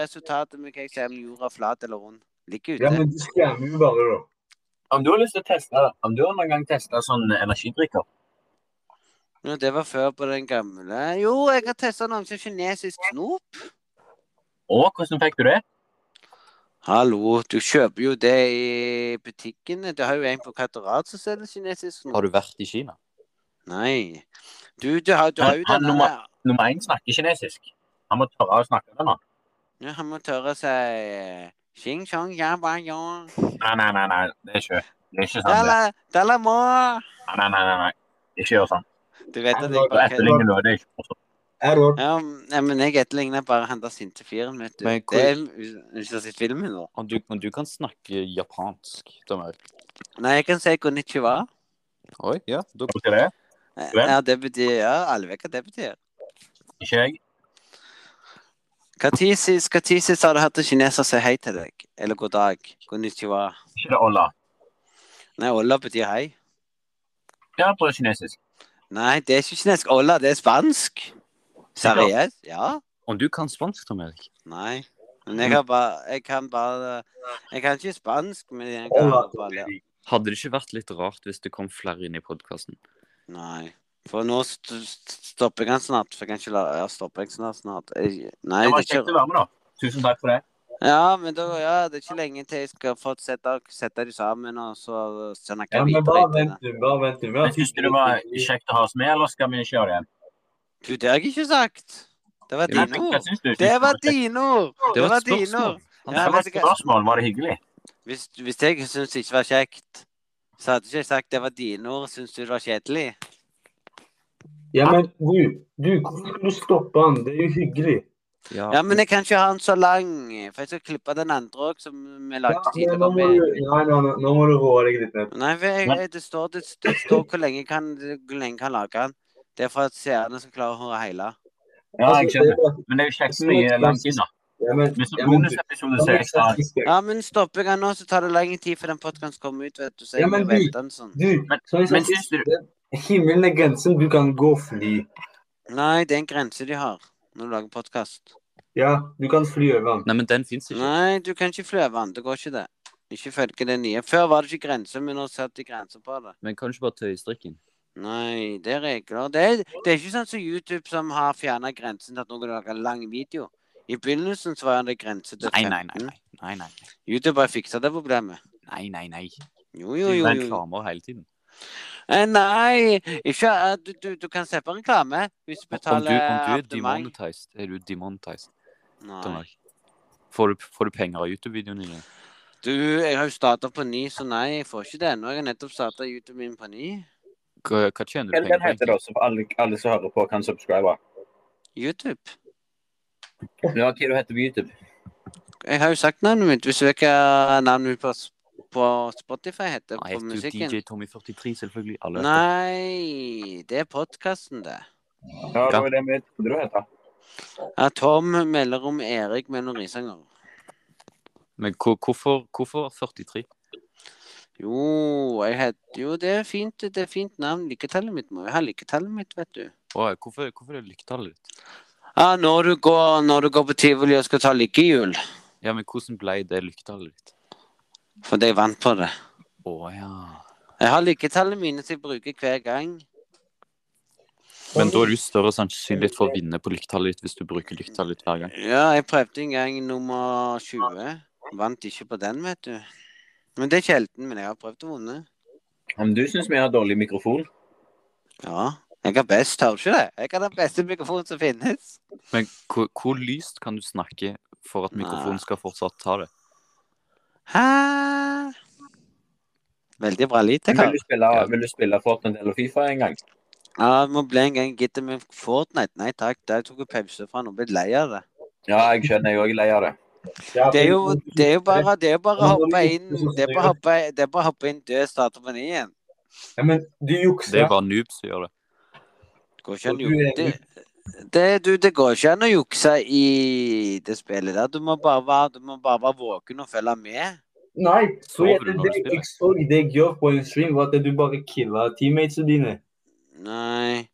resultatet med hva jeg sier om jorda er flat eller rund. Ligger
Ja,
ute.
men du skremmer jo bare, da.
Om du har lyst til å teste det, om du har noen gang testet sånn energidrikker,
Ja, det var før på den gamle. Jo, jeg har testa noe som kinesisk snop.
og hvordan fikk du det?
Hallo, du kjøper jo det i butikkene. Du har jo en på Katerat som selger kinesisk nå.
Har du vært i Kina?
Nei. Du, du har, du har jo
Han-
den
han
der
Nummer én snakker kinesisk. Han må tørre å snakke det nå.
Ja, han må tørre å si øh, Xing chong ya ba yo.
Nei, nei, nei, nei. det er ikke, det er ikke sant. det.
Dala, dala mo.
Nei, nei, nei, nei, nei. Ikke gjør sånn.
Du vet at
Ja,
jeg
Du
bare
etterligner noe. Det er ikke morsomt.
Error.
Ja, nei, men jeg etterligner bare han der sinte fyren, vet du.
Men hvor-
Det er du har sett filmen nå.
Men du, men du kan snakke japansk. Dommer.
Nei, jeg kan si konnichiwa.
Oi, ja. Da,
Hva er det? Vel.
Ja, det betyr Ja, alle vet hva det betyr.
Ikke jeg.
Hva tid sist- hva tid sist har du hørt en kineser si hei til deg? Eller god dag? Konnichiwa.
Ikke det Olla.
Nei, olla betyr hei.
Ja, på kinesisk.
Nei, det er ikke kinesisk olla, det er spansk. Seriøst? Ja.
om du kan spansk, Tom Erik?
Nei. Men
Mm.
jeg, har bare, jeg kan bare Jeg kan ikke spansk, men jeg kan
Olla.
bare lære
Hadde det ikke vært litt rart hvis det kom flere inn i podkasten?
Nei. For nå st st stopper jeg han snart. For jeg kan ikke la ja, stopper jeg snart. snart. Jeg,
Det
nei, det
var
er
kjekt
ikke
å være med, da. Tusen takk for det.
Ja, men da, ja, det er ikke lenge til jeg skal få sette, sette dem sammen, og så sende
Ja,
jeg
men
videre.
bare
etter
vent,
det.
du. Bare vent, du. Vi har
Men Syns du det var kjekt å ha oss med, eller skal vi ikke gjøre det igjen?
Du, det har jeg ikke sagt! Det var dine
Jo.
Hva
ord.
syns du? Syns
Det
du
var
kjekt?
dine ord!
Det var et
dine
spørsmål.
ord.
Han
Ja,
Det var
vet
et
du hva?
spørsmål. Var det hyggelig?
Hvis, hvis jeg syntes det ikke var kjekt, så hadde ikke jeg sagt det var dine ord. Syns du det var kjedelig?
Ja, men du, du, hvorfor skal du stoppe han? Det er jo hyggelig.
Ja,
Ja, men jeg kan ikke ha den så lang, for jeg skal klippe den andre òg, som vi
Ja,
lagde
men nå
tidligere
må
med.
du, nei, nei, nei, nå må du roe deg litt ned.
Nei, for jeg,
Men-
jeg, det, står, det, det står hvor lenge jeg kan, hvor lenge jeg kan lage den. Det er for at seerne skal klare å høre hele.
Ja, jeg
Altså, det
skjønner.
var-
Men det er jo kjekt med mye lang tid, da.
Ja, men,
Men som
ja, men, du,
bonusepisode
da
så
må
er
du
jeg klar.
snakke respekt.
Ja, men stopper jeg den nå, så tar det lenge tid før den podkasten kommer ut, vet du. Så
Ja,
jeg
men
må
du-
vente en sånn.
Du,
Men-
som jeg
men
sa,
syns du-
det- himmelen er grensen. Du kan gå og fly.
Nei, det er en grense de har når du lager podkast.
Ja, du kan fly over han.
Nei, men den fins ikke.
Nei, du kan ikke fly over den. Det går ikke, det. Ikke følge det nye. Før var det ikke grenser, men nå setter de grenser på det.
Men kan du ikke bare tøye strikken?
Nei, det er regler. Det er, det er ikke sånn som YouTube som har fjerna grensen til at noen lager lang video. I begynnelsen så var det grense til 15.
Nei, nei,
YouTube har fiksa det problemet.
nei, nei, nei.
Jo, jo, jo.
Du
jo.
reklamer hele tiden.
Eh, Nei, ikke eh, du, du, du kan se på reklame hvis du
Om du,
betaler
om du er
abonnement.
demonetized, er du demonetized, Tom
Nei.
Erik? Får du, får du penger av YouTube-videoene dine?
Du, jeg har jo starta på ny, så nei, jeg får ikke det ennå. Jeg har nettopp starta YouTube min på ny.
Hva, hva tjener du
Hva
penger
heter
på?
det
egentlig?
også, for alle, alle som hører på, kan subscribe?
YouTube.
Ja, hva heter du på YouTube?
Jeg har jo sagt navnet mitt. Hvis du vet hva navnet mitt på, s- på Spotify heter,
Nei,
på
heter jo
musikken
DJ Tommy 43, selvfølgelig. Alle vet det.
Nei, det er podkasten, det.
Ja, det var det vi trodde du het.
Ja, Tom melder om Erik mellom Risanger.
Men hvor- hvorfor, hvorfor 43?
Jo, jeg heter Jo, det er fint. Det er fint navn. Lykketallet mitt må jo ha lykketallet mitt, vet du.
Åh, hvorfor, hvorfor er det lykketallet ditt?
Ja, når du går, når du går på tivoli og skal ta lykkehjul.
Ja, men hvordan ble det lykketallet ditt?
Fordi jeg vant på det.
Å ja.
Jeg har lykketallene mine som jeg bruker hver gang.
Men da er du større sannsynlighet for å vinne på lykketallet ditt hvis du bruker lykketallet ditt hver gang.
Ja, jeg prøvde en gang nummer 20. Vant ikke på den, vet du. Men det er sjelden, men jeg har prøvd å vinne.
Om du syns vi har dårlig mikrofon?
Ja. Jeg har best, har du ikke det? Jeg har den beste mikrofonen som finnes.
Men hvor, hvor lyst kan du snakke for at mikrofonen skal fortsatt ta det?
Hæ? Veldig bra lite,
Vil
kar.
du spille, vil du spille Fortnite eller Fifa en gang?
Ja, det må bli en gang gitte med Fortnite. Nei takk, der tok jeg pause fra nå. Blitt lei av det.
Ja, jeg skjønner, jeg òg er lei av det.
Ja,
Det er jo, det er jo bare, det er jo bare å hoppe inn Det er bare å hoppe, det er bare å hoppe inn død, starte på ny igjen.
Ja, men du
Det er
jukser.
bare noobs som gjør det.
Det går ikke an å
Og du er
jukse det, det, du, det går ikke an å jukse i det spillet der. Du må bare være, du må bare være våken og følge med.
Nei, for
Sover
jeg,
du
det,
når
det,
du spiller?
jeg så det jeg gjør på en stream, var at du bare killa teammatesene dine.
Nei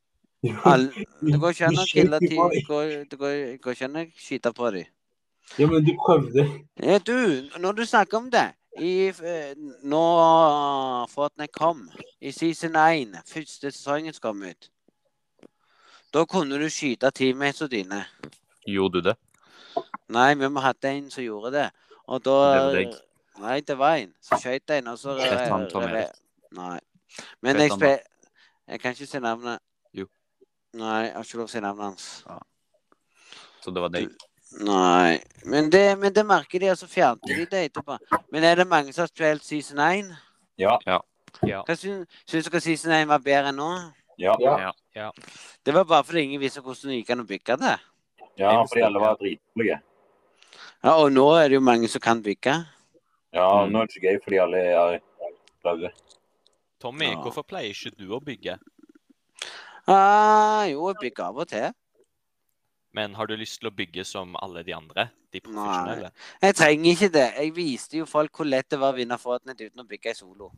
Jo,
all, Det går ikke an å
Du
kille
skyter
ti
på
Det
dem.
går, det går, det går ikke an å skyte på dem.
Ja, men du prøvde.
Ja, du, når du snakker om det i, eh, Nå Fortnite kom, i season 1, første sesongen som kom ut Da kunne du skyte teammatesene dine.
Gjorde du det?
Nei, vi må hatt en som gjorde det. Og da
Det var deg.
Nei, det var en som skøyt en, og så
Het han Tom
rever-
Erik?
Nei. Men
Het
jeg
han
spil... Jeg kan ikke si navnet.
Jo.
Nei, jeg har ikke lov å si navnet hans.
Så det var deg.
Nei. Men det, men det merker de, og så fjernet de det etterpå. Men er det mange som har spilt season 1?
Ja.
Ja.
Ja.
Hva syns, syns dere season 1 var bedre enn nå?
Ja,
Ja.
Ja. ja.
Det var bare fordi ingen visste hvordan det gikk an å bygge det.
ja fordi alle var dritdårlige.
Ja, Og nå er det jo mange som kan bygge.
Ja, nå er det ikke gøy fordi alle er flaue.
Tommy,
Ja.
hvorfor pleier ikke du å bygge?
Ah, jo, jeg bygger av og til.
Men har du lyst til å bygge som alle de andre? De profesjonelle?
Jeg trenger ikke det. Jeg viste jo folk hvor lett det var å vinne Fortnite uten å bygge ei solo.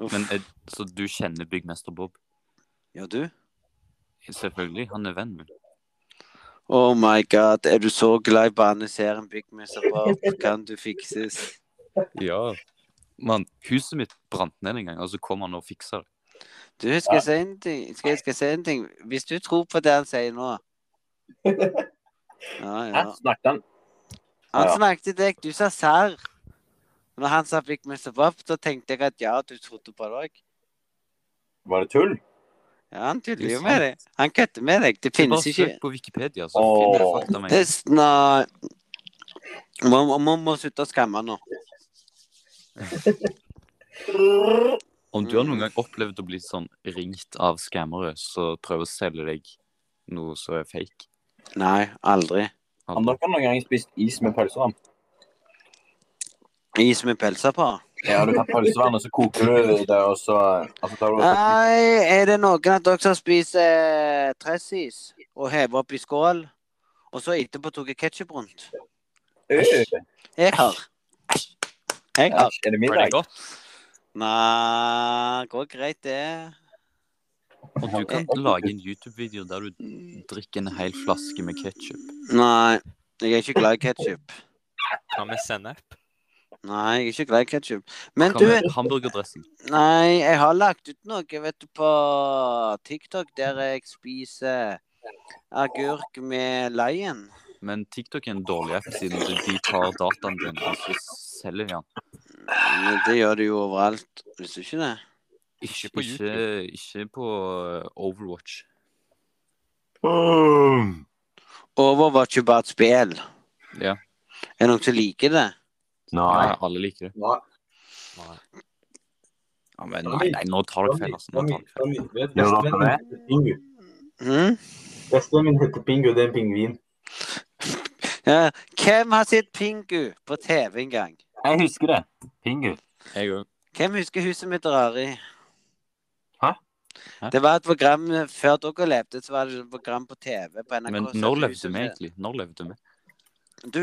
Uff.
Men er, så du kjenner byggmester Bob?
Ja, du?
Selvfølgelig, han er venn min.
Oh my god, er du så glad i baneserien Byggmester Bob? Kan du fikses?
Ja. Mann, huset mitt brant ned en gang, og så kom han og fiksa det.
Du, skal jeg si en ting? Skal jeg, skal jeg si en ting? Hvis du tror på det han sier nå Ja, ja.
Hæ? Snakket han?
Han
Ja.
snakket til deg, du sa serr. Når han sa Byggmester Bob, da tenkte jeg at ja, du trodde på det òg.
Var det tull?
Ja, han tuller
Det er
jo med deg. Han kødder med deg. Det finnes
bare
ikke
søk på Wikipedia, så
Åh.
finner du fakta med
Det
en
er
gang.
sn- Nei. Man, man- man må slutte å skamme nå.
Om du har noen gang opplevd å bli sånn ringt av skammere som prøver å selge deg noe som er fake
Nei, aldri.
Har dere noen gang spist is med pølsevann?
Is med pølser på.
Ja, du tar pølsevann, og så koker du det, og så altså, tar du
Nei, er det noen av dere som spiser eh, tressis og hever opp i skål, og så etterpå tok ketsjup rundt?
Æsj,
Jeg har. Jeg har.
æsj, Er det
Var det
middag?
godt?
Nei, går greit, det.
Og du kan lage en YouTube-video der du drikker en hel flaske med ketsjup.
Nei, jeg er ikke glad i ketsjup.
Hva med sennep?
Nei, jeg er ikke glad i ketsjup. Men du
Hamburgerdressing.
Nei, jeg har lagt ut noe, vet du, på TikTok der jeg spiser agurk med lion.
Men TikTok er en dårlig app, siden de tar dataen din, og så selger de den.
Men det gjør det jo overalt, hvis du ikke det?
Ikke
på
ikke, ikke på eh, Overwatch.
Overwatch er jo bare et spill.
Ja.
Er det noen som liker det?
Nei, alle liker det.
Nei.
Nei.
Ja, men nei, nei, nå tar dere feil, altså. Nå tar dere feil.
Tommy, Tommy, vet du,
Gjør dere
bestevennen
det?
heter Pingu.
Hm?
Bestevennen min heter Pingu, det er en pingvin.
Ja. Hvem har sett Pingu på TV en gang?
Jeg husker det. Pingu.
Jeg òg.
Hvem husker huset mitt Rari?
Hæ?
Hæ?
Det var et program før dere levde, så var det et program på TV på NRK.
Men
som
når
het
levde
Huset
vi
mitt.
egentlig? Når levde vi?
Du,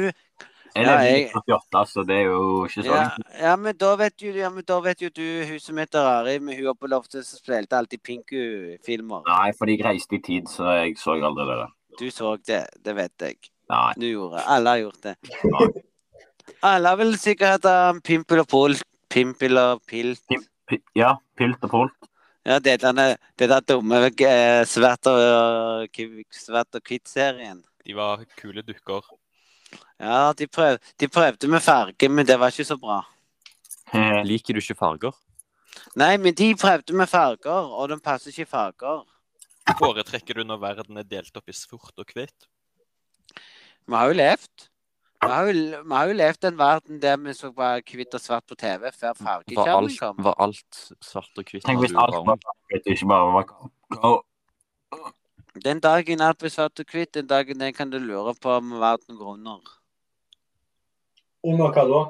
Jeg
Ja,
levde i
jeg-
1948, så det er jo ikke sånn. så
Ja,
langt.
ja, men da vet jo, ja, men da vet jo du huset mitt er Ari, med hun oppe på loftet som spilte alltid Pinku-filmer.
Nei, for jeg reiste i tid, så jeg så aldri det. der.
Du så det, det vet jeg.
Nei.
Du gjorde Alle har gjort det. Alle vil sikkert ha en Pimpel og Pol. Pimpel og Pilt.
P ja, pilt og polk.
Ja, det er denne, det er den dumme eh, Svart og, Kv- Svart og Kvitt-serien.
De var kule dukker.
Ja, de, prøv, de prøvde med farge, men det var ikke så bra.
Liker du ikke farger?
Nei, men de prøvde med farger, og de passer ikke i farger.
Foretrekker du når verden er delt opp i sort og hvitt?
Vi har jo levd. Vi har jo, vi har jo levd en verden der vi så bare hvitt og svart på TV før
Var
fargekjernen
alt,
kom.
var alt svart og hvitt
Tenk
Altså,
da
hvis
du
alt
var
var
ung?
vet du, ikke bare var Å,
Den dagen alt blir svart og hvitt, den dagen den kan du lure på om verden går under.
Under hva da?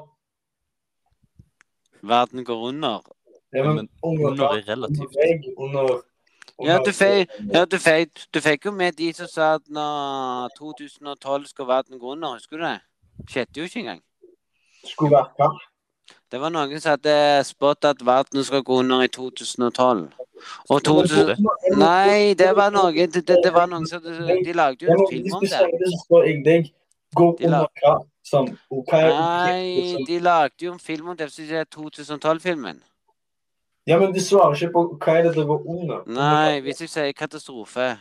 Verden går under.
Ja,
Ja, men Under er relativt.
Under vegg, under...
Ja, du fei- Ja, du fikk, du fikk jo med de som sa at når 2012 skal verden gå under, husker du det? Skjedde jo ikke engang.
Skulle vært hva?
Det var noen som hadde spådd at verden skal gå under i 2012. Og 2000... Nei, det var noe det, det var noen som De lagde jo
Ja, men
en film
Hvis
om
du
det.
sier det, så spør jeg deg. Gå
De la-
under hva? Sånn, og hva er liksom-
Nei, de lagde jo en film om det, så det er 2012-filmen.
Ja, men du svarer ikke på hva er det dere går under.
Nei, hvis jeg sier katastrofe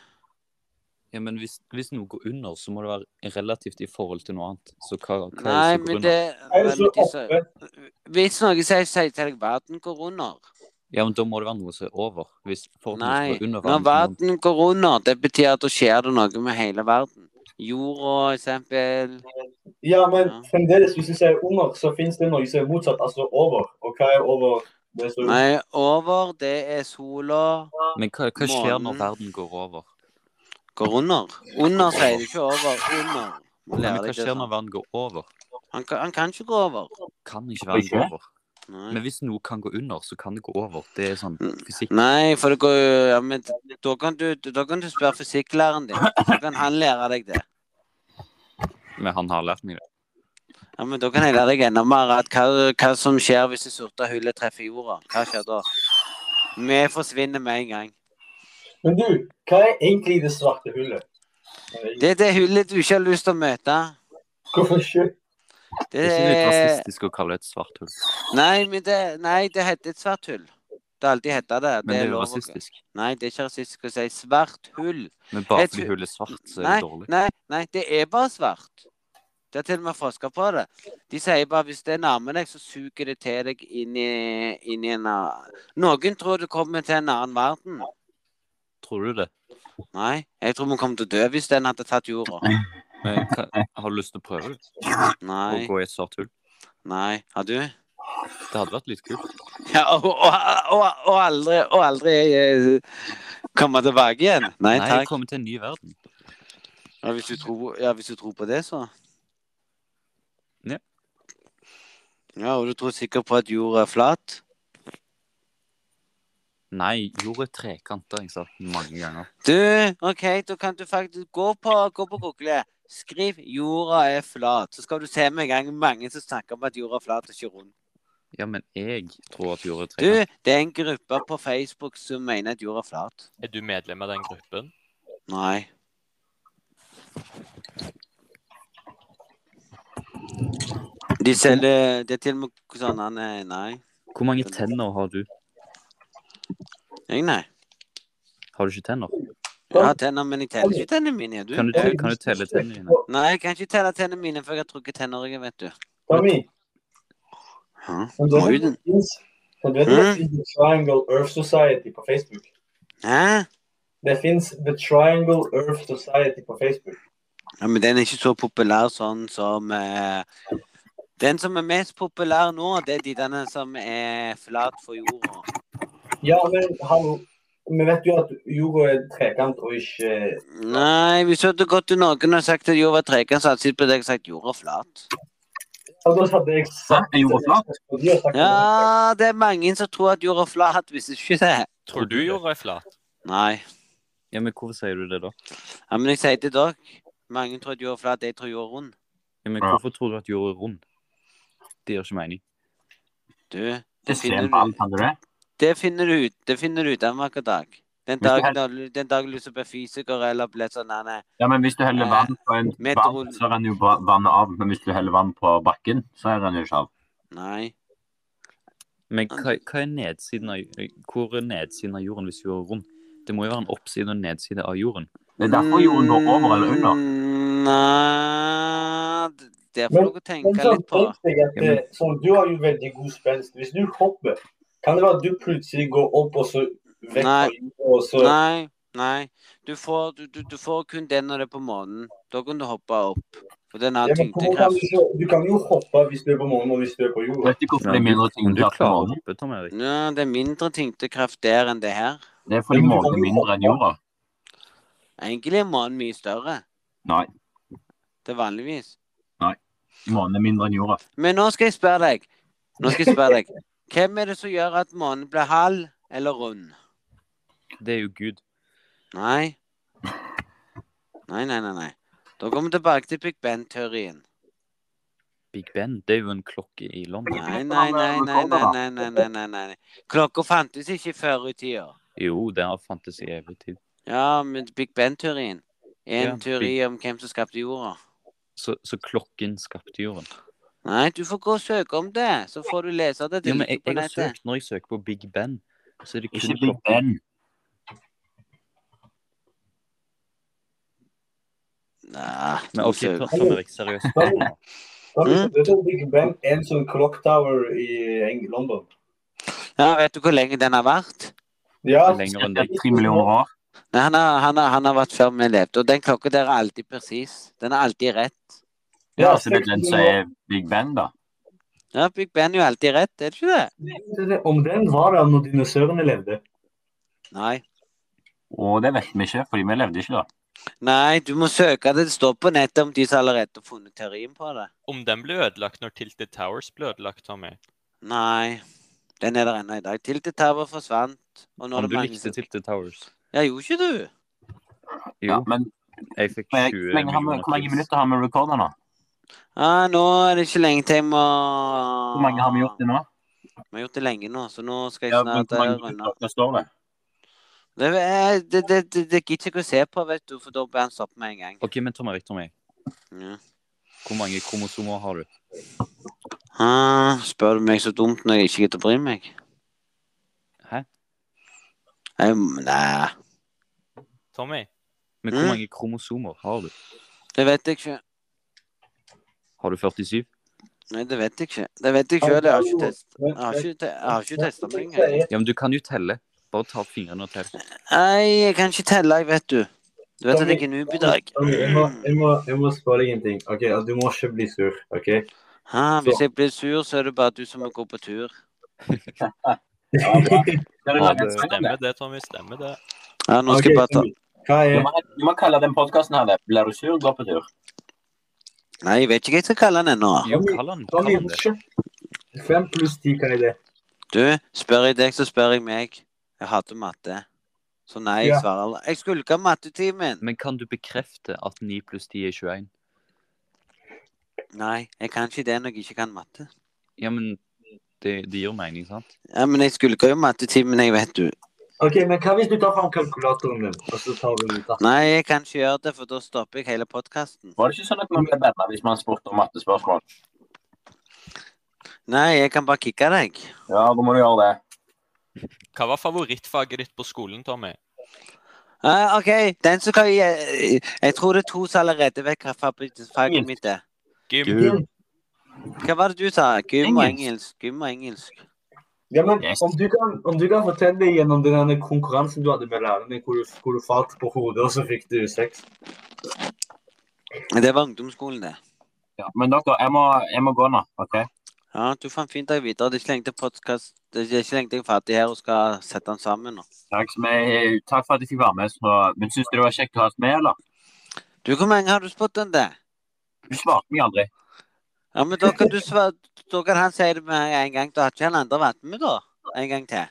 Ja, men hvis, hvis noe går under, så må det være relativt i forhold til noe annet. Så hva, hva
Nei,
er det som går
men
under?
det
Er det så
veldig så-
oppe?
Hvis noe sier sier til deg verden går under
Ja, men da må det være noe som er over. Hvis for at noe
Nei,
skal under
når
verden,
verden går under, det betyr at da skjer det noe med hele verden. Jorda, eksempel.
Ja, men
Ja.
fremdeles, hvis du sier under, så finnes det noe som er motsatt, altså over. Og hva er over? Det som
Nei, over, det er sola.
så må- Men hva, hva skjer når
Månen.
verden går over?
Går under. Under sier du ikke over. Under. Må
Nei,
lære
men hva
deg det
skjer når
sånn.
verden går over?
Han, kan, han kan ikke gå over.
Kan ikke
Hvorfor
verden gå
ikke?
over.
Nei,
Men hvis noe kan gå under, så kan det gå over. Det er sånn fysikk.
Nei for det går jo ja, men da kan, du, da kan du spørre fysikklæreren din. Så kan han lære deg det.
Men han har lært meg det.
Ja, men Da kan jeg lære deg enda mer at hva, hva som skjer hvis det sorte hullet treffer jorda. Hva skjer da? Vi forsvinner med en gang.
Men du, hva er egentlig det svarte hullet?
Det er det hullet du ikke har lyst til å møte.
Hvorfor ikke?
Det
Det er
Eh,
ikke litt
er
rasistisk å kalle det et svart hull,
Nei, men det, nei, det heter et svart hull. Det har alltid hetta det.
men det er jo
lov å-
rasistisk.
Nei, det er ikke rasistisk å si svart hull.
Men bare
Jeg
fordi
tror-
hullet er svart, så er
Nei,
det dårlig.
nei, nei, det er bare svart. Det er til og med forska på det. De sier bare hvis det nærmer deg, så suger det til deg inn i, inn i en annen Noen tror du kommer til en annen verden.
Tror du det?
Nei, jeg tror vi kommer til å dø hvis den hadde tatt jorda.
Men hva, har du lyst til å prøve det? Å
Nei.
gå i et svart hull?
Nei. Har du?
Det hadde vært litt kult.
Ja, og, og, og, og aldri, og aldri eh, komme tilbake igjen. Nei
Nei, jeg
takk.
kommer til en ny verden.
Ja, hvis du tror, ja, hvis du tror på det, så.
Ja.
Ja, og du tror sikkert på at jorda er flat?
Nei, jorda er trekanter, jeg sa mange ganger.
Du, OK, da kan du faktisk gå på, gå på Google. Skriv 'jorda er flat', så skal du se med en gang mange som snakker om at jorda er flat og ikke rund.
Ja, men jeg tror at jorda er
Du,
trekanter.
det er en gruppe på Facebook som mener at jorda er flat.
Er du medlem av den gruppen?
Nei. De selger Det er til og med sånn Nei. nei.
Hvor mange tenner har du?
Jeg, nei.
Har du ikke tenner?
Jeg har tenner, men jeg teller ikke tennene mine. Du.
Kan du, te- kan du telle tennene dine?
Nei, jeg kan ikke telle tennene mine, for jeg har trukket tenner, jeg, vet du.
Tommy,
Hæ?
kan du
Oi,
vet
den-
at det finnes kan du vet at det finnes The Triangle Earth Society på Facebook?
Hæ?
Det fins The Triangle Earth Society på Facebook.
Ja, men den er ikke så populær sånn som eh, Den som er mest populær nå, det er de derne som er flat for jorda.
Ja, men hallo. Vi vet jo at jorda er trekant og ikke
Nei, hvis du hadde gått til noen og sagt at jorda var trekant, så hadde jeg sett på deg og sagt jorda er flat.
Ja, da hadde jeg
Hæ?
sagt
Er jorda flat?
Og de har sagt-
Ja, det er mange som tror at jorda er flat, hvis ikke det.
Tror du jorda er flat?
Nei.
Ja, men hvorfor sier du det da?
Ja, men jeg sier til dere Mange tror at jorda er flat, jeg tror jorda er rund.
Ja, men
Ja.
hvorfor tror du at jorda er rund? Det gir ikke mening.
Du,
Det
det
ser
finner
en ball,
du,
kan du det?
det finner du ut Det finner du ut av hver dag. Den
Hvis du
dagen du- den dagen du blir fysiker eller blir sånn nei, nei.
Ja, men hvis du heller
Eh,
vann på en
meteor-
vann, så renner jo ba- vannet av. Men hvis du heller vann på bakken, så renner det ikke av.
Nei.
Men hva, hva er nedsiden av, hvor er nedsiden av jorden hvis jorda er rund? Det må jo være en oppside og nedside av jorden.
Det er derfor jorden går over eller under.
Mm, Nei Det får
Men-
dere
Men
tenke
sånn,
litt på.
tenk deg at
Ja, men-
det, sånn, du har jo veldig god spenst. Hvis du hopper, kan det være at du plutselig går opp og så vekk
Nei.
fra jorda, og så
Nei. Nei. Du får, du, du, du får kun den når det er på månen. Da kan du hoppe opp. Og den har
Ja, men hvordan kan
tyngdekraft.
du, så- du kan jo hoppe hvis du er på månen og hvis du er på jorda.
Vet du hvorfor det er mindre
Men du
tyngde på
klarer å
månen?
hoppe, Tom Erik.
Nei, det er mindre tyngdekraft der enn det her.
Det er fordi
Men du
månen
kan
er
jo
mindre enn jorda.
Egentlig er månen mye større.
Nei.
Det er vanligvis.
Månen er mindre enn jorda.
Men nå skal jeg spørre deg. Nå skal jeg spørre deg. Hvem er det som gjør at månen blir halv eller rund?
Det er jo Gud.
Nei. Nei, nei, nei. nei. Da kommer vi tilbake til Big Ben-teorien.
Big Ben, det er jo en klokke i London.
Nei, nei, nei, nei, nei, nei, nei, nei, nei, nei. Klokka fantes ikke før i tida.
Jo, den har fantes i evig tid.
Ja, men Big Ben-teorien. En
Ja,
teori om hvem som skapte jorda.
Så, så klokken skapte jorden.
Nei, du får gå og søke om det, så får du lese det. Det
Ja, men jeg,
ligger på
jeg har
nettet.
søkt, når jeg søker på Big Ben, så er det kun
Ikke Big
klokken.
Ben.
Nei,
Men OK,
så-
ta ta det vekk seriøst. spørsmål.
Har
Mm.
du hørt om Big Bang er en sånn clock tower i Eng- London?
Ja, vet du hvor lenge den har vært?
Ja,
Lenger enn det.
Tre millioner år.
Nei, han, har, han, har, han har vært før vi levde, og den klokka der er alltid presis. Den er alltid rett.
Ja, så det er den som er Big Bang, da.
Ja, Big Ben er jo alltid rett, er det ikke det?
Om den var der når dinosaurene levde.
Nei.
Og det vet vi ikke, fordi vi levde ikke da.
Nei, du må søke det. Det står på nettet om de som allerede har funnet teorien på det.
Om den ble ødelagt når Tilted Towers ble ødelagt, Tommy?
Nei. Den er der ennå i dag. Tilted Tower forsvant. Og nå
Om
er
du
det mange
likte
som
Tilted Towers?
Ja, gjorde ikke du?
Ja,
Jo,
men
jeg fikk
men
20
hvor lenge, har vi, hvor mange
millioner.
minutter har vi recorda nå?
Ja, nå er det ikke lenge til jeg må
Hvor mange har vi gjort det nå?
Vi har gjort det lenge nå, så nå skal
Ja,
jeg
men
snart
hvor
eh,
mange
runde av.
minutter står det?
Det, er- eh, det, det, det, det gidder jeg ikke å se på, vet du, for da blir han stoppet med en gang.
OK, men Tom Erik, Tom Erik.
Ja.
Hvor mange kromosomer har du?
Ah, spør du meg så dumt når jeg ikke gidder å bry meg?
Hæ?
Jeg, nei,
Tommy?
Men hvor
Mm.
mange kromosomer har du?
det vet jeg ikke.
Har du 47?
Nei, det vet jeg ikke. Det vet jeg selv, jeg har ikke test. Jeg har ikke, te- jeg har ikke testa meg engang.
Ja, men du kan jo telle. Bare ta fingrene og tell.
Nei, jeg kan ikke telle, jeg, vet du. Du vet at jeg er noob i dag.
Ok, Jeg må, jeg må, jeg må spørre deg en ting. Ok, altså, Du må ikke bli sur. ok?
Hæ, hvis jeg blir sur, så er det bare du som må gå på tur.
Ja, bra. Det er
Ja,
laget spennende.
det-
Stemmer det, Tommy? Stemmer det?
Ja, nå skal jeg
Ok,
bare ta
Hva
Du
er
må, du må kalle den podkasten her det. Blir du sur, gå på tur.
Nei, jeg vet ikke hva jeg skal kalle den ennå.
Jo, kall han, kall
Tommy,
han det.
Fem pluss ti, hva er det?
Du, spør jeg deg, så spør jeg meg. Jeg hater matte. Så nei, jeg
Ja.
svarer aldri. Jeg skulker mattetimen.
Men kan du bekrefte at 9 pluss 10 er 21?
Nei, jeg kan ikke det når jeg ikke kan matte.
Ja, men det, det gir mening, sant?
Ja, men jeg skulker jo mattetimen, jeg vet du.
Ok, men Hva hvis du tar fram kalkulatoren din, og så tar du ut da?
Nei, jeg kan ikke gjøre det, for da stopper jeg hele podkasten.
Var det ikke sånn at man ble banna hvis man spurte om mattespørsmål?
Nei, jeg kan bare kicke deg.
Ja, da må du gjøre det.
Hva var favorittfaget ditt på skolen, Tommy?
Ja, OK, den som kan gi Jeg tror det er to som allerede vet hva favoritt- faget mitt er.
Gym.
Gud.
Hva var det du sa? Gym og
Engelsk.
engelsk. Gym og engelsk.
Ja, men
Yes.
om du, kan, om du kan fortelle deg gjennom den derne konkurransen du hadde med læreren din, hvor, du- hvor du falt på hodet, og så fikk du sex
Det var ungdomsskolen, det.
Ja, men dere, jeg må, jeg må gå nå. ok?
Ja, du fant fint deg videre. Det er ikke lenge til podcast Det er ikke lenge til jeg er ferdig her og skal sette den sammen nå.
Takk, som jeg, eh, takk for at jeg fikk være med. Så, men Syns du det var kjekt å ha oss med, eller?
Du, hvor mange har du spurt den der?
Du svarte meg aldri.
Ja, men da kan du svare Da kan han si det med en gang. Da har ikke han andre vært med, da. En gang til.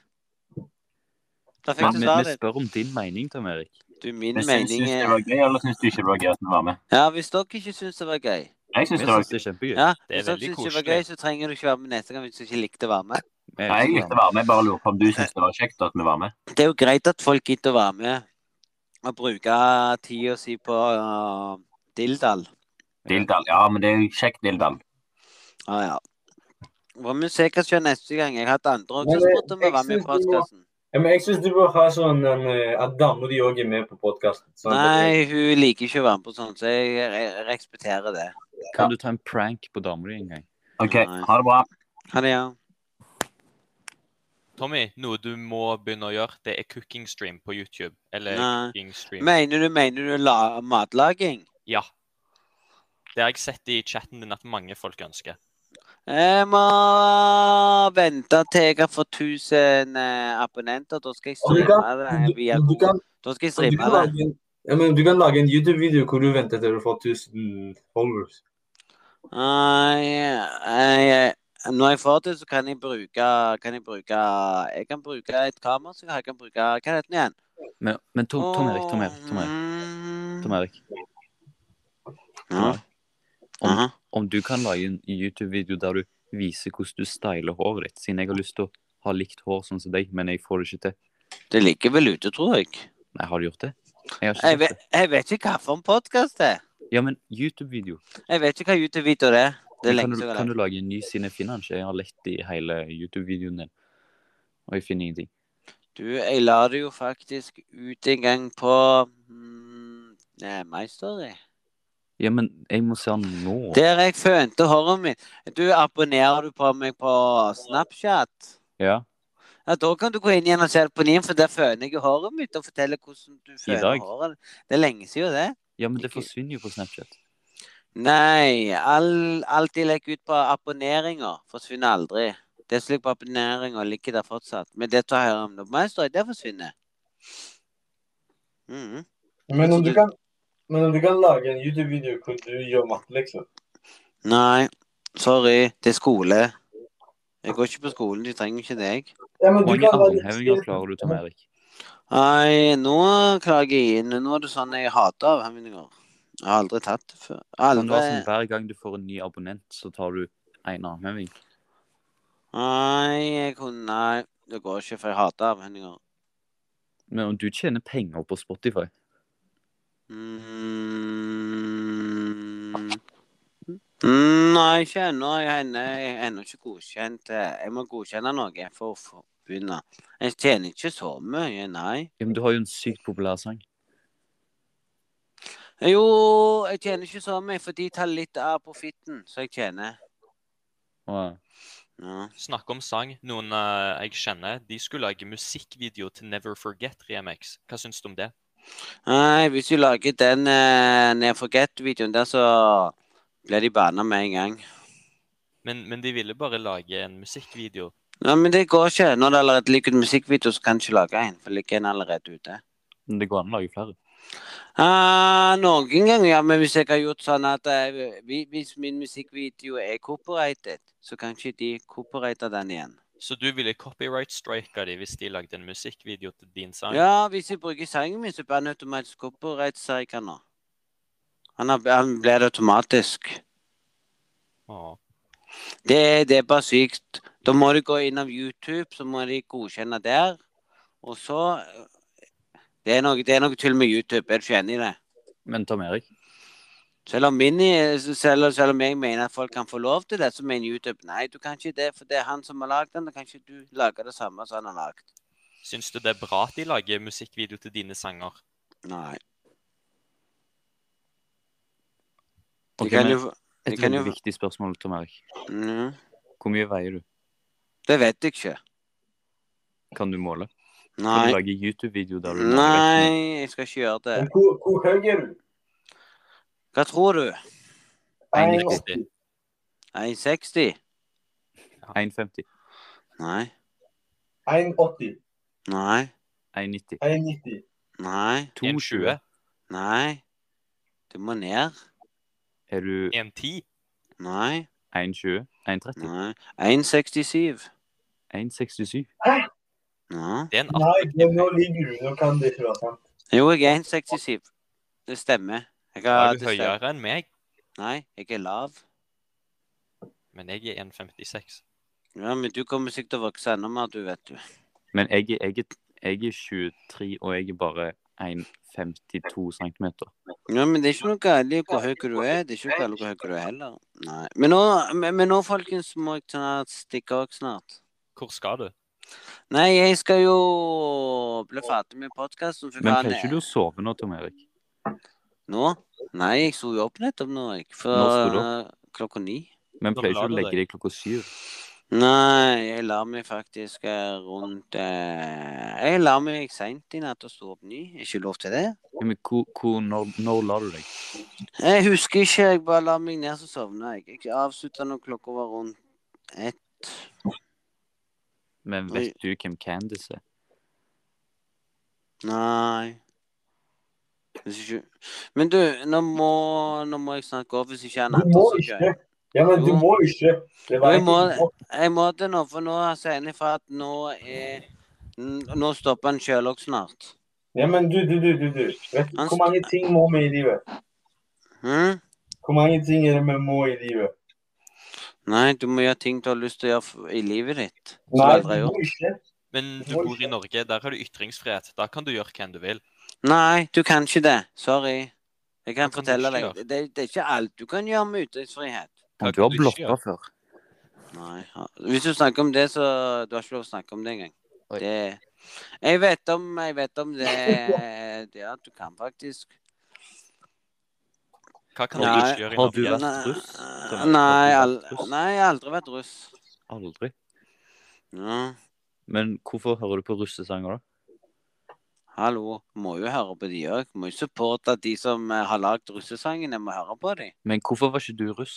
Da
Men
fikk du
vi,
svaret
vi
ditt.
spør om din mening, Tom Erik.
Du, min
Men Syns syns
mening
du det
er
var gøy, eller syns du ikke det var gøy at vi var med?
Ja, hvis dere ikke syns det var gøy
Jeg
Vi
syns det var
syns
gøy.
det er kjempegøy.
Ja,
Det er
hvis dere
veldig
syns det var
koselig.
gøy, så trenger du ikke være med neste gang hvis du ikke likte å være med.
Vi
Nei, jeg
elsker
likte å
det.
være med, bare lurer på om du syns det var kjekt at vi var med.
Det er jo greit at folk gidder å være med og bruke tida si på øh, dilldall.
Dildal. Ja, men det er jo kjekt, Dildal.
Ja, Ah, ja. Hva må vi se hva som skjer neste gang? Jeg har hatt andre også
Men,
som spurte om å
jeg
være med i
synes du må-
podkasten.
Ja, men jeg syns du bør ha sånn eh, at damer de òg er med på sånn podkasten.
Nei, hun liker ikke å være med på sånt, så jeg re- respekterer det.
Kan du ta en prank på dama di en gang?
OK, ha det bra.
Ha det, ja.
Tommy, noe du må begynne å gjøre, det er cooking stream på YouTube. Eller
Nei.
cooking stream.
Mener du, mener du la matlaging?
Ja. Det har jeg sett i chatten din at mange folk ønsker.
Jeg må eh, vente til jeg har fått 1000 eh, abonnenter. Da skal jeg
Og du
streame
kan-
det. eh,
Du,
via-
du, kan,
Da skal jeg
du,
streame
kan
det.
lage en, ja, men du kan lage en YouTube-video hvor du venter til du får 1000 followers.
Nei, eh, jeg- Når jeg får det, så kan jeg bruke Kan jeg bruke Jeg kan bruke et kamera som jeg kan bruke Hva heter den igjen?
Men, men Tom, Tom Erik, Tom Erik, Tom Erik.
Mm.
Tom Erik.
Ja.
Om-
Aha.
Om du kan lage en YouTube-video der du viser hvordan du styler håret ditt, siden jeg har lyst til å ha likt hår sånn som deg, men jeg får det ikke til.
Det ligger vel ute, tror jeg.
Nei, har du gjort det? Jeg har ikke
Jeg
sett
vet,
det.
jeg vet ikke hvilken podkast det er.
Ja, men YouTube-video.
Jeg vet ikke hva YouTube-video det er. Det er
Men
lenge
Kan, du-
siden. jeg har
kan du
lagt.
lage en ny siden jeg finner den ikke? Jeg har lett i hele YouTube-videoen din, og jeg finner ingenting.
Du, jeg la det jo hmm, faktisk ut en gang på mm, nei, My Story.
Ja, men jeg må se den nå.
Der jeg fønte håret mitt. Du, abonnerer du på meg på Snapchat?
Ja,
Ja, da kan du gå inn igjen og se det på Nim, for der føner jeg håret mitt og forteller hvordan du føner
dag?
håret. Det er lenge siden det.
ja men det
Ikke-
forsvinner jo på Snapchat.
Nei, all, alt de legger ut på abonneringer, forsvinner aldri. Det som ligger på abonneringer, ligger der fortsatt. Men det tar jeg om meg, står det forsvinner. Mhm.
Men om du kan, men om du kan lage en YouTube-video hvor du gjør matte, liksom.
Nei, sorry. Det er skole. Jeg går ikke på skolen, de trenger ikke deg.
Ja, men
Hvor
du
mange
kan lage-
armhevinger klarer du, Tom Erik?
Nei, nå klager jeg inn. Nå er det sånn jeg hater avhemninger. Jeg har aldri tatt det før.
Kan du ha sånn,
Aldri.
hver gang du får en ny abonnent, så tar du en armheving?
Nei, jeg kunne Nei, det går ikke, for jeg hater avhemninger.
Men om du tjener penger på Spotify
Mm. Nei, ikke ennå. Jeg er ennå- jeg er ennå ikke godkjent. eh, Jeg må godkjenne noe for å få begynne. Jeg tjener ikke så mye, nei.
Ja, men du har jo en sykt populær sang.
Eh, Jo, jeg tjener ikke så mye, for de tar litt av profitten som jeg tjener.
Og,
Ja.
Snakk om sang. Noen eh, jeg kjenner, de skulle lage musikkvideo til Never Forget Remix. Hva syns du om det?
Nei, hvis du lager den eh, Ned Forget-videoen der, så blir de banna med en gang.
Men, men de ville bare lage en musikkvideo.
Nei, men det går ikke. Når det allerede ligger en musikkvideo, så kan du ikke lage en, for ligger en allerede ute.
men det går an å lage flere.
Ah, noen ganger, ja. Men hvis jeg har gjort sånn at eh, vi- hvis min musikkvideo er copyrighted, så kan ikke de copyrighte den igjen.
Så du ville copyright-strike de hvis de lagde en musikkvideo til din sang?
Ja, hvis jeg bruker sangen min, så blir den automatisk copyright-strike han nå. Han, har, han blir det automatisk.
Åh.
Det, det er bare sykt. Da må du gå innom YouTube, så må de godkjenne der. Og så eh, Det er noe, det er noe tull med YouTube, er du ikke enig i det?
Men Tom Erik,
Selv om, mini, selv, selv om jeg mener at folk kan få lov til det, så mener YouTube nei, du kan ikke det, for det er han som har lagd den, da kan ikke du lage det samme som han har lagd.
Syns du det er bra at de lager musikkvideo til dine sanger?
Nei. De
Ok,
kan
men-
jo, få- de
et
kan
veldig
jo-
viktig spørsmål, Tom Erik.
Mhm.
Hvor mye veier du?
det vet jeg ikke.
Kan du måle? Kan du
Nei.
lage YouTube-video der du måler vekten?
Nei, jeg skal ikke gjøre
Men
det.
Hvor, hvor høy er du?
Hå- Hva tror du?
1,60.
1,60?
1,50?
Nei.
1,80.
Nei.
1,90?
1,90.
Nei.
2,20?
1,20?
Nei. Du må ned.
Er du
1,10?
Nei.
1,20? 1,30?
Nei. 1,67?
1,67?
Nei.
Det er en
Nei, men nå
18
ligger du. Nå kan det ikke være sant.
Jo, jeg er 1,67. Det stemmer. Jeg har,
Er du
det stemmer.
høyere enn meg?
Nei, jeg er lav.
Men jeg er 1,56.
Ja, men du kommer sikkert til å vokse enda mer, du vet du.
Men jeg, er- jeg, er- jeg er 23, og jeg er bare 1,52 cm.
Ja, men det er ikke noe galt hvor høy du er. Det er ikke noe galt hvor høy du er heller. Nei. Men nå, men, men nå folkens, må jeg snart stikke av snart.
Hvor skal du?
Nei, jeg skal jo bli ferdig med podkasten.
Men pleier ikke du å sove nå, Tom Erik?
Nå? Nei, jeg sto jo opp nettopp nå, jeg.
Når sto
For
du
eh, klokka ni.
Men
Når
pleier ikke du
la
å
du
legge deg klokka syv?
Nei, jeg la meg faktisk eh, rundt eh, Jeg la meg seint i natt og sto opp ny. Er ikke lov til det?
Ja, men hvor, hvor, når, når la du deg?
Jeg husker ikke. Jeg bare la meg ned, så sovna jeg. Jeg avslutta når klokka var rundt ett.
Men vet du hvem Candice er?
Nei Hvis ikke Men du, nå må, nå må jeg snart gå, hvis ikke han
Du må
Anders
ikke. Ja, men du må ikke. Det var
Jeg må,
ikke-
jeg må det nå, for nå sier han ifra at nå er n- Nå stopper han sjøl òg snart.
Ja, men du, du, du, du, du. Vet du
Han
hvor mange ting må vi i livet?
Hm?
Hvor mange ting er det vi må i livet?
Nei, du må gjøre ting du har lyst til å gjøre f- i livet ditt. som du
Nei,
aldri har
du
gjort.
må ikke.
Men du
Hvor-
bor i Norge, der har du ytringsfrihet. Da kan du gjøre hva enn du vil.
Nei, du kan ikke det. Sorry. Jeg kan
Hva kan du
fortelle
ikke
deg.
gjøre?
Det, det er ikke alt du kan gjøre med ytringsfrihet.
Om du
Hva
har
kan du ikke
blokka før?
Nei. ja. Hvis du snakker om det, så Du har ikke lov å snakke om det engang.
Oi.
Det Jeg vet om, jeg vet om det, det at du kan faktisk
Hva kan
Nei,
du ikke gjøre i
har du
Norge?
vært
Nei,
russ? Thomas?
Nei,
Har
al
du vært russ?
nei, jeg har aldri vært russ.
Aldri.
Ja.
Men hvorfor hører du på russesanger, da?
Hallo, må jo høre på de òg. Må jo supporte de som eh, har lagd russesangene, må høre på de.
Men hvorfor var ikke du russ?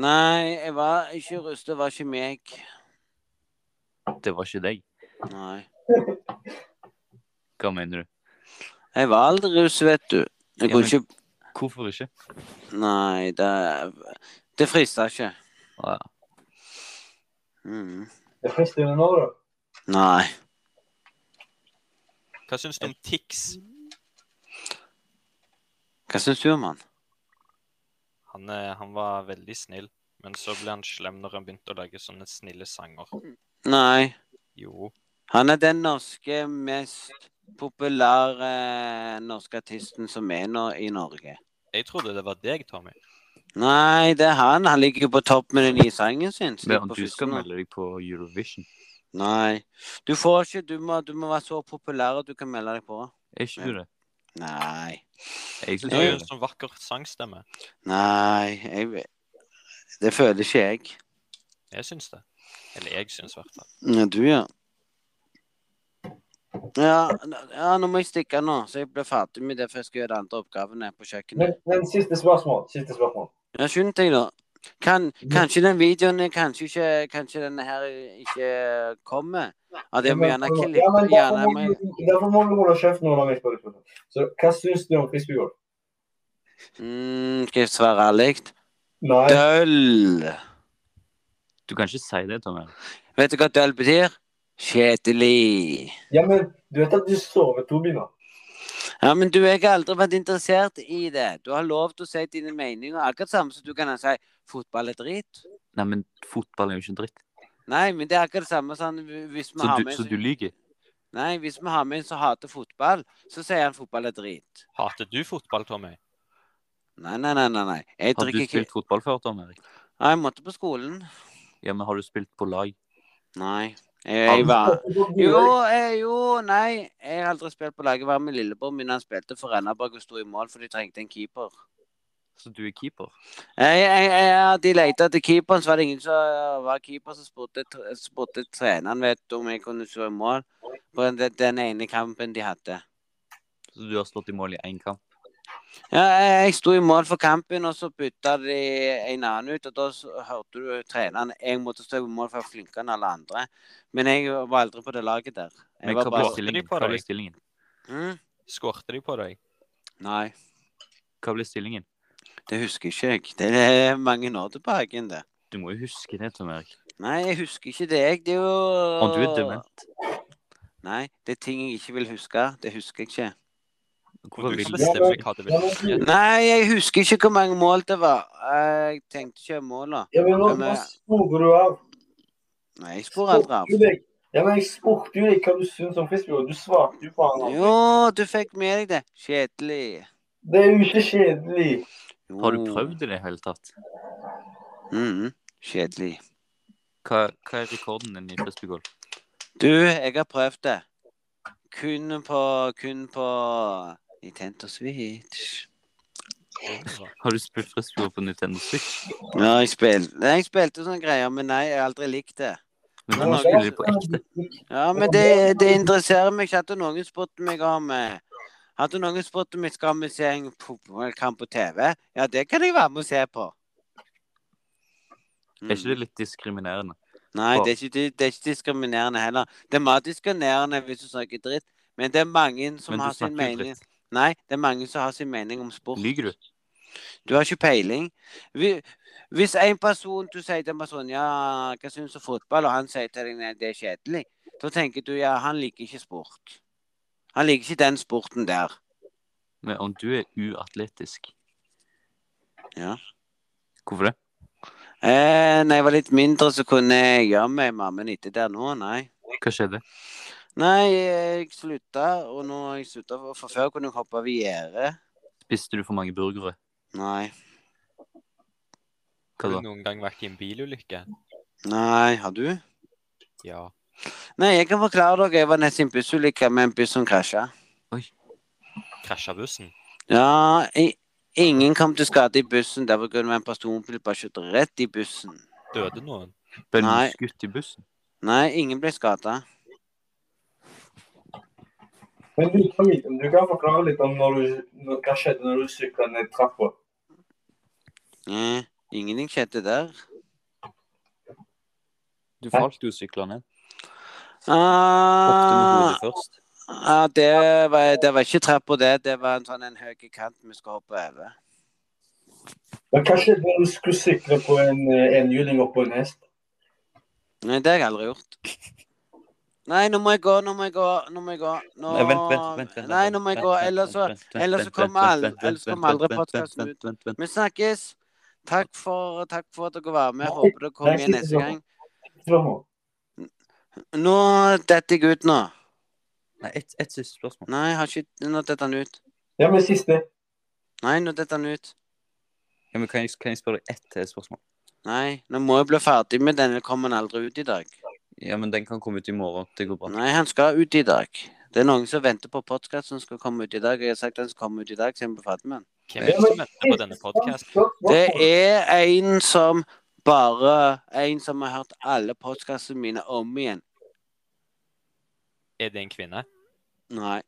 Nei, jeg var ikke russ, det var ikke meg.
Det var ikke deg.
Nei.
Hva mener du?
Jeg var aldri russ, vet du. Jeg
Ja, men-
kunne ikke
Hvorfor ikke?
Nei, det Det frista ikke.
Ah, ja.
Mm.
Det er første nå, da.
Nei.
Hva syns du om Tix?
Hva syns du om han?
Han, eh, han var veldig snill, men så ble han slem når han begynte å lage sånne snille sanger.
Nei.
Jo.
Han er den norske mest populære eh, norske artisten som er nå i Norge.
Jeg trodde det var deg, Tommy.
Nei, det er han. Han ligger jo på topp med den nye sangen sin. som
Men
ligger på
du skal
førsten nå.
melde deg på Eurovision.
Nei. Du får ikke Du må, du må være så populær at du kan melde deg på.
Er ikke du det?
Nei.
Jeg
Du
synes
har
jeg
jo
er
en
det.
sånn vakker sangstemme.
Nei, jeg Det føler ikke jeg.
Jeg syns det. Eller jeg syns i hvert fall.
Ja, du, ja. Ja, n- ja, nå må jeg stikke nå, så jeg blir ferdig med det før jeg skal gjøre de andre oppgavene på kjøkkenet.
Men, men siste spørsmål. Siste spørsmål.
Ja, skynd deg, da. Kan,
Mm.
kanskje den videoen er kanskje ikke Kanskje denne her ikke kommer? Ja, det må gjerne
Ja,
klippe
men
gjerne,
derfor må
men,
du- Derfor må du holde kjeft når du har mitt spørsmål. Så hva syns du om Krispegård?
mm, Skal jeg svare ærlig?
Nei.
Døll!
Du kan ikke si det, Tommy.
Vet du hva døll betyr? Kjedelig.
Ja, men du vet at du sover to binder?
Ja, men du, jeg har aldri vært interessert i det. Du har lov til å si dine meninger, akkurat samme som du kan si fotball er drit.
Nei, men fotball er jo ikke en dritt.
Nei, men det er akkurat det samme sånn hvis vi
Så
har
du,
med en
så du
som-
lyver?
Nei, hvis vi har med en som hater fotball, så sier han fotball er drit.
Hater du fotball, Tommy?
Nei, nei, nei, nei. nei. Jeg
Har du
drikker ikke
spilt fotball før, Tom Erik?
Nei, jeg måtte på skolen.
Ja, men har du spilt på lag?
Nei. Jeg, jeg var Jo, jeg, jo, nei. Jeg har aldri spilt på laget. Jeg var med lillebror min. Han spilte for Rennaberg og sto i mål, for de trengte en keeper.
Så du er keeper?
Jeg, jeg, jeg, de lette etter keeperen, så var det ingen som eh, var keeper. Så spurte, spurte treneren vet du, om jeg kunne stå i mål på den, den ene kampen de hadde.
Så du har slått i mål i én kamp?
Ja, jeg, jeg sto i mål for kampen, og så bytta de en annen ut. Og da s- hørte du treneren jeg måtte stå i mål for jeg var flinkere enn alle andre. Men jeg var aldri på det laget der. Jeg
Men
var
hva ble
bare,
stillingen?
Hørte de på
Hva ble
deg?
stillingen?
mm,
Skårte de på deg?
nei,
Hva ble stillingen?
det husker ikke jeg. Det er mange år tilbake enn det.
Du må jo huske det, Tom Erik.
Nei, jeg husker ikke det. Jeg, det er jo
Og du er dement.
Nei, det er ting jeg ikke vil huske. Det husker jeg ikke.
Og
Hvorfor
du
vil
kan
du
bestemme hva du vil
Ja, men-
huske.
Nei, jeg husker ikke hvor mange mål det var. Jeg tenkte ikke måla.
Ja, men nå, nå sporer du av.
Nei, jeg sporer aldri av.
Spurte deg. Ja, men jeg spurte jo deg hva du syns om Krispegård. Du svarte jo faen aldri.
Jo, du fikk med deg det. Kjedelig.
Det er jo ikke kjedelig.
Jo.
Har du prøvd det i det hele tatt?
Mhm, Kjedelig.
Hva, hva er rekorden din i frisbeegolf?
Du, jeg har prøvd det. Kun på Kun på Nintendo Switch.
Har du spilt frisbeegolf på Nintendo Switch?
Ja, jeg spilte, nei, jeg spilte sånne greier, men nei, jeg har aldri likt det.
Men
Nei,
du må
nei,
spille det på ekte.
Ja, men det, det interesserer meg ikke at noen spurte meg om eh, Hadde noen spurt om jeg skal med se en fotballkamp på TV, ja, det kan jeg være med og se på.
Er ikke
Mm.
det litt diskriminerende?
Nei, det er, ikke, di- det er ikke diskriminerende heller. Det er mer diskriminerende hvis du snakker dritt, men det er mange som
Men du
har sin
snakker jo
mening
dritt.
Nei, det er mange som har sin mening om sport.
Lyver du?
Du har ikke peiling. Hvi- Hvis en person du sier til en person ja, hva syns du om fotball, og han sier til deg nei, det er kjedelig, da tenker du ja, han liker ikke sport. Han liker ikke den sporten der.
Men om du er uatletisk
Ja.
Hvorfor det?
Eh, når jeg var litt mindre, så kunne jeg gjøre meg mammen etter der nå, nei.
Hva skjedde?
Nei, jeg slutta, og nå har jeg slutta, for- for før kunne jeg hoppe over gjerdet.
Spiste du for mange burgere?
Nei.
Hva
Har du
da?
noen gang vært i en bilulykke?
Nei, har du?
Ja.
Nei, jeg kan forklare dere. Jeg var nesten i en bussulykke med en buss som krasja.
Krasja bussen?
Ja, jeg,
Ingen kom til skade i bussen der hvor det var en personbil bare kjørte rett i bussen.
Døde noen?
Ble du
Nei.
skutt i bussen?
Nei, ingen ble skada.
Men du, Camille, du kan forklare litt om når du, når, hva skjedde når du sykla ned trappa.
Eh, ingenting skjedde der.
Du falt jo sykla ned. Hoppte med
Ah,
hodet først.
ah, det, var, det var ikke trappa, det. Det var en sånn en høy kant vi skulle hoppe over.
Men hva skjedde når du skulle sykle på en eh, enhjuling oppå en hest?
Nei, det har jeg aldri gjort. Nei, nå må jeg gå, nå må jeg gå. Nå må jeg gå. Nå...
Nei, vent, vent, vent, vent.
Nei, nå må jeg gå, ellers så ellers så kommer all- ellers kommer aldri podcasten ut. Vi snakkes. Takk for, takk for at dere var med. Håper dere kommer igjen neste gang.
Hva
Nå detter jeg ut nå.
Nei, ett et siste spørsmål.
Nei, jeg har ikke Nå detter han ut.
Ja, men siste.
Nei, nå detter han ut.
Ja, men kan, jeg, kan jeg spørre deg ett til spørsmål?
Nei, nå må jeg bli ferdig med den. eller Kommer han aldri ut i dag?
Ja, men den kan komme ut i morgen. Det går bra.
Nei, han skal ut i dag. Det er noen som venter på podkast som skal komme ut i dag. Jeg har sagt han skal komme ut i dag, så jeg må bli ferdig med den.
Hvem er det som venter på denne podkasten?
Det er en som bare En som har hørt alle podkastene mine om igjen.
Er det en kvinne?
Nei.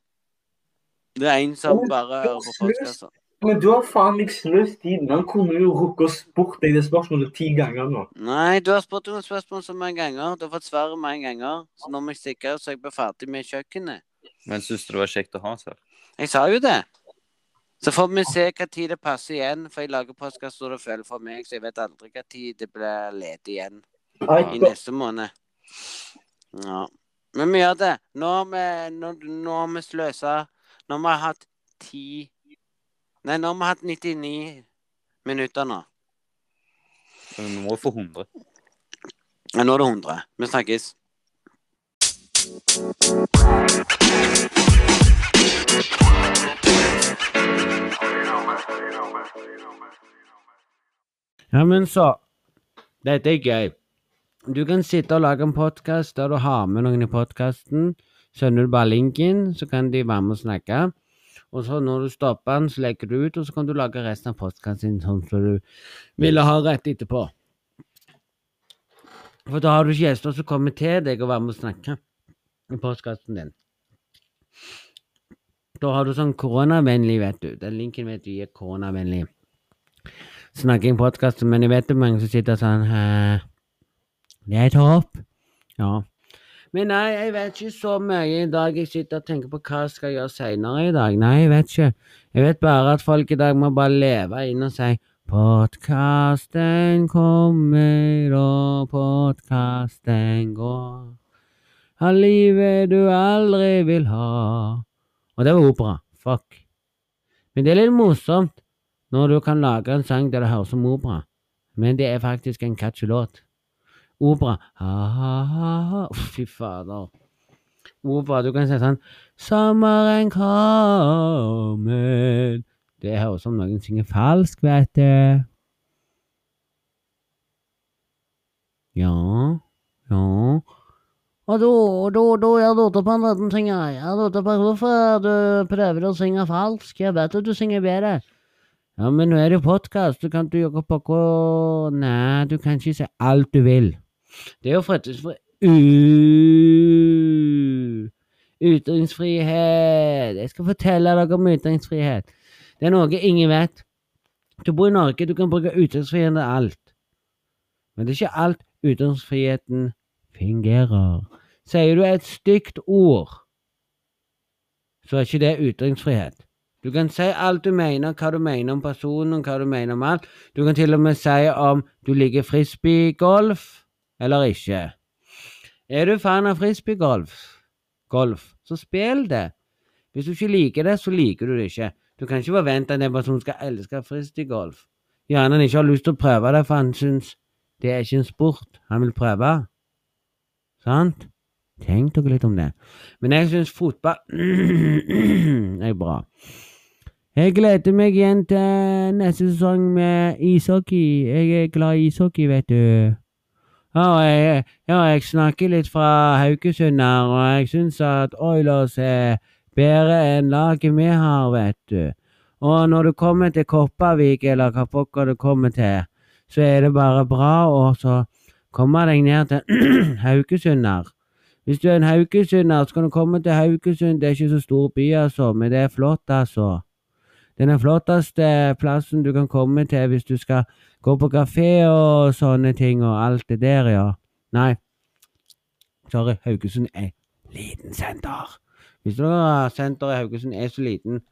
Det er en som bare hører på podkaster.
Men du har faen meg sløst tiden. Han kunne jo rukket å spurt deg det spørsmålet ti ganger nå.
Nei, du har spurt om et spørsmål så mange ganger. Du har fått svaret mange ganger. Så nå må jeg stikke, så jeg blir ferdig med kjøkkenet.
Men syns du det var kjekt å ha oss her?
Jeg sa jo det. Så får vi se hva tid det passer igjen, for jeg lager postkast når det føler for meg, så jeg vet aldri hva tid det blir ledig igjen
Nei,
Ah,
i neste måned. Ja. Men vi gjør det. Nå har vi, nå, nå har vi sløsa Nå har vi hatt ti Nei, nå har vi hatt 99 minutter nå.
Men Vi må få 100.
Ja, nå er det 100. Vi snakkes.
Ja, men så Dette er gøy. Du kan sitte og lage en podkast der du har med noen i podkasten. Sender du bare linken, så kan de være med og snakke. Og så når du stopper den, så legger du ut, og så kan du lage resten av podkasten din sånn som du ville ha rett etterpå. For da har du ikke gjester som kommer til deg og være med og snakke i podkasten din. Da har du sånn koronavennlig, vet du. Den linken vet du er koronavennlig snakking podkast, men jeg vet det er mange som sitter sånn «Hæ? Det er et håp. Ja. Men nei, jeg vet ikke så mye i dag. Jeg sitter og tenker på hva jeg skal gjøre seinere i dag. Nei, jeg vet ikke. Jeg vet bare at folk i dag må bare leve inn og si Podkasten kommer og podkasten går. Ha livet du aldri vil ha. Og det var opera. Fuck. Men det er litt morsomt når du kan lage en sang der det høres som opera, men det er faktisk en catchy låt. Opera ha-ha-ha Fy fader. Opera, du kan si sånn Sommeren kommer Det høres som noen synger falsk, vet du. Ja Ja Og da, da, da, jeg lurte på en liten ting. jeg. Jeg lurte på hvorfor du prøver å synge falsk. Jeg vet at du synger bedre. Ja, men nå er det podkast, så kan du gjøre på hva Nei, du kan ikke si alt du vil. Det er jo faktisk for U... Ytringsfrihet. Jeg skal fortelle dere om ytringsfrihet. Det er noe ingen vet. Du bor i Norge, du kan bruke ytringsfriheten til alt. Men det er ikke alt ytringsfriheten fungerer. Sier du et stygt ord, så er ikke det ytringsfrihet. Du kan si alt du mener, hva du mener om personen, hva du mener om alt. Du kan til og med si om du liker frisbeegolf eller ikke. Er du fan av frisbeegolf, golf, så spill det. Hvis du ikke liker det, så liker du det ikke. Du kan ikke forvente at en person skal elske frisbeegolf. Gjerne han ikke har lyst til å prøve det, for han syns det er ikke en sport han vil prøve. Sant? Tenk dere litt om det. Men jeg syns fotball er bra. Jeg gleder meg igjen til neste sesong med ishockey. Jeg er glad i ishockey, vet du. Ja, og jeg, ja, jeg snakker litt fra Haugesund her, og jeg syns at Oilers er bedre enn laget vi har, vet du. Og når du kommer til Kopervik, eller hva pokker du kommer til, så er det bare bra å så komme deg ned til Haugesund her. Hvis du er en haugesunder, så kan du komme til Haugesund. Det er ikke så stor by, altså, men det er flott, altså. Det er den flotteste plassen du kan komme til hvis du skal gå på kafé og sånne ting og alt det der, ja. Nei, sorry, Haugesund er liten senter. Hvis du har senteret i Haugesund er så liten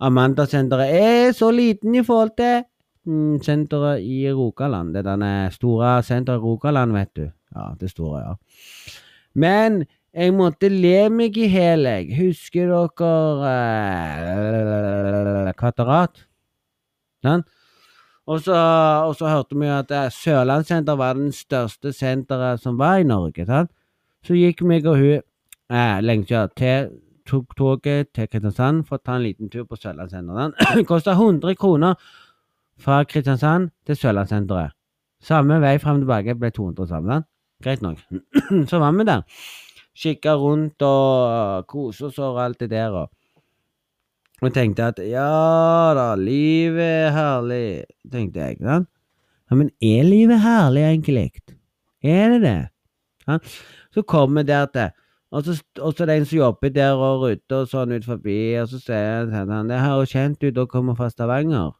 Amanda-senteret er så liten i forhold til mm, senteret i Rogaland. Det er denne store senteret i Rogaland, vet du. Ja, det store, ja. Men jeg måtte le meg i hjel, jeg. Husker dere eh, Kvaterat? Sant? Og så, og så hørte vi jo at eh, Sørlandssenter var den største senteret som var i Norge. Sant? Så gikk meg og hun eh, lengekjørt til tok toget til Kristiansand for å ta en liten tur på Sørlandssenteret. Den kosta 100 kroner fra Kristiansand til Sørlandssenteret. Samme vei fram og tilbake ble 200 sammen. Greit nok. Så var vi der. Kikka rundt og kosa oss og alt det der. Og, og tenkte at ja da, livet er herlig, tenkte jeg. Sant? Ja, men er livet herlig, egentlig? Er det det? Ja. Så kommer vi der til og så, og så er det en som jobber der og rydder og sånn ut forbi, og så sier han at det høres kjent ut, dere kommer fra Stavanger.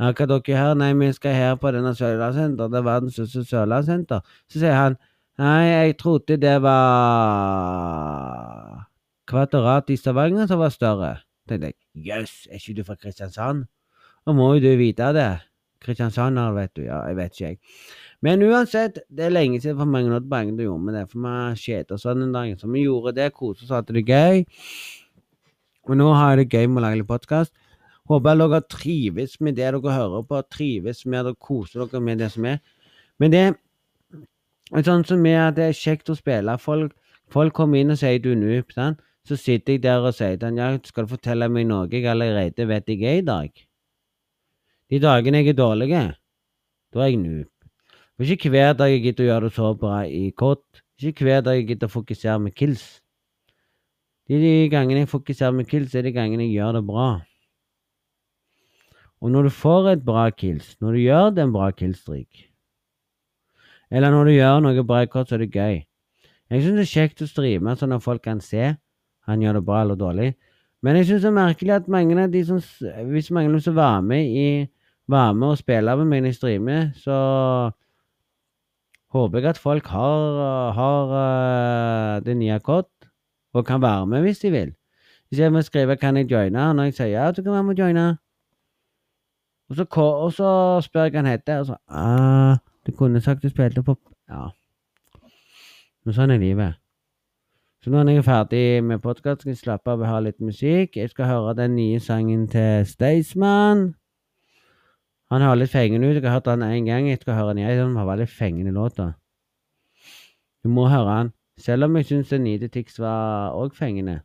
Ja, hva dere her? Nei, vi skal her på denne Sørlandssenter, det er verdens største Sørlandssenter. Så sier han nei, jeg trodde det var Kvaterat i Stavanger som var større. tenkte jeg, jøss, er ikke du fra Kristiansand? Da må jo du vite det. Kristiansand her, vet du. Ja, jeg vet ikke, jeg. Men uansett, det er lenge siden for mange nådde poenget du gjorde med det. For vi kjeder oss den dagen. Så vi gjorde det, koste oss, hadde det gøy. Og nå har jeg det gøy med å lage litt podkast. Håper dere trives med det dere hører på, trives med det, koser dere med det som er. Men det er sånn som er at det er kjekt å spille. Folk, folk kommer inn og sier du noob, sant. Så sitter jeg der og sier til han, ja, skal du fortelle meg noe jeg allerede vet jeg er i dag? De dagene jeg er dårlig, da er jeg noob. For ikke hver dag jeg gidder å gjøre det så bra i kort. Ikke hver dag jeg gidder å fokusere med kills. De, de gangene jeg fokuserer med kills, er de gangene jeg gjør det bra. Og når du får et bra kills, når du gjør det en bra killstreak, eller når du gjør noe bra i kort, så er det gøy. Jeg syns det er kjekt å streame sånn at folk kan se han gjør det bra eller dårlig. Men jeg syns det er merkelig at mange av de som s- Hvis mange av dem som var med i var med og spiller med meg når jeg streamer, så håper jeg at folk har, har eh, det nye kort og kan være med hvis de vil. Hvis jeg må skrive 'Kan jeg joine?' når jeg sier ja, så kan jeg være med og joine. Og så, ko- og så spør jeg hva han heter, og så ah, 'Du kunne sagt du spilte på Ja. Men sånn er livet. Så når jeg er ferdig med podkast, skal jeg slappe av og ha litt musikk. Jeg skal høre den nye sangen til Staysman. Han har litt fengende ut. Jeg har hørt han én gang. Jeg skal høre han igjen. Han har veldig fengende låt. da. Du må høre han. Selv om jeg syns den nye til Tix var òg fengende.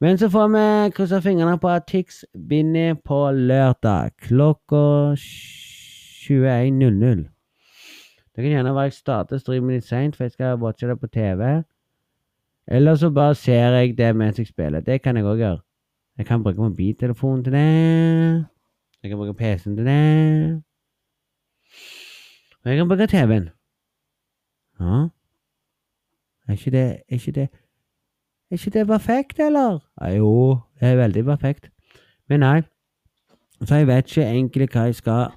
Men så får vi krysse fingrene på at Tix vinner på lørdag klokka 21.00. Det kan gjerne være jeg starter streamen litt seint, for jeg skal watche det på TV. Eller så bare ser jeg det mens jeg spiller. Det kan jeg òg gjøre. Jeg kan bruke mobiltelefonen til det. Jeg kan bruke PC-en til det. Og jeg kan bruke TV-en. Ja. Er ikke det Er ikke det Er ikke det perfekt, eller? Ja, jo, det er veldig perfekt. Men nei. Så jeg vet ikke egentlig hva jeg skal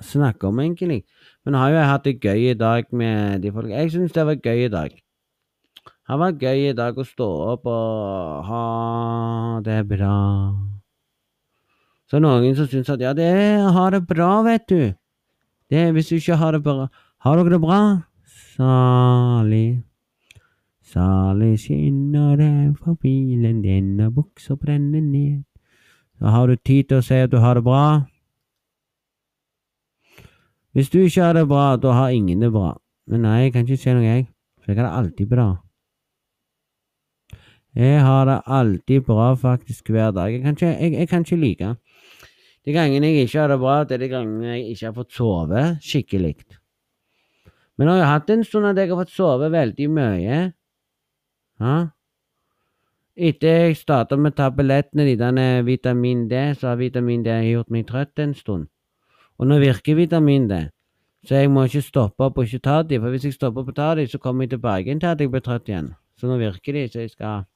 snakke om, egentlig. Men har jo jeg hatt det gøy i dag med de folk Jeg syns det var gøy i dag. Det har vært gøy i dag å stå opp og ha det bra. Så er det noen som syns at ja, det er å ha det bra, vet du. Det er hvis du ikke har det bra Har dere det bra? Salig. Salig skinner det fra bilen din, og buksa brenner ned. Så har du tid til å si at du har det bra. Hvis du ikke har det bra, da har ingen det bra. Men nei, jeg kan ikke si noe, jeg. For jeg har det alltid bra. Jeg har det alltid bra faktisk hver dag. Jeg kan ikke, jeg, jeg kan ikke like. De gangene jeg ikke har det bra, det er de gangene jeg ikke har fått sove skikkelig. Men jeg har hatt en stund at jeg har fått sove veldig mye. Ja? Etter jeg starta med tablettene, de derne vitamin D, så har vitamin D gjort meg trøtt en stund. Og nå virker vitamin D, så jeg må ikke stoppe opp og ikke ta de, for hvis jeg stopper opp og tar de, så kommer jeg tilbake igjen til at jeg blir trøtt igjen. Så nå virker de, så jeg skal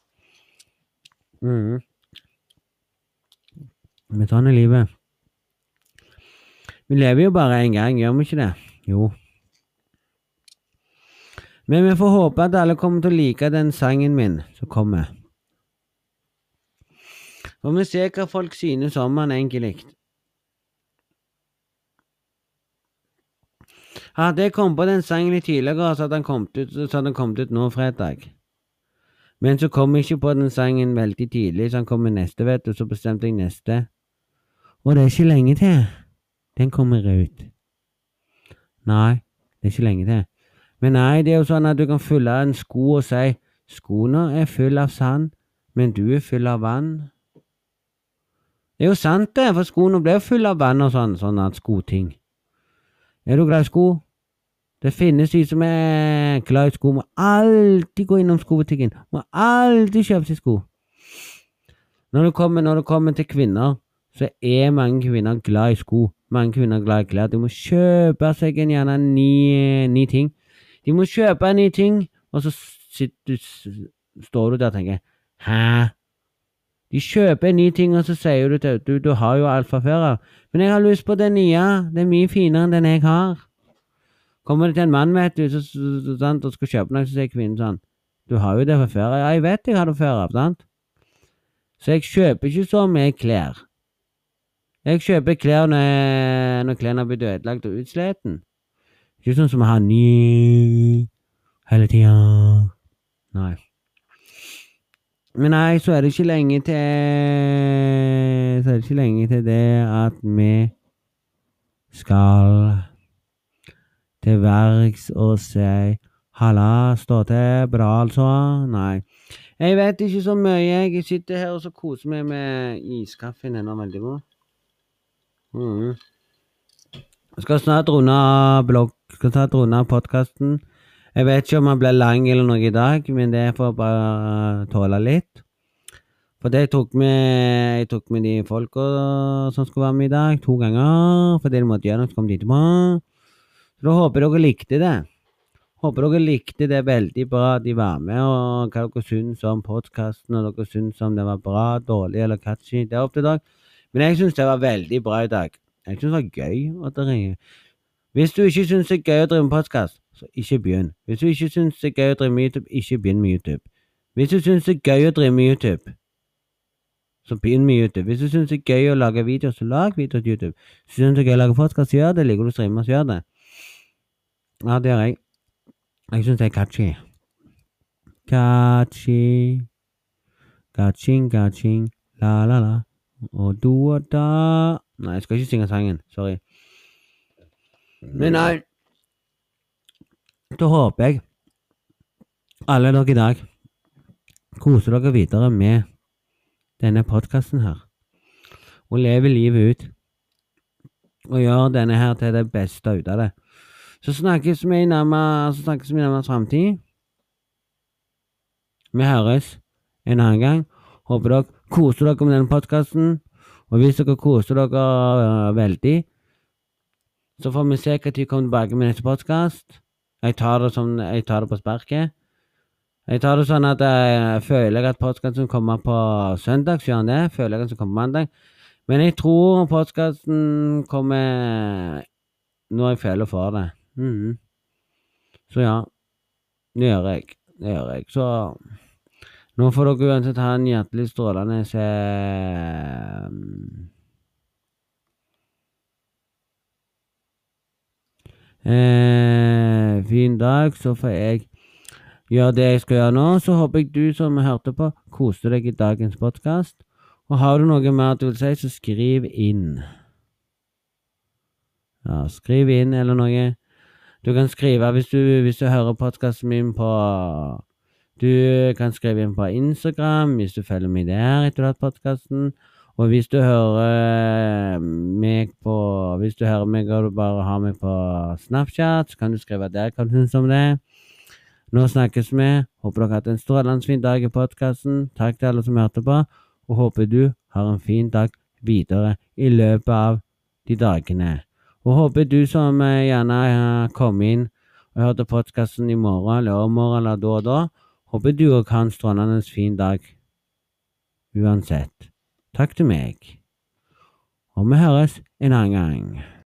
Mhm. Men sånn er livet. Vi lever jo bare én gang, gjør vi ikke det? Jo. Men vi får håpe at alle kommer til å like den sangen min som kommer. Får vi se hva folk synes om den egentlig. Hadde jeg kommet på den sangen litt tidligere, så hadde den kommet ut, så hadde den kommet ut nå fredag. Men så kom jeg ikke på den sangen veldig tidlig, så han kommer neste, vet du, så bestemte jeg neste. Og det er ikke lenge til. Den kommer ut. Nei, det er ikke lenge til. Men nei, det er jo sånn at du kan fylle en sko og si skoene er full av sand, men du er full av vann. Det er jo sant det, for skoene ble jo full av vann og sånn, sånn at skoting. Er du glad i sko? Det finnes de som er glad i sko, må alltid gå innom skobutikken. Må alltid kjøpe seg sko. Når det kommer, når det kommer til kvinner, så er mange kvinner glad i sko. Mange kvinner er glad i klær. De må kjøpe seg en gjerne ni, ni ting. De må kjøpe en ny ting, og så sitter, du- står du der og tenker Hæ? De kjøper en ny ting, og så sier du til du, du har jo alt fra før av. Men jeg har lyst på den nye. Den er mye finere enn den jeg har. Kommer det til en mann, vet du, så, så, så, sant, og skal kjøpe noe, så sier kvinnen sånn Du har jo det fra før av. Ja, jeg vet jeg har det fra før av, sant? Så jeg kjøper ikke så mye klær. Jeg kjøper klær når, når klærne har blitt ødelagt og utsliten. Ikke sånn som jeg har ny hele tida. Nei. Men nei, så er det ikke lenge til Så er det ikke lenge til det at vi skal til verks og si Halla, stå til bra, altså. Nei. Jeg vet ikke så mye. Jeg sitter her og så koser meg med iskaffen. Den er veldig god. Mm. Jeg skal snart runde av blogg, skal snart runde av podkasten. Jeg vet ikke om han blir lang eller noe i dag, men det får bare eh, tåle litt. For det tok med, jeg tok med de folka som skulle være med i dag, to ganger. Fordi de måtte gjøre noe, så kom de etterpå. Så da håper dere likte det. Håper dere likte det veldig bra at de var med, og hva dere syns om podkasten, og dere syns om det var bra, dårlig eller catchy. Det er opp til dere. Men jeg syns det var veldig bra i dag. Jeg syns det var gøy å drive. Hvis du ikke syns det er gøy å drive med podkast, så ikke begynn. Hvis du ikke syns det er gøy å drive med YouTube, ikke begynn med YouTube. Hvis du syns det er gøy å drive med YouTube, så begynn med YouTube. Hvis du syns det er gøy å lage videoer, så lag videoer til YouTube. Syns du det er gøy å lage podkast, så gjør det. Liker du å streame, så gjør det. Ja, det gjør jeg. Jeg syns det er catchy. Catchy. Catching, catching, la, la, la. Og du og da Nei, jeg skal ikke synge sangen. Sorry. Men nei Da håper jeg alle dere i dag koser dere videre med denne podkasten her. Og lever livet ut. Og gjør denne her til det beste ut av det. Så snakkes vi i nærmere, så snakkes vi i nærmere framtid. Vi høres en annen gang. Håper dere koser dere med denne podkasten. Og hvis dere koser dere øh, veldig, så får vi se når vi kommer tilbake med neste podkast. Jeg, tar det som- jeg tar det på sparket. Jeg tar det sånn at jeg føler jeg at podkasten kommer på søndag, så gjør han det. Føler jeg at den kommer mandag. Men jeg tror podkasten kommer når jeg føler for det. Mhm. Så ja. Det gjør jeg. Det gjør jeg. Så nå får dere uansett ha en hjertelig strålende se... Eh, fin dag, så får jeg gjøre det jeg skal gjøre nå. Så håper jeg du som hørte på, koste deg i dagens podkast. Og har du noe mer du vil si, så skriv inn. Ja, skriv inn eller noe. Du kan skrive hvis du, hvis du hører podkasten min på du kan skrive inn på Instagram hvis du følger meg der etter du har hatt podkasten. Og hvis du hører meg på Hvis du hører meg og du bare har meg på Snapchat, så kan du skrive der hva du syns om det. Nå snakkes vi. Håper dere har hatt en strålende fin dag i podkasten. Takk til alle som hørte på, og håper du har en fin dag videre i løpet av de dagene. Og håper du som eh, gjerne eh, kom inn og hørte podkasten i morgen eller om morgenen eller da og da, håper du òg har en strålende fin dag uansett. Takk til meg. Og vi høres en annen gang.